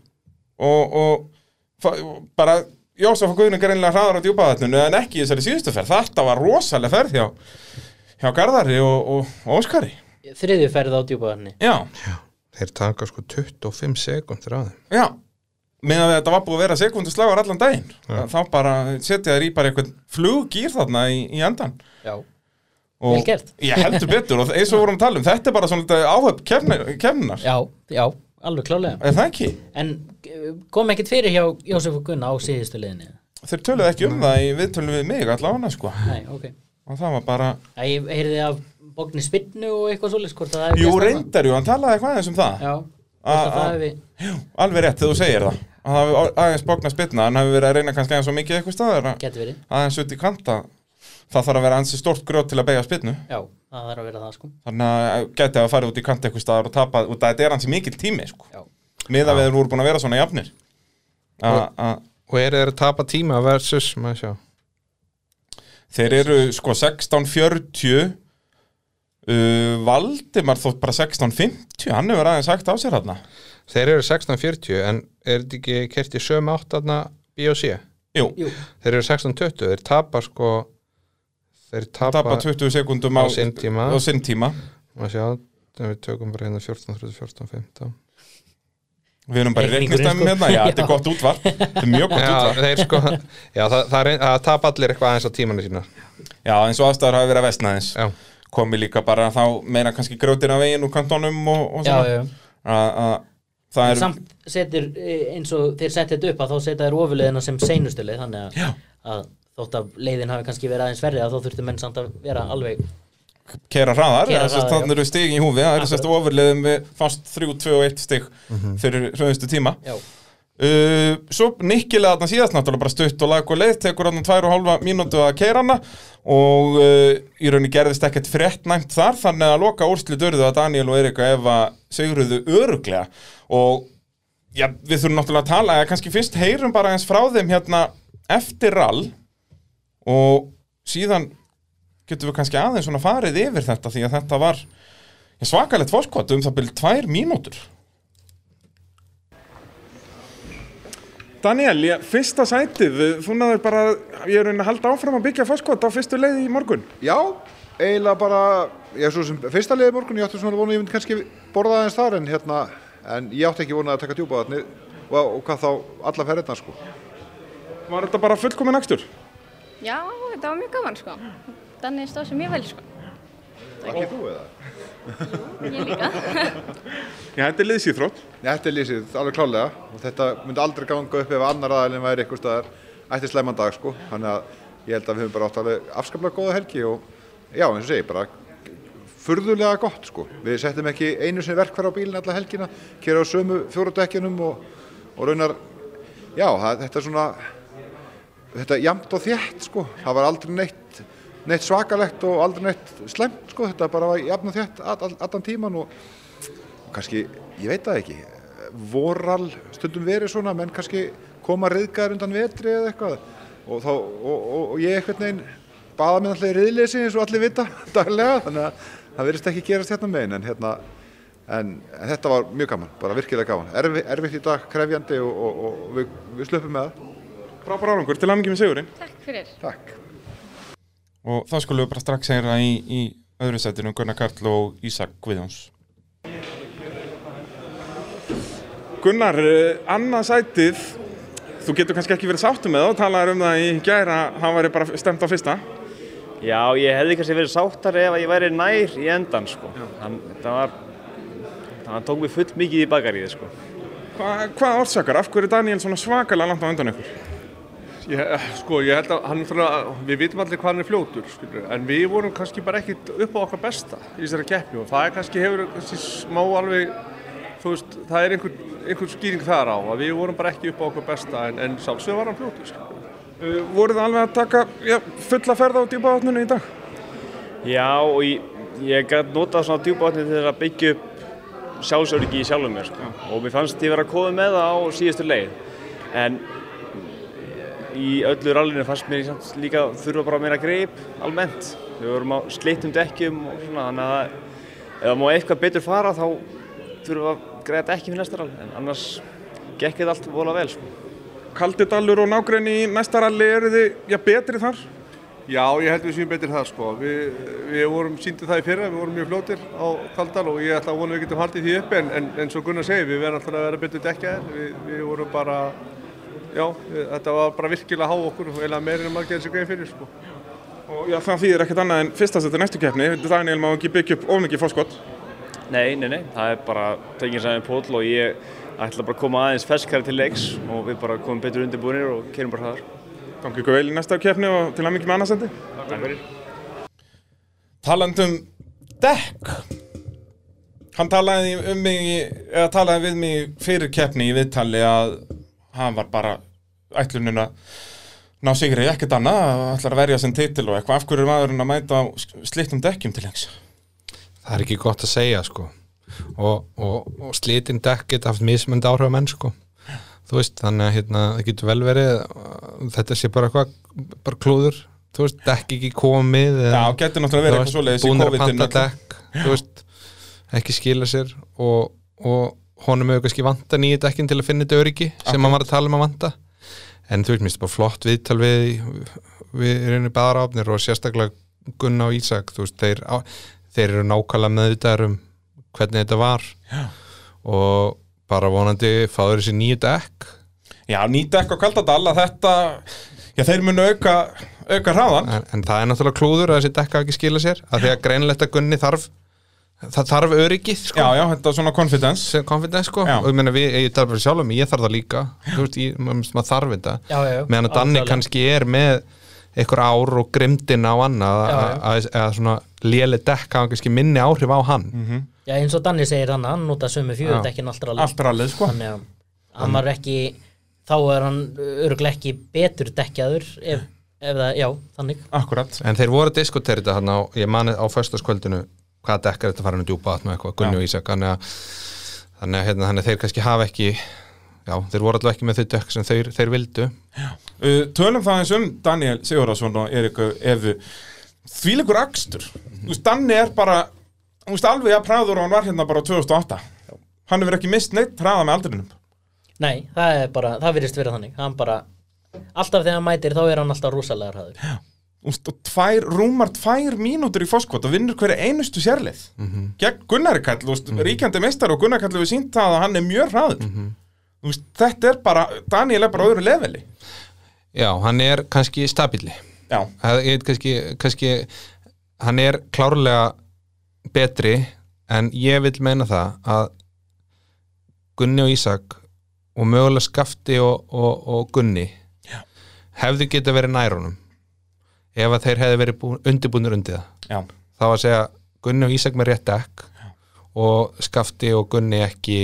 [SPEAKER 1] Og, og fa- bara Jósef og Guðning er einlega hraðar á djúpaðatnunu en ekki í þessari síðustu ferð. Þetta var rosalega ferð hjá, hjá Garðari og, og, og Óskari.
[SPEAKER 3] Þriðju ferð á djúpaðarni
[SPEAKER 1] Já,
[SPEAKER 2] Þeir taka sko 25 sekundur á þeim
[SPEAKER 1] já. Meðan við þetta var búið að vera sekunduslagar allan daginn. Þá bara setja þér í bara eitthvað fluggýr þarna í, í endan.
[SPEAKER 3] Já,
[SPEAKER 1] Og
[SPEAKER 3] Vel gert.
[SPEAKER 1] Ég heldur betur og eins og við vorum að tala um, þetta er bara svona áhöf kemnar.
[SPEAKER 3] já, já, alveg klálega
[SPEAKER 1] Er það ekki?
[SPEAKER 3] En eh, kom ekkert fyrir hjá Jósef og Gunna á síðustu liðinni
[SPEAKER 1] Þeir töluðu ekki um það í viðtölum við mig allavega, sko.
[SPEAKER 3] Nei, ok
[SPEAKER 1] Og það var bara...
[SPEAKER 3] Já, ég heyrði af Bogni Spinnu og eitthvað svoleiðis hvort að það hefur
[SPEAKER 1] Jú,
[SPEAKER 3] gerst annað.
[SPEAKER 1] reyndar, Ah, jú, hann talaði eitthvað aðeins um það
[SPEAKER 3] Já,
[SPEAKER 1] A-
[SPEAKER 3] hvort að
[SPEAKER 1] a-
[SPEAKER 3] það hefur
[SPEAKER 1] Jú, alveg rétt þegar þú segir það að það hafi aðeins bóknað spilna hann hafi verið að reyna kannski aðeins svo mikið eitthvað staðar að-
[SPEAKER 3] Geti verið
[SPEAKER 1] aðeins út í kvanta það þarf að vera ansi stórt grjót til að beigja spilnu
[SPEAKER 3] Já, það þarf að vera það sko
[SPEAKER 1] þannig að geti að fara út í kvanta eitthvað staðar og tapa út að þetta er ansi mikill tími sko.
[SPEAKER 3] Já,
[SPEAKER 1] miða við þeir voru búin að vera svona jafnir A- a-
[SPEAKER 2] Og eru þeir að tapa tíma versus, maður sjá
[SPEAKER 1] þeir eru sko 16.40 uh, Valdimar þótt bara 16.50 hann hefur aðeins sagt á sér hann
[SPEAKER 2] Þeir eru 16.40 en er þetta ekki kert í sömu átt þarna BOC?
[SPEAKER 1] Jú,
[SPEAKER 3] jú,
[SPEAKER 2] Þeir eru 16.20, þeir tapa sko þeir tapa,
[SPEAKER 1] tapa 20 sekundum á,
[SPEAKER 2] á sinn tíma.
[SPEAKER 1] á sinn tíma.
[SPEAKER 2] maður sjá, þegar við tökum bara hérna 14.30, 14.15
[SPEAKER 1] Við erum bara í
[SPEAKER 3] Reikningurinn,
[SPEAKER 1] reiknistæmi hérna,
[SPEAKER 3] sko.
[SPEAKER 1] já, þetta er
[SPEAKER 3] Já.
[SPEAKER 1] gott útvarp, þetta er mjög gott
[SPEAKER 2] Já,
[SPEAKER 1] útvarp.
[SPEAKER 2] þeir sko Já, það, það, er, það tapa allir eitthvað aðeins á tímanu sína
[SPEAKER 1] Já, eins og aðstæður hafi verið að vestna aðeins.
[SPEAKER 2] Já,
[SPEAKER 1] Komi líka bara þá meira kannski grjótin af veginn úr kantonum og, og
[SPEAKER 3] já,
[SPEAKER 1] svona.
[SPEAKER 3] já, já.
[SPEAKER 1] Að- að Það er,
[SPEAKER 3] Samt setur, eh, eins og þeir setja þetta upp að þá setja þeir ofuleiðina sem seinustu leið þannig að, að þótt að leiðin hafi kannski verið aðeins verið að þá þurftu menn samt að vera alveg
[SPEAKER 1] kera hraðar,
[SPEAKER 3] Keyra hraðar,
[SPEAKER 1] þannig
[SPEAKER 3] já.
[SPEAKER 1] eru stigin í húfi, það eru sérst ofurliðum við fast 3, 2 og 1 stig fyrir hröðustu tíma.
[SPEAKER 3] Já,
[SPEAKER 1] Uh, svo nikkilega þarna síðast náttúrulega bara stutt og lag og leið tekur hann tvær og hálfa mínútu að keira hana og uh, í rauninni gerðist ekkert frettnæmt þar þannig að loka úrslit urðu að Daniel og Erika Eva segruðu öruglega og já, við þurfum náttúrulega að tala eða kannski fyrst heyrum bara eins frá þeim hérna eftir rall og síðan getum við kannski aðeins svona farið yfir þetta því að þetta var já, svakalegt fórskot um það byrjum tvær mínútur Daniel, ég, fyrsta sætið, þú náður bara, ég er raunin að halda áfram að byggja fórskot á fyrstu leið í morgun.
[SPEAKER 9] Já, eiginlega bara, ég svo sem fyrsta leiði morgun, ég átti svona vona að ég myndi kannski borða aðeins þar en hérna, en ég átti ekki vona að taka djúpa þarna og, og hvað þá alla ferðina sko.
[SPEAKER 1] Var þetta bara fullkomin akstur?
[SPEAKER 10] Já, þetta var mjög gaman sko. Danni stóð sér mjög vel sko.
[SPEAKER 9] Ekki þú eða?
[SPEAKER 10] Ég líka.
[SPEAKER 1] Já, þetta er liðsýþrótt.
[SPEAKER 9] Nei, þetta er lýsið alveg klálega og þetta myndi aldrei ganga upp ef annar aðalinn væri eitthvað staðar ætti slæman dag sko, þannig að ég held að við höfum bara átt alveg afskaplega góða helgi og já, eins og segi, bara furðulega gott sko. Við settum ekki einu sinni verkfæra á bílinn alla helgina, kera á sömu fjóruðekjunum og, og raunar, já, það, þetta er svona, þetta er jamt og þétt sko, það var aldrei neitt, neitt svakalegt og aldrei neitt slæmt sko, þetta bara var jafn og þétt all- all- allan tíman og kannski, ég veit það ekki voral stundum verið svona menn kannski koma reyðgar undan vetri eða eitthvað og, þá, og, og, og ég eitthvað neginn baða með allir reyðleysi eins og allir vita daglega þannig að það verðist ekki gerast hérna megin en, hérna, en, en þetta var mjög gaman, bara virkilega gaman Erfi, erfitt í dag, krefjandi og, og, og, við, við slöpum með það
[SPEAKER 1] Frábár árangur, til aðmengjum í sigurinn.
[SPEAKER 10] Takk fyrir.
[SPEAKER 9] Takk
[SPEAKER 1] Og þá skulum við bara strax heyra í, í öðru sætinu, Gunnar Karl og Ísak Guðjóns. Gunnar, eh, annað sætið, þú getur kannski ekki verið sáttu með það, talaður um það í gæra, hann væri bara stemt á fyrsta.
[SPEAKER 5] Já, ég hefði kannski verið sáttar ef að ég væri nær í endan sko. Hann, það var, hann tók mig full mikið í bakaríði sko.
[SPEAKER 1] Hva, hvað orsakar, af hverju er Daniel svona svakalega langt á undan ykkur?
[SPEAKER 11] Ég, sko, ég held að hann náttúrulega, við vitum allir hvað hann er fljótur, skilur, en við vorum kannski bara ekkit upp á okkar besta í þessari keppni og það er kannski hefur kannski smá alveg, þú veist, það er einhver, einhver skýring þar á að við vorum bara ekki upp á okkar besta en, en sjálfsög var hann fljótur, skilur.
[SPEAKER 12] Uh, voruð þið alveg að taka já, fulla ferð á djúpa vatninu í dag?
[SPEAKER 5] Já, og ég, ég gæti notað svona djúbátni til að byggja upp sjálfsöryggi í sjálfum mér, sko. Og mér fannst ég vera að kóða með það á síðustu leið. En í öllu rallinu fannst mér samt líka þurfa bara meira greip almennt. Við vorum á slittum dekkjum og svona, þannig að ef það má eitthvað betur fara þá þurfum við að greiða dekki fyrir næsta rall. En annars gekk þetta allt vola vel, sko.
[SPEAKER 12] Kaldidalur og nágrenni í næsta ralli eru þið já, betri þar?
[SPEAKER 11] Já, ég held við séum betur það sko. Við, við vorum síndið það í fyrra, við vorum mjög flótir á Kaldal og ég ætla að vona að við getum haldið því upp en, en, en svo Gunnar segir, við verðum alltaf að vera betur dekkjaðir. Við, við vorum bara, já, við, þetta var bara virkilega há okkur og eiginlega meira en maður gerði sér grein fyrir sko.
[SPEAKER 12] Og já, það þýðir ekkert annað en fyrsta seti næstu keppni, Daniel má ekki byggja upp of mikið fórskott.
[SPEAKER 5] Nei, nei, nei, það er bara tekinn sæðin pól og ég ætla bara að koma aðeins ferskari til leiks og við bara komum betur undirbúinir og kerum bara hraðar.
[SPEAKER 12] Gangi ykkur vel í næsta keppni og til að mikið með annarsendi.
[SPEAKER 5] Takk fyrir.
[SPEAKER 1] Talandum um dekk Hann talaði um mig í- eða talaði við mig fyrir keppni í viðtali að hann var bara ætlunin að ná sigri ekkert annað, að ætlar að verja sinn titil og eitthvað, af hverju er maðurinn að mæta á slittum dekkjum til lengs?
[SPEAKER 2] það er ekki gott að segja sko og, og, og slitin dekk geta haft mismönd áhrif á menn sko þú veist, þannig að hérna, það getur vel verið að þetta sé bara eitthvað bara klúður, þú veist, dekk ekki komið eða-
[SPEAKER 1] Já, getur náttúrulega verið
[SPEAKER 2] þú
[SPEAKER 1] eitthvað
[SPEAKER 2] veist,
[SPEAKER 1] svoleiðis í
[SPEAKER 2] búnir að
[SPEAKER 1] COVID-inu
[SPEAKER 2] panta dekk, þú veist ekki skila sér og, og honum hefur kannski vanta nýja dekkin til að finna þetta öryggi sem hann var að tala um að vanta en þú veist, mér finnst bara flott viðtal við við erum í baðarafnir og sérstaklega Gunna og Ísak þú veist, þeir, á, þeir eru nákvæmlega meðvitaðar um hvernig þetta var
[SPEAKER 1] Já.
[SPEAKER 2] og bara vonandi fáður þessi nýju dekk
[SPEAKER 1] Já, nýju dekk og kaldadal að þetta já, þeir munu auka, auka hraðan
[SPEAKER 2] en, en það er náttúrulega klúður að þessi dekka ekki skila sér að því að greinlegt að Gunni þarf það þarf öryggið sko.
[SPEAKER 1] Já, já, þetta er svona confidence
[SPEAKER 2] Confidence sko og ég meina við, ég þarf bara sjálf um, ég þarf það líka þú veist, ég, maður maður þarf þetta
[SPEAKER 3] Já, já, já.
[SPEAKER 2] meðan að Danni
[SPEAKER 3] Algjörlega.
[SPEAKER 2] kannski er með einhver ár og grimdin á annað
[SPEAKER 3] Já, já.
[SPEAKER 2] að- að að svona léli dekka hann kannski minni áhrif á hann
[SPEAKER 3] Já, eins og Danni segir hann, hann nota sömu fjögur
[SPEAKER 2] Já.
[SPEAKER 3] dekkin allt rallið.
[SPEAKER 2] Allt rallið, sko.
[SPEAKER 3] Þannig að hann var ekki, þá er hann öruglega ekki betur dekkjaður, ef, ef það, já, þannig.
[SPEAKER 1] Akkurat
[SPEAKER 2] en þeir voru að diskutera þetta hann á, ég mani á föstaskvöldinu hvaða dekka er þetta farin að djúpa vatn og eitthvað, Gunni
[SPEAKER 1] Já.
[SPEAKER 2] og Ísak þannig að, þannig að, hérna, þannig að þeir kannski hafa ekki já, þeir voru alltaf ekki með þau dekk sem þeir, þeir vildu
[SPEAKER 1] Uh, tölum það eins um Daniel Sigurðarsson og Eriku Efu þvílegur akstur þú veist, Danni er bara þú veist, alveg að præður og hann var hérna bara 2008 hann hefur ekki mist neitt hraða með aldrinum
[SPEAKER 3] Nei, það er bara, það virðist vera þannig. Hann bara, alltaf þegar hann mætir, þá er hann alltaf rosalega hraður. Já.
[SPEAKER 1] Þú veist, og tvær, rúmar tvær mínútur í fórskot og vinnur hverja einustu sérlið gegn Gunnari Kall, þú veist, ríkjandi meistar og Gunnari Kall hefur sínt það að hann er mjög hraður þú veist, þetta er bara Daniel er bara á öðru leveli
[SPEAKER 2] Já, hann er kannski stabili
[SPEAKER 1] Já
[SPEAKER 2] Ég veit kannski, kannski hann er klárlega betri en ég vil meina það að Gunni og Ísak og mögulega Skafti og, og, og Gunni Já. hefðu geta verið nær honum ef að þeir hefðu verið búin, undirbúinur undir það
[SPEAKER 1] Já.
[SPEAKER 2] þá að segja Gunni og Ísak með rétt ekk og Skafti og Gunni ekki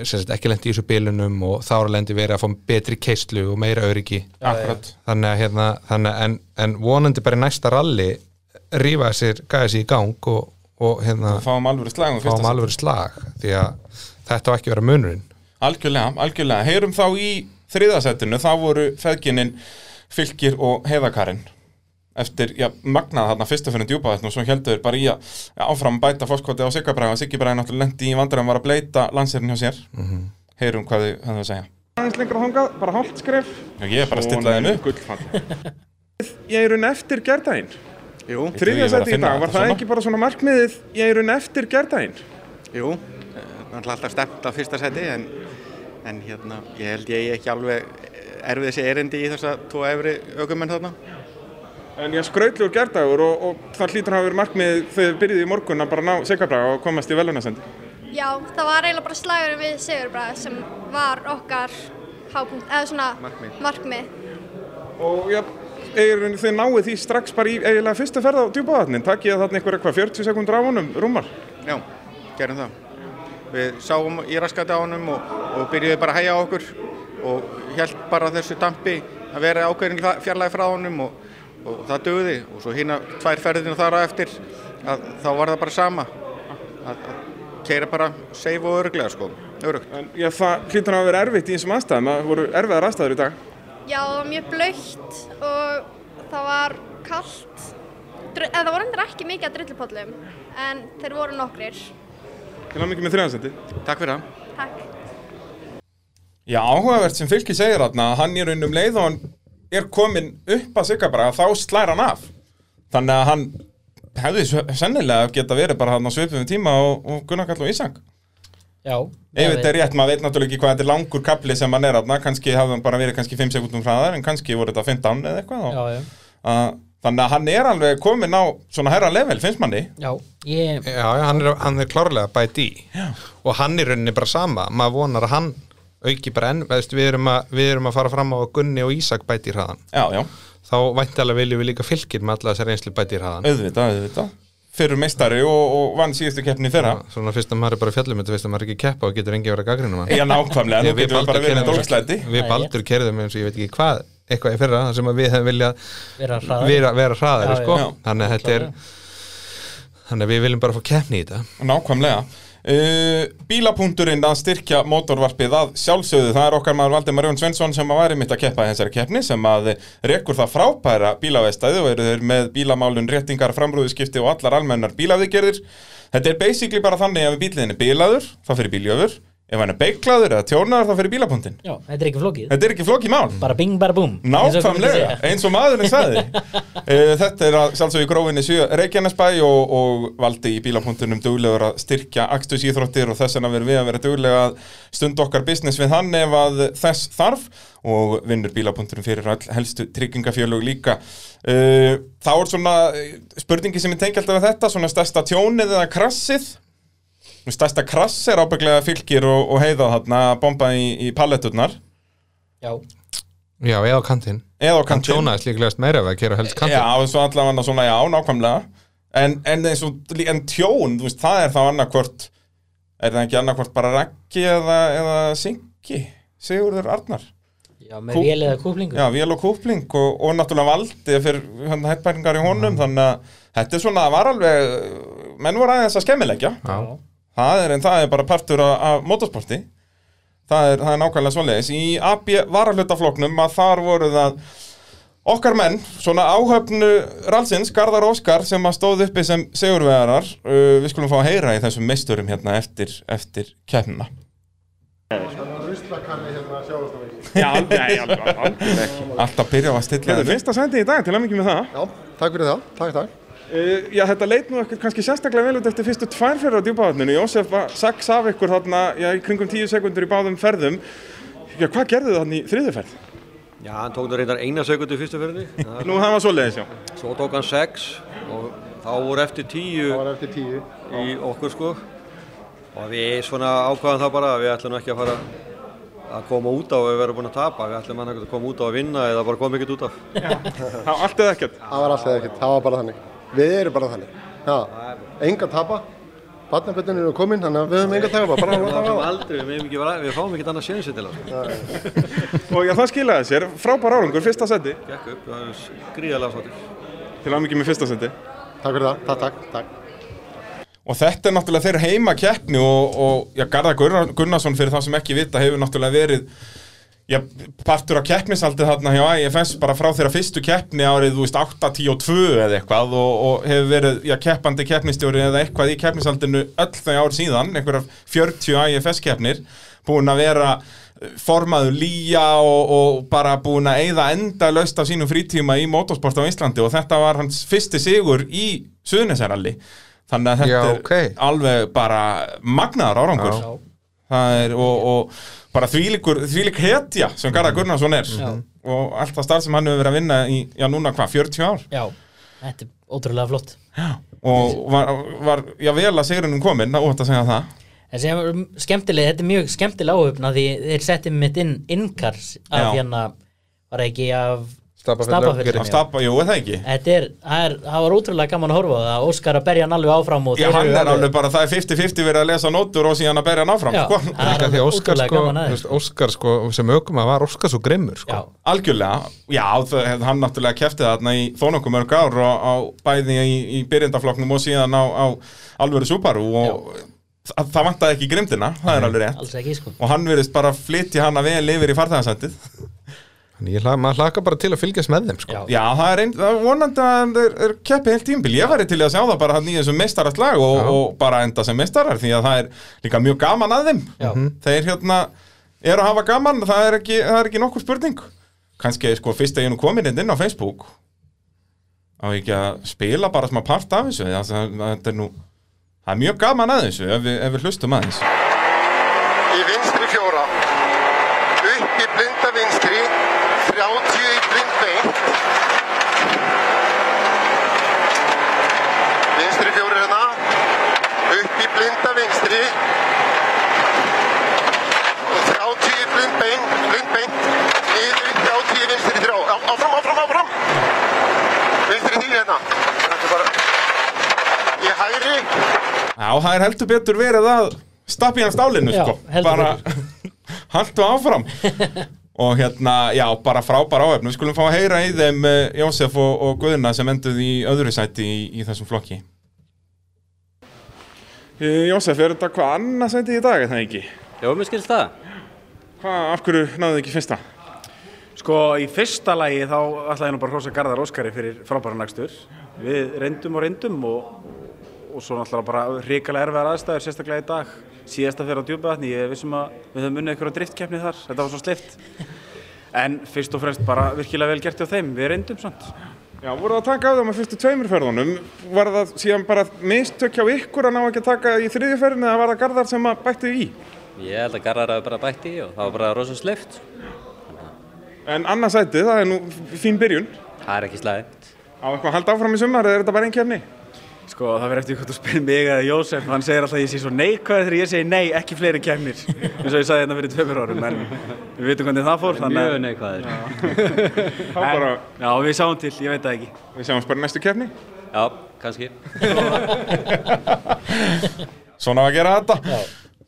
[SPEAKER 2] sem sagt, ekki lendi í þessu bilunum og þá er lendi verið að fá betri keislu og meira öryggi
[SPEAKER 1] Já, Akkurat. já.
[SPEAKER 2] þannig að hérna þannig að en, en vonandi bara í næsta ralli rífa sér, gæða sér í gang og, og hérna
[SPEAKER 1] Og fáum alvöru slag um fyrsta
[SPEAKER 2] fáum
[SPEAKER 1] sæti.
[SPEAKER 2] alvöru slag því að þetta á ekki að vera munurinn
[SPEAKER 1] Algjörlega, algjörlega. Heyrum þá í þriðasettinu, þá voru feðginin Fylkir og Heiðakarinn eftir, já, magnað þarna fyrsta fyrir djúpaðetn og svo heldur bara í að já, áfram bæta fórskoti á Siggabræða og Siggabræða náttúrulega lendi í vandræðum var að bleita landsherrin hjá sér
[SPEAKER 2] Mhm.
[SPEAKER 1] Heyrum hvað þau hefðu að segja
[SPEAKER 12] Aðeins lengra þangað, bara hálft skref
[SPEAKER 1] Já, ég er bara að stilla þeim upp
[SPEAKER 12] Ég er unn eftir gerdaginn
[SPEAKER 13] Jú
[SPEAKER 12] Þriðja seti í dag, var það ekki bara svona markmiðið Ég er unn eftir gerdaginn
[SPEAKER 13] Jú, eh, náttúrulega alltaf stemt á fyrsta seti en, en hérna, ég held ég eigi ekki alveg erfið þessi erindi í þessa tvo efri aukumenn þarna.
[SPEAKER 12] En ég skrautlegur gerdagur og, og það hlýtur að hafa verið markmið þegar þið byrjuði í morgun að bara ná Sigabraga og komast í velunasendi.
[SPEAKER 10] Já, það var eiginlega bara slagur við Sigurbræð sem var okkar hápunkt, eða svona
[SPEAKER 12] Markmið.
[SPEAKER 10] markmið.
[SPEAKER 12] og já, eigirinn þið náið því strax bara í eiginlega fyrstu ferð á djúpavatnin takkið þarna einhverja hvað 40 sekundur á honum rúmar
[SPEAKER 13] Já, gerum það. Við sáum í raskati á honum og, og byrjuði bara að hæja á okkur og held bara þessu dampi að vera ákveðin hla- fjarlægi frá honum og, og það döði og svo hérna tvær ferðinu þar á eftir að þá var það bara sama að, að keira bara safe og örglega sko, örugt.
[SPEAKER 12] En já, það hlýtur að vera erfitt í þessum aðstæðum að voru erfiðar aðstæður í dag
[SPEAKER 10] Já, það var mjög blautt og það var kallt. Dr- eða Það voru endur ekki mikið að drullupollum, en þeir voru nokkrir.
[SPEAKER 12] Til að mikið með þriðansendi
[SPEAKER 13] Takk fyrir það
[SPEAKER 10] Takk.
[SPEAKER 1] Já, áhugavert sem fylki segir þarna að hann er raun um leið og hann er komin upp að sigga bara þá slær hann af þannig að hann hefði svo- sennilega geta verið bara hann á svipum tíma og, og Gunnar Kall og Ísang
[SPEAKER 3] Já
[SPEAKER 1] ef þetta er rétt, maður veit náttúrulega ekki hvað þetta er langur kapli sem hann er þarna, kannski hafði hann bara verið kannski 5 sekundum hraðar en kannski voru þetta 15 eða eitthvað og,
[SPEAKER 3] já, já.
[SPEAKER 1] Að- þannig að hann er alveg komin á svona herra level, finnst manni
[SPEAKER 3] Já, ég
[SPEAKER 2] Já, já, hann er, hann er klárlega bæti í og hann er rauninni bara sama maður vonar að hann auki bara enn veðst, við, erum að, við erum að fara fram á að Gunni og Ísak bæti í hraðan
[SPEAKER 1] já, já.
[SPEAKER 2] þá væntalega viljum við líka fylgir með alla þessar reynslu bæti í hraðan
[SPEAKER 1] auðvitað, auðvitað, fyrir meistari og, og vann síðustu keppni þeirra
[SPEAKER 2] Svona fyrst að maður er bara fjallum þetta fyrst að maður er ekki keppa og getur engi að vera gaggrinum
[SPEAKER 1] Já, nákvæmlega, nú getum við bara verið dólgslæti.
[SPEAKER 2] Við baldur kerðum eins og ég veit ekki hvað eitthvað í fyrra, það sem að við hefum viljað
[SPEAKER 3] Vera hraðari.
[SPEAKER 2] vera, vera hraðari,
[SPEAKER 3] Já, já.
[SPEAKER 2] sko
[SPEAKER 3] Já.
[SPEAKER 2] Þannig að þetta er Þannig að við viljum bara fá keppni í þetta
[SPEAKER 1] Nákvæmlega uh, Bílapunkturinn að styrkja mótorvarpið að sjálfsögðu Það er okkar maður Valdimar Jón Svensson sem að væri mitt að keppa í þessari keppni sem að rekur það frábæra bílavestæði og eru þeir með bílamálun, réttingar, framrúðuskipti og allar almennar bílaviðgerðir Þetta er basically bara þannig að ef bílinn er bílaður, þá fyrir bíljöfur Ef hann er beiklaður eða tjónaður, þá fyrir bílapunktin
[SPEAKER 3] Já, þetta er ekki flókið
[SPEAKER 1] Þetta er ekki flókið mál
[SPEAKER 3] Bara bing, bara búm
[SPEAKER 1] Nákvæmlega, eins og maðurinn sagði Eh, Þetta er að sjálfsög í grófinni sjö Reykjanesbæ og, og valdi í bílapunktunum duglegur að styrkja Axtus íþróttir og þess vegna verðum við að vera duglega að stunda okkar business við hann ef að þess þarf og vinnur bílapunktunum fyrir all helstu tryggingafjölug líka Eh, Þá er svona eh, spurningi sem ég tengi alltaf við þetta svona stærsta tjónið eða krassið Nú, Stærsta krass er ábygglega fylgir og, og heiða þarna að bomba í, í paletturnar
[SPEAKER 3] Já,
[SPEAKER 2] Já, eða á kantinn
[SPEAKER 1] eða á
[SPEAKER 2] Hann
[SPEAKER 1] kantinn.
[SPEAKER 2] tjónaðist líklegast meira við að kera helst kantinn
[SPEAKER 1] Já, eins og allavega svona, já, nákvæmlega En, en, eins og, lí- en tjón, þú veist, það er þá annarkvort Er það ekki annarkvort bara Raggi eða, eða Sinki, Sigurður Arnar
[SPEAKER 3] Já, með vél eða kúplingu.
[SPEAKER 1] Já, vél og kúpling og, og náttúrulega valdi fyrir hættbæringar í honum Þannig að þetta er svona, það var alveg, menn voru aðeins að skemmilegja
[SPEAKER 2] Já.
[SPEAKER 1] Það er, en það er bara partur af, af motorsporti það er, það er nákvæmlega svoleiðis í AB varalutafloknum að þar voru það okkar menn, svona áhöfnu ralsins, Garðar Óskar sem að stóð uppi sem segurvegarar uh, við skulum fá að heyra í þessum meisturum hérna eftir, eftir keppnina
[SPEAKER 9] Ruslakalli hérna sjáast það ekki.
[SPEAKER 12] Já, aldrei, nei, aldrei, aldrei ekki.
[SPEAKER 1] Alltaf byrja á að stilla
[SPEAKER 12] Þetta er fyrsta sendi í dag, til að mikið með það
[SPEAKER 9] Já, takk fyrir það, takk, takk
[SPEAKER 12] Uh, Já, þetta leit nú ekkert kannski sérstaklega vel út eftir fyrstu tvær fyrir á djúpavatninu Jósef var sex af ykkur þarna, já, í kringum 10 sekundur í báðum ferðum Já, hvað gerðu þarna í þriðu ferð?
[SPEAKER 14] Já, hann tók nú reyndar eina sekundu í fyrstu ferðinni.
[SPEAKER 12] Nú, það var svoleiðis, já.
[SPEAKER 14] Svo tók hann sex og þá voru eftir tíu. Það voru eftir tíu. Í okkur sko. Og við svona ákvaðum það bara að við ætlum nú ekki að fara að koma út á að við verðum búin að tapa. Við ætlum annað að koma út á að vinna eða bara koma ekkert út af.
[SPEAKER 12] Það var allt eða ekkert?
[SPEAKER 9] Það var allt eða ekkert, það var bara þannig Við erum bara þannig Já, enga tapa Barnaböndunir eru komin, þannig að við höfum enga tapa Bara að
[SPEAKER 14] við
[SPEAKER 9] láta
[SPEAKER 14] fáum
[SPEAKER 9] hafa
[SPEAKER 14] aldrei, við, megum ekki vera, við fáum ekkert annað séðin til það.
[SPEAKER 12] Og já, það skilaði sér, frábær árangur, fyrsta sendi
[SPEAKER 14] Gekk upp, það er gríðarlega svolítið.
[SPEAKER 12] Til að mikið með fyrsta sendi
[SPEAKER 9] Takk fyrir það, takk, takk, takk
[SPEAKER 1] Og þetta er náttúrulega þeirra heima keppni og, og já, Garðar Gunnar- Gunnarsson fyrir það sem ekki vita hefur náttúrulega verið já, partur á keppnisaldi þarna hjá IFS bara frá þeirra fyrstu keppni árið, þú veist, 8, 10 og 2 eða eitthvað og, og hefur verið já, keppandi keppnistjóri eða eitthvað í keppnisaldinu öll þau ár síðan, einhverjar 40 IFS keppnir, búin að vera eh, formaður lýja og, og bara búin að eyða enda löst af sínum frítíma í motorsport á Íslandi og þetta var hans fyrsti sigur í Suðunisæralli þannig að þetta
[SPEAKER 2] Já,
[SPEAKER 1] er alveg bara magnaðar árangur
[SPEAKER 2] Já.
[SPEAKER 1] Það er, og, og bara þvílíkur, þvílík hetja sem Garðar Gunnarsson er
[SPEAKER 3] Mhm. Já.
[SPEAKER 1] og allt það starf sem hann hefur verið að vinna í, já núna hvað, 40 ár
[SPEAKER 3] já Þetta er ótrúlega flott
[SPEAKER 1] og var, var já vel að sigrunum komin, það ótt að segja það
[SPEAKER 3] Þessi er um, skemmtileg, þetta er mjög skemmtileg áhugna því þeir setti mitt inn innkars af
[SPEAKER 1] Já.
[SPEAKER 3] hérna var það ekki af Stapafell.
[SPEAKER 1] Af Stapa, jú, er það ekki?
[SPEAKER 3] Þetta er, það er, það var útrúlega gaman að horfa á það Óskar að berja hann alveg áfram
[SPEAKER 1] Já,
[SPEAKER 3] og þeir
[SPEAKER 1] hann
[SPEAKER 3] eru
[SPEAKER 1] er alveg bara, það er 50-50 verið að lesa nótur og síðan að berja hann áfram,
[SPEAKER 3] Já,
[SPEAKER 1] sko.
[SPEAKER 3] það er Líka því alveg Óskar, ótrúlega sko, gaman að þessu.
[SPEAKER 2] veist, Óskar sko, sem aukum að var Óskar svo grimmur sko.
[SPEAKER 1] Algjörlega, já, það, hann náttúrulega kefti þarna í þó nokkuð mörg ár og á bæði í, í byrjandaflokknum og síðan á, á alvöru Subaru og það, það vantaði ekki grimdina, það er alveg rétt
[SPEAKER 3] Alls ekki, sko
[SPEAKER 1] og hann verðist bara flytja hana vel yfir í farþæðarsættið
[SPEAKER 2] Þannig ég hlaka, maður hlaka bara til að fylgjast með þeim sko.
[SPEAKER 1] Já, það er, ein, það er vonandi að hann er, er keppi heilt tímbil, ég væri til í að sjá það bara hann í þessum meistarast lag og, og bara enda sem meistarar því að það er líka mjög gaman að þeim
[SPEAKER 3] Já.
[SPEAKER 1] þeir hérna eru að hafa gaman, það er ekki, það er ekki nokkur spurning kannski sko fyrst að ég er nú komin hérna inn á Facebook á ekki að spila bara smá part af þessu það, það, það er nú, það er mjög gaman að þessu ef við, ef við hlustum aðeins
[SPEAKER 15] í vinstri fjóra upp í blinda vinstri 30 í blind beint vinstri fjóra hérna upp í blinda vinstri og 30 í blind beint blind beint niður í 30 í vinstri þrjá Á- áfram, áfram, áfram vinstri nýju hérna þetta er bara í hægri
[SPEAKER 1] Já, það er heldur betur verið að stappi hann stálinu,
[SPEAKER 15] Já,
[SPEAKER 1] sko
[SPEAKER 15] heldur
[SPEAKER 1] bara, haldu áfram og hérna, já, bara frábæra áhefn við skulum fá að heyra í þeim eh, Jósef og, og Guðna sem enduð í öðru sæti í, í þessum flokki
[SPEAKER 12] Eh, Jósef, er þetta hvað annað sæti í dag, er það ekki?
[SPEAKER 16] Já, mér skilst það.
[SPEAKER 12] Hvað, af hverju náðu þið ekki fyrsta?
[SPEAKER 16] Sko, í fyrsta lagi þá ætla ég nú bara að hrósa Garðar Óskari fyrir frábæran lagstur. Við reyndum og reyndum og, og svo náttúrulega bara hrikalega erfiðar aðstæður, sérstaklega í dag. Síðasta fyrir á djúpaðatni, ég vissum að við höfum unnið einhverja driftkeppni þar, þetta var svo sleift. En fyrst og fremst bara virkilega vel gert hjá þeim, við reyndum samt.
[SPEAKER 12] Já, voru það að taka af þeim að fyrstu tveimur ferðunum? Var það síðan bara mistök hjá ykkur að ná ekki að taka í þriðju ferðinu eða var það Garðar sem að bættu í?
[SPEAKER 16] Ég held að Garðar hafi bara bætt í og það var bara rosa sleift.
[SPEAKER 12] En annað sæti, það er nú fín byrjun.
[SPEAKER 16] Það er ekki slæmt.
[SPEAKER 12] Á eitthvað að halda áfram í sumar eða er þetta bara einn kefni?
[SPEAKER 16] Sko, það verður eftir hvort þú spyrir mig eða Jósef, hann segir alltaf að ég sé svo neikvæður þegar ég segi nei, ekki fleiri kemnir, eins og ég sagði hérna fyrir tveimur árum, en við veitum hvernig það fór,
[SPEAKER 12] Mjög
[SPEAKER 16] neikvæður.
[SPEAKER 12] Þá bara-
[SPEAKER 16] Já, við sjáum til, ég veit það ekki.
[SPEAKER 12] Við sjáum bara næstu kefni?
[SPEAKER 16] Já, kannski.
[SPEAKER 1] Svona á að gera þetta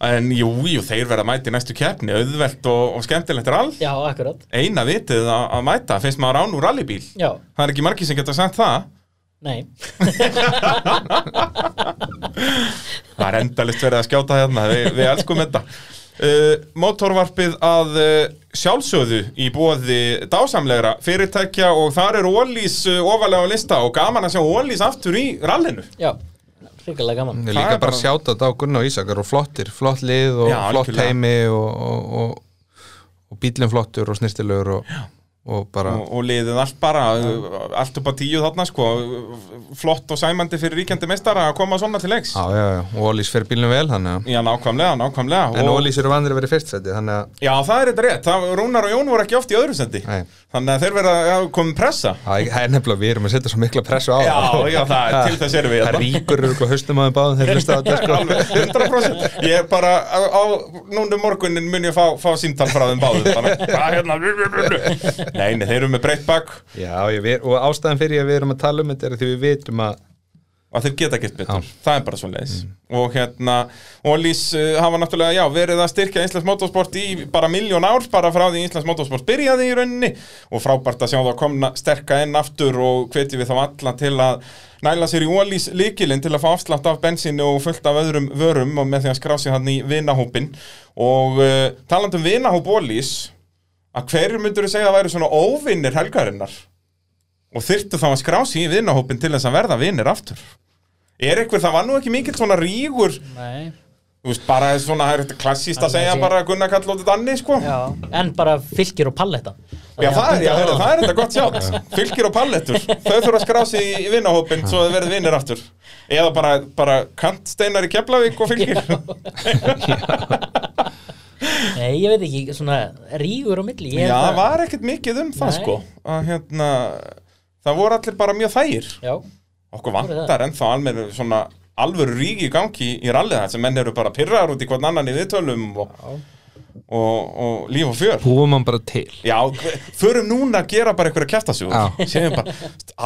[SPEAKER 1] En jú, jú, þeir verða að mæta í næstu keppni auðvelt og, og skemmtilegt er all
[SPEAKER 3] Já, akkurat
[SPEAKER 1] Eina vitið að, að mæta, finnst maður án úr rallybíl
[SPEAKER 3] Já,
[SPEAKER 1] Það er ekki margir sem geta sagt það
[SPEAKER 3] nei
[SPEAKER 1] Það er endalist verið að skjáta hérna, við, við elskum þetta. Uh, Mótorvarpið að uh, sjálfsöðu í bóði dásamlegra fyrirtækja og þar er Ólís uh, ofalega á lista og gaman að sjá Ólís aftur í rallinu.
[SPEAKER 3] Já, hrikalega gaman
[SPEAKER 2] Ég líka bara sjáta þetta á Gunnar og Ísakar og flottir, flott lið og
[SPEAKER 3] Já,
[SPEAKER 2] flott
[SPEAKER 3] algjörlega.
[SPEAKER 2] heimi og, og, og, og bílinn flottur og snirtilegur og, og bara
[SPEAKER 1] Og, og liðið allt bara, uh, allt upp á tíu þarna sko, flott og sæmandi fyrir ríkjandi meistara að koma svona til leiks.
[SPEAKER 2] Já, já, já, og Ólís fer bílinn vel þannig
[SPEAKER 1] Já, nákvæmlega, nákvæmlega
[SPEAKER 2] að En
[SPEAKER 1] og-
[SPEAKER 2] Ólís eru vandir að vera í fyrst sæti þannig að
[SPEAKER 1] Já, það er þetta rétt, það, Rúnar og Jón voru ekki oft í öðru sendi,
[SPEAKER 2] Nei.
[SPEAKER 1] þannig að þeir verða já, komin pressa.
[SPEAKER 2] Það er- það er nefnilega, við erum að setja svo mikla pressu á
[SPEAKER 1] Já,
[SPEAKER 2] þá.
[SPEAKER 1] já, það er- til þess erum við
[SPEAKER 2] Það
[SPEAKER 1] hérna.
[SPEAKER 2] ríkur eru höstum aðeins báðum þeir hlusta á þetta sko.
[SPEAKER 1] Alveg, 100% Ég er bara, á, á núna um morgunin mun ég fá, fá símtal frá þeim báðum bara, Hvað hérna Nei, nei, þeir eru með breytt bak
[SPEAKER 2] Já, ég, við, og ástæðan fyrir ég að við erum að tala um þetta er að því við vitum að
[SPEAKER 1] að þeir geta gert betur, það er bara svo leiðis og hérna, og Lís uh, hafa náttúrulega, já, verið að styrkja Íslands motorsport í bara miljón ár, bara frá því Íslands motorsport byrjaði í rauninni og frábært að sjá það komna sterka enn aftur og hvetjum við þá alla til að næla sér í Ólís líkilinn til að fá afslátt af bensinu og fullt af öðrum vörum og með því að skrá sér hann í vinahópin og uh, talandum vinahóp Ólís að hverju myndur segja að væri svona óvinnir helgarinnar og þyrftu þá að skrá sér í vinahópin til þess að verða vinnir aftur er einhver, það var nú ekki mikill svona rígur
[SPEAKER 3] Nei
[SPEAKER 1] þú veist, bara svona, það er þetta klassíst að
[SPEAKER 3] Alveg
[SPEAKER 1] segja
[SPEAKER 3] sé.
[SPEAKER 1] bara að Gunnar kall lótið danni, sko já,
[SPEAKER 3] En bara fylgir og palletta
[SPEAKER 1] það er, já, heyrðu, það er þetta gott sjátt fylgir og pallettur, þau þurfa að skrá sig í, í vinnahópin svo þau verði vinnir aftur eða bara, bara kantsteinar í Keflavík og fylgir
[SPEAKER 3] Nei, ég veit ekki, svona rígur á milli
[SPEAKER 1] Já, það var ekkert mikið um það
[SPEAKER 3] Nei.
[SPEAKER 1] sko að hérna það voru allir bara mjög þægir
[SPEAKER 3] Já.
[SPEAKER 1] okkur
[SPEAKER 3] voru
[SPEAKER 1] vantar ennþá alveg svona alvöru rík í gangi í rallið þess að menn eru bara pyrraðar út í hvern annan í viðtölum og, og, og líf og fjör
[SPEAKER 2] Búum hann bara til
[SPEAKER 1] Já, hver- förum núna að gera bara eitthvað að kjæfta sig úr Segjum bara,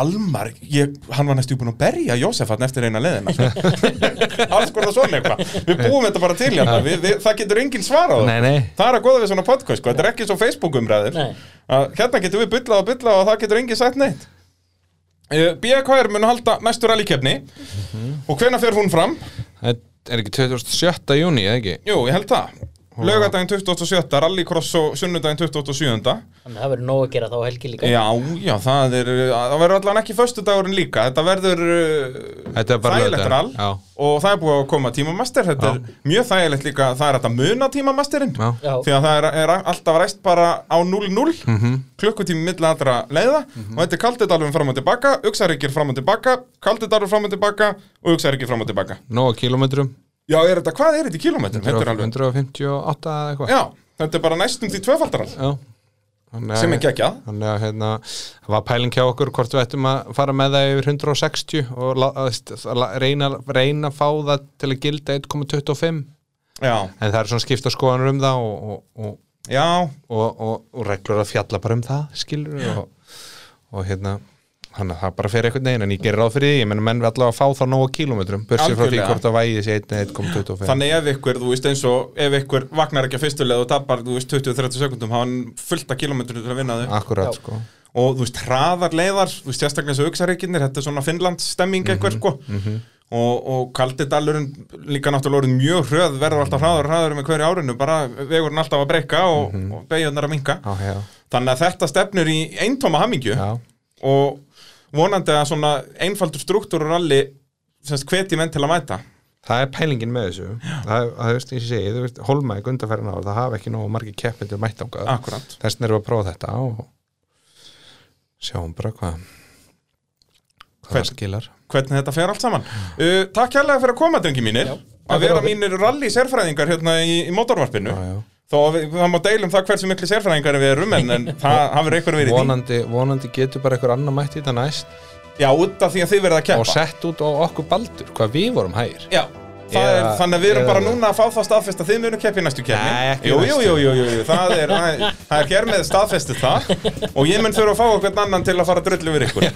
[SPEAKER 1] Almar, ég, hann var næstu búin að berja Jósef hann eftir eina leðina sko. Alls hvort það svona eitthvað Við búum þetta bara til hérna, við, við, það getur enginn svarað á
[SPEAKER 2] Nei,
[SPEAKER 1] það.
[SPEAKER 2] nei.
[SPEAKER 1] Það er að goða við svona podcast, sko. þetta er ekki svo Facebook umræður
[SPEAKER 3] Nei.
[SPEAKER 1] Að Hérna getum við byllað og byllað og það getur enginn sagt neitt Eh, BKR mun halda næstu rallykefni
[SPEAKER 2] Mhm.
[SPEAKER 1] Og hvenær fer hún fram?
[SPEAKER 2] Það er ekki 27. júni, eða ekki?
[SPEAKER 1] Jú, ég held það Laugardaginn 27. Rallycross og sunnudaginn 27.
[SPEAKER 3] Þannig að það verður nóg að gera þá á helgi líka
[SPEAKER 1] Já, já, það er það verður allan ekki föstudagurinn líka þetta verður uh,
[SPEAKER 2] Þetta er bara
[SPEAKER 1] þægilegt
[SPEAKER 2] laugardagur,
[SPEAKER 1] rall og það er búið að koma tímamaster þetta er mjög þægilegt líka, það er hægt að muna tímamasterinn
[SPEAKER 2] Já.
[SPEAKER 3] Já.
[SPEAKER 1] því að það er, er alltaf ræst bara á 0-0
[SPEAKER 2] Mhm.
[SPEAKER 1] klukkutími milli allra leiða og þetta er kaldidalvin fram og tilbaka, uxaríkir fram og tilbaka kaldidalvin fram og tilbaka og uxaríkir fram og tilbaka
[SPEAKER 2] Nóa kilometrum
[SPEAKER 1] Já, er þetta, hvað er þetta í kilometrum? Þetta er alveg,
[SPEAKER 2] 158 eða eitthvað
[SPEAKER 1] já, þetta er bara næstum því tvöfaldarall
[SPEAKER 2] Já, Þannig að-
[SPEAKER 1] Sem er geggjað.
[SPEAKER 2] Þannig að hérna, það var pæling hjá okkur hvort við ættum að fara með það yfir 160 og la, að, að, la- reyna, reyna að fá það til að gilda 1,25
[SPEAKER 1] Já.
[SPEAKER 2] En það er svona skipta skoðanur um það og, og, og,
[SPEAKER 1] og,
[SPEAKER 2] og, og reglur að fjalla bara um það skilur
[SPEAKER 1] Já.
[SPEAKER 2] og, og hérna Þannig að það bara fer eitthvað neginn en ég gerir ráð fyrir því, ég menn menn við allavega að fá það nóga kilometrum, börsið frá því
[SPEAKER 1] Algjörlega.
[SPEAKER 2] hvort það vægi þessi 1,25.
[SPEAKER 1] Þannig ef ykkur, þú veist eins og ef ykkur vagnar ekki að fyrstu leið og tapar þú veist 20-30 sekundum, hafa hann fullt af kilometrum til að vinna þau.
[SPEAKER 2] Akkurat, Já. sko.
[SPEAKER 1] Og þú veist, hraðar leiðar, þú veist, sérstaklega eins og auksaríkinnir, þetta er svona Finnlands stemming eitthvað, sko.
[SPEAKER 2] Mhm.
[SPEAKER 1] Og, og kaldidalurinn líka náttúrulega orðin mjög hröð, verður alltaf hraðar og hraðar með hverju árinu, bara vegurinn alltaf að breyka og, mm og beigjarnar að minka.
[SPEAKER 2] Mhm. Já, já.
[SPEAKER 1] Þannig að þetta stefnur í eintóma hamingju og vonandi að svona einfaldur struktúrur allir hveti menn til að mæta
[SPEAKER 2] Það er pælingin með þessu Það er, það, veist, ég segi, þú veist, holmæk undarfærin ára það hafa ekki nógu margir keppindur mætt ángað
[SPEAKER 1] Akkúrat.
[SPEAKER 2] Þess vegna erum við að prófa þetta og sjáum bara hvað hvað það skilar
[SPEAKER 1] hvernig þetta fer allt saman uh, Takk kærlega fyrir að koma, drengi mínir að vera mínir rally sérfræðingar hérna í, í mótorvarpinu þó að við, það má deilum það hversu miklu sérfræðingar við erum en, en það hafur einhver verið í
[SPEAKER 2] vonandi, vonandi getur bara einhver annar mætt í þetta næst
[SPEAKER 1] því Já, út af því að þið verða að keppa.
[SPEAKER 2] Og sett út á okkur baldur, hvað við vorum hægir
[SPEAKER 1] Já, það er,
[SPEAKER 2] Eða-
[SPEAKER 1] þannig að við erum
[SPEAKER 2] eða-
[SPEAKER 1] bara núna að fá það staðfest að þið munum keppi í næstu kefni
[SPEAKER 2] Nei, ekki
[SPEAKER 1] jú,
[SPEAKER 2] næstu.
[SPEAKER 1] jú, jú, jú, jú, jú, það er, það er- það er hér með staðfestið það og ég mun þurfa að fá okkur annan til að fara að drullu yfir ykkur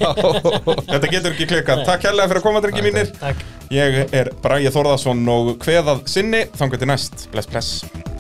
[SPEAKER 1] Þetta getur ekki klikkað Takk hérlega fyrir að koma, drengi mínir
[SPEAKER 3] Takk.
[SPEAKER 1] Ég er Bræði Þórðarsson og Kveðað Sinni Þangar til næst, bless, bless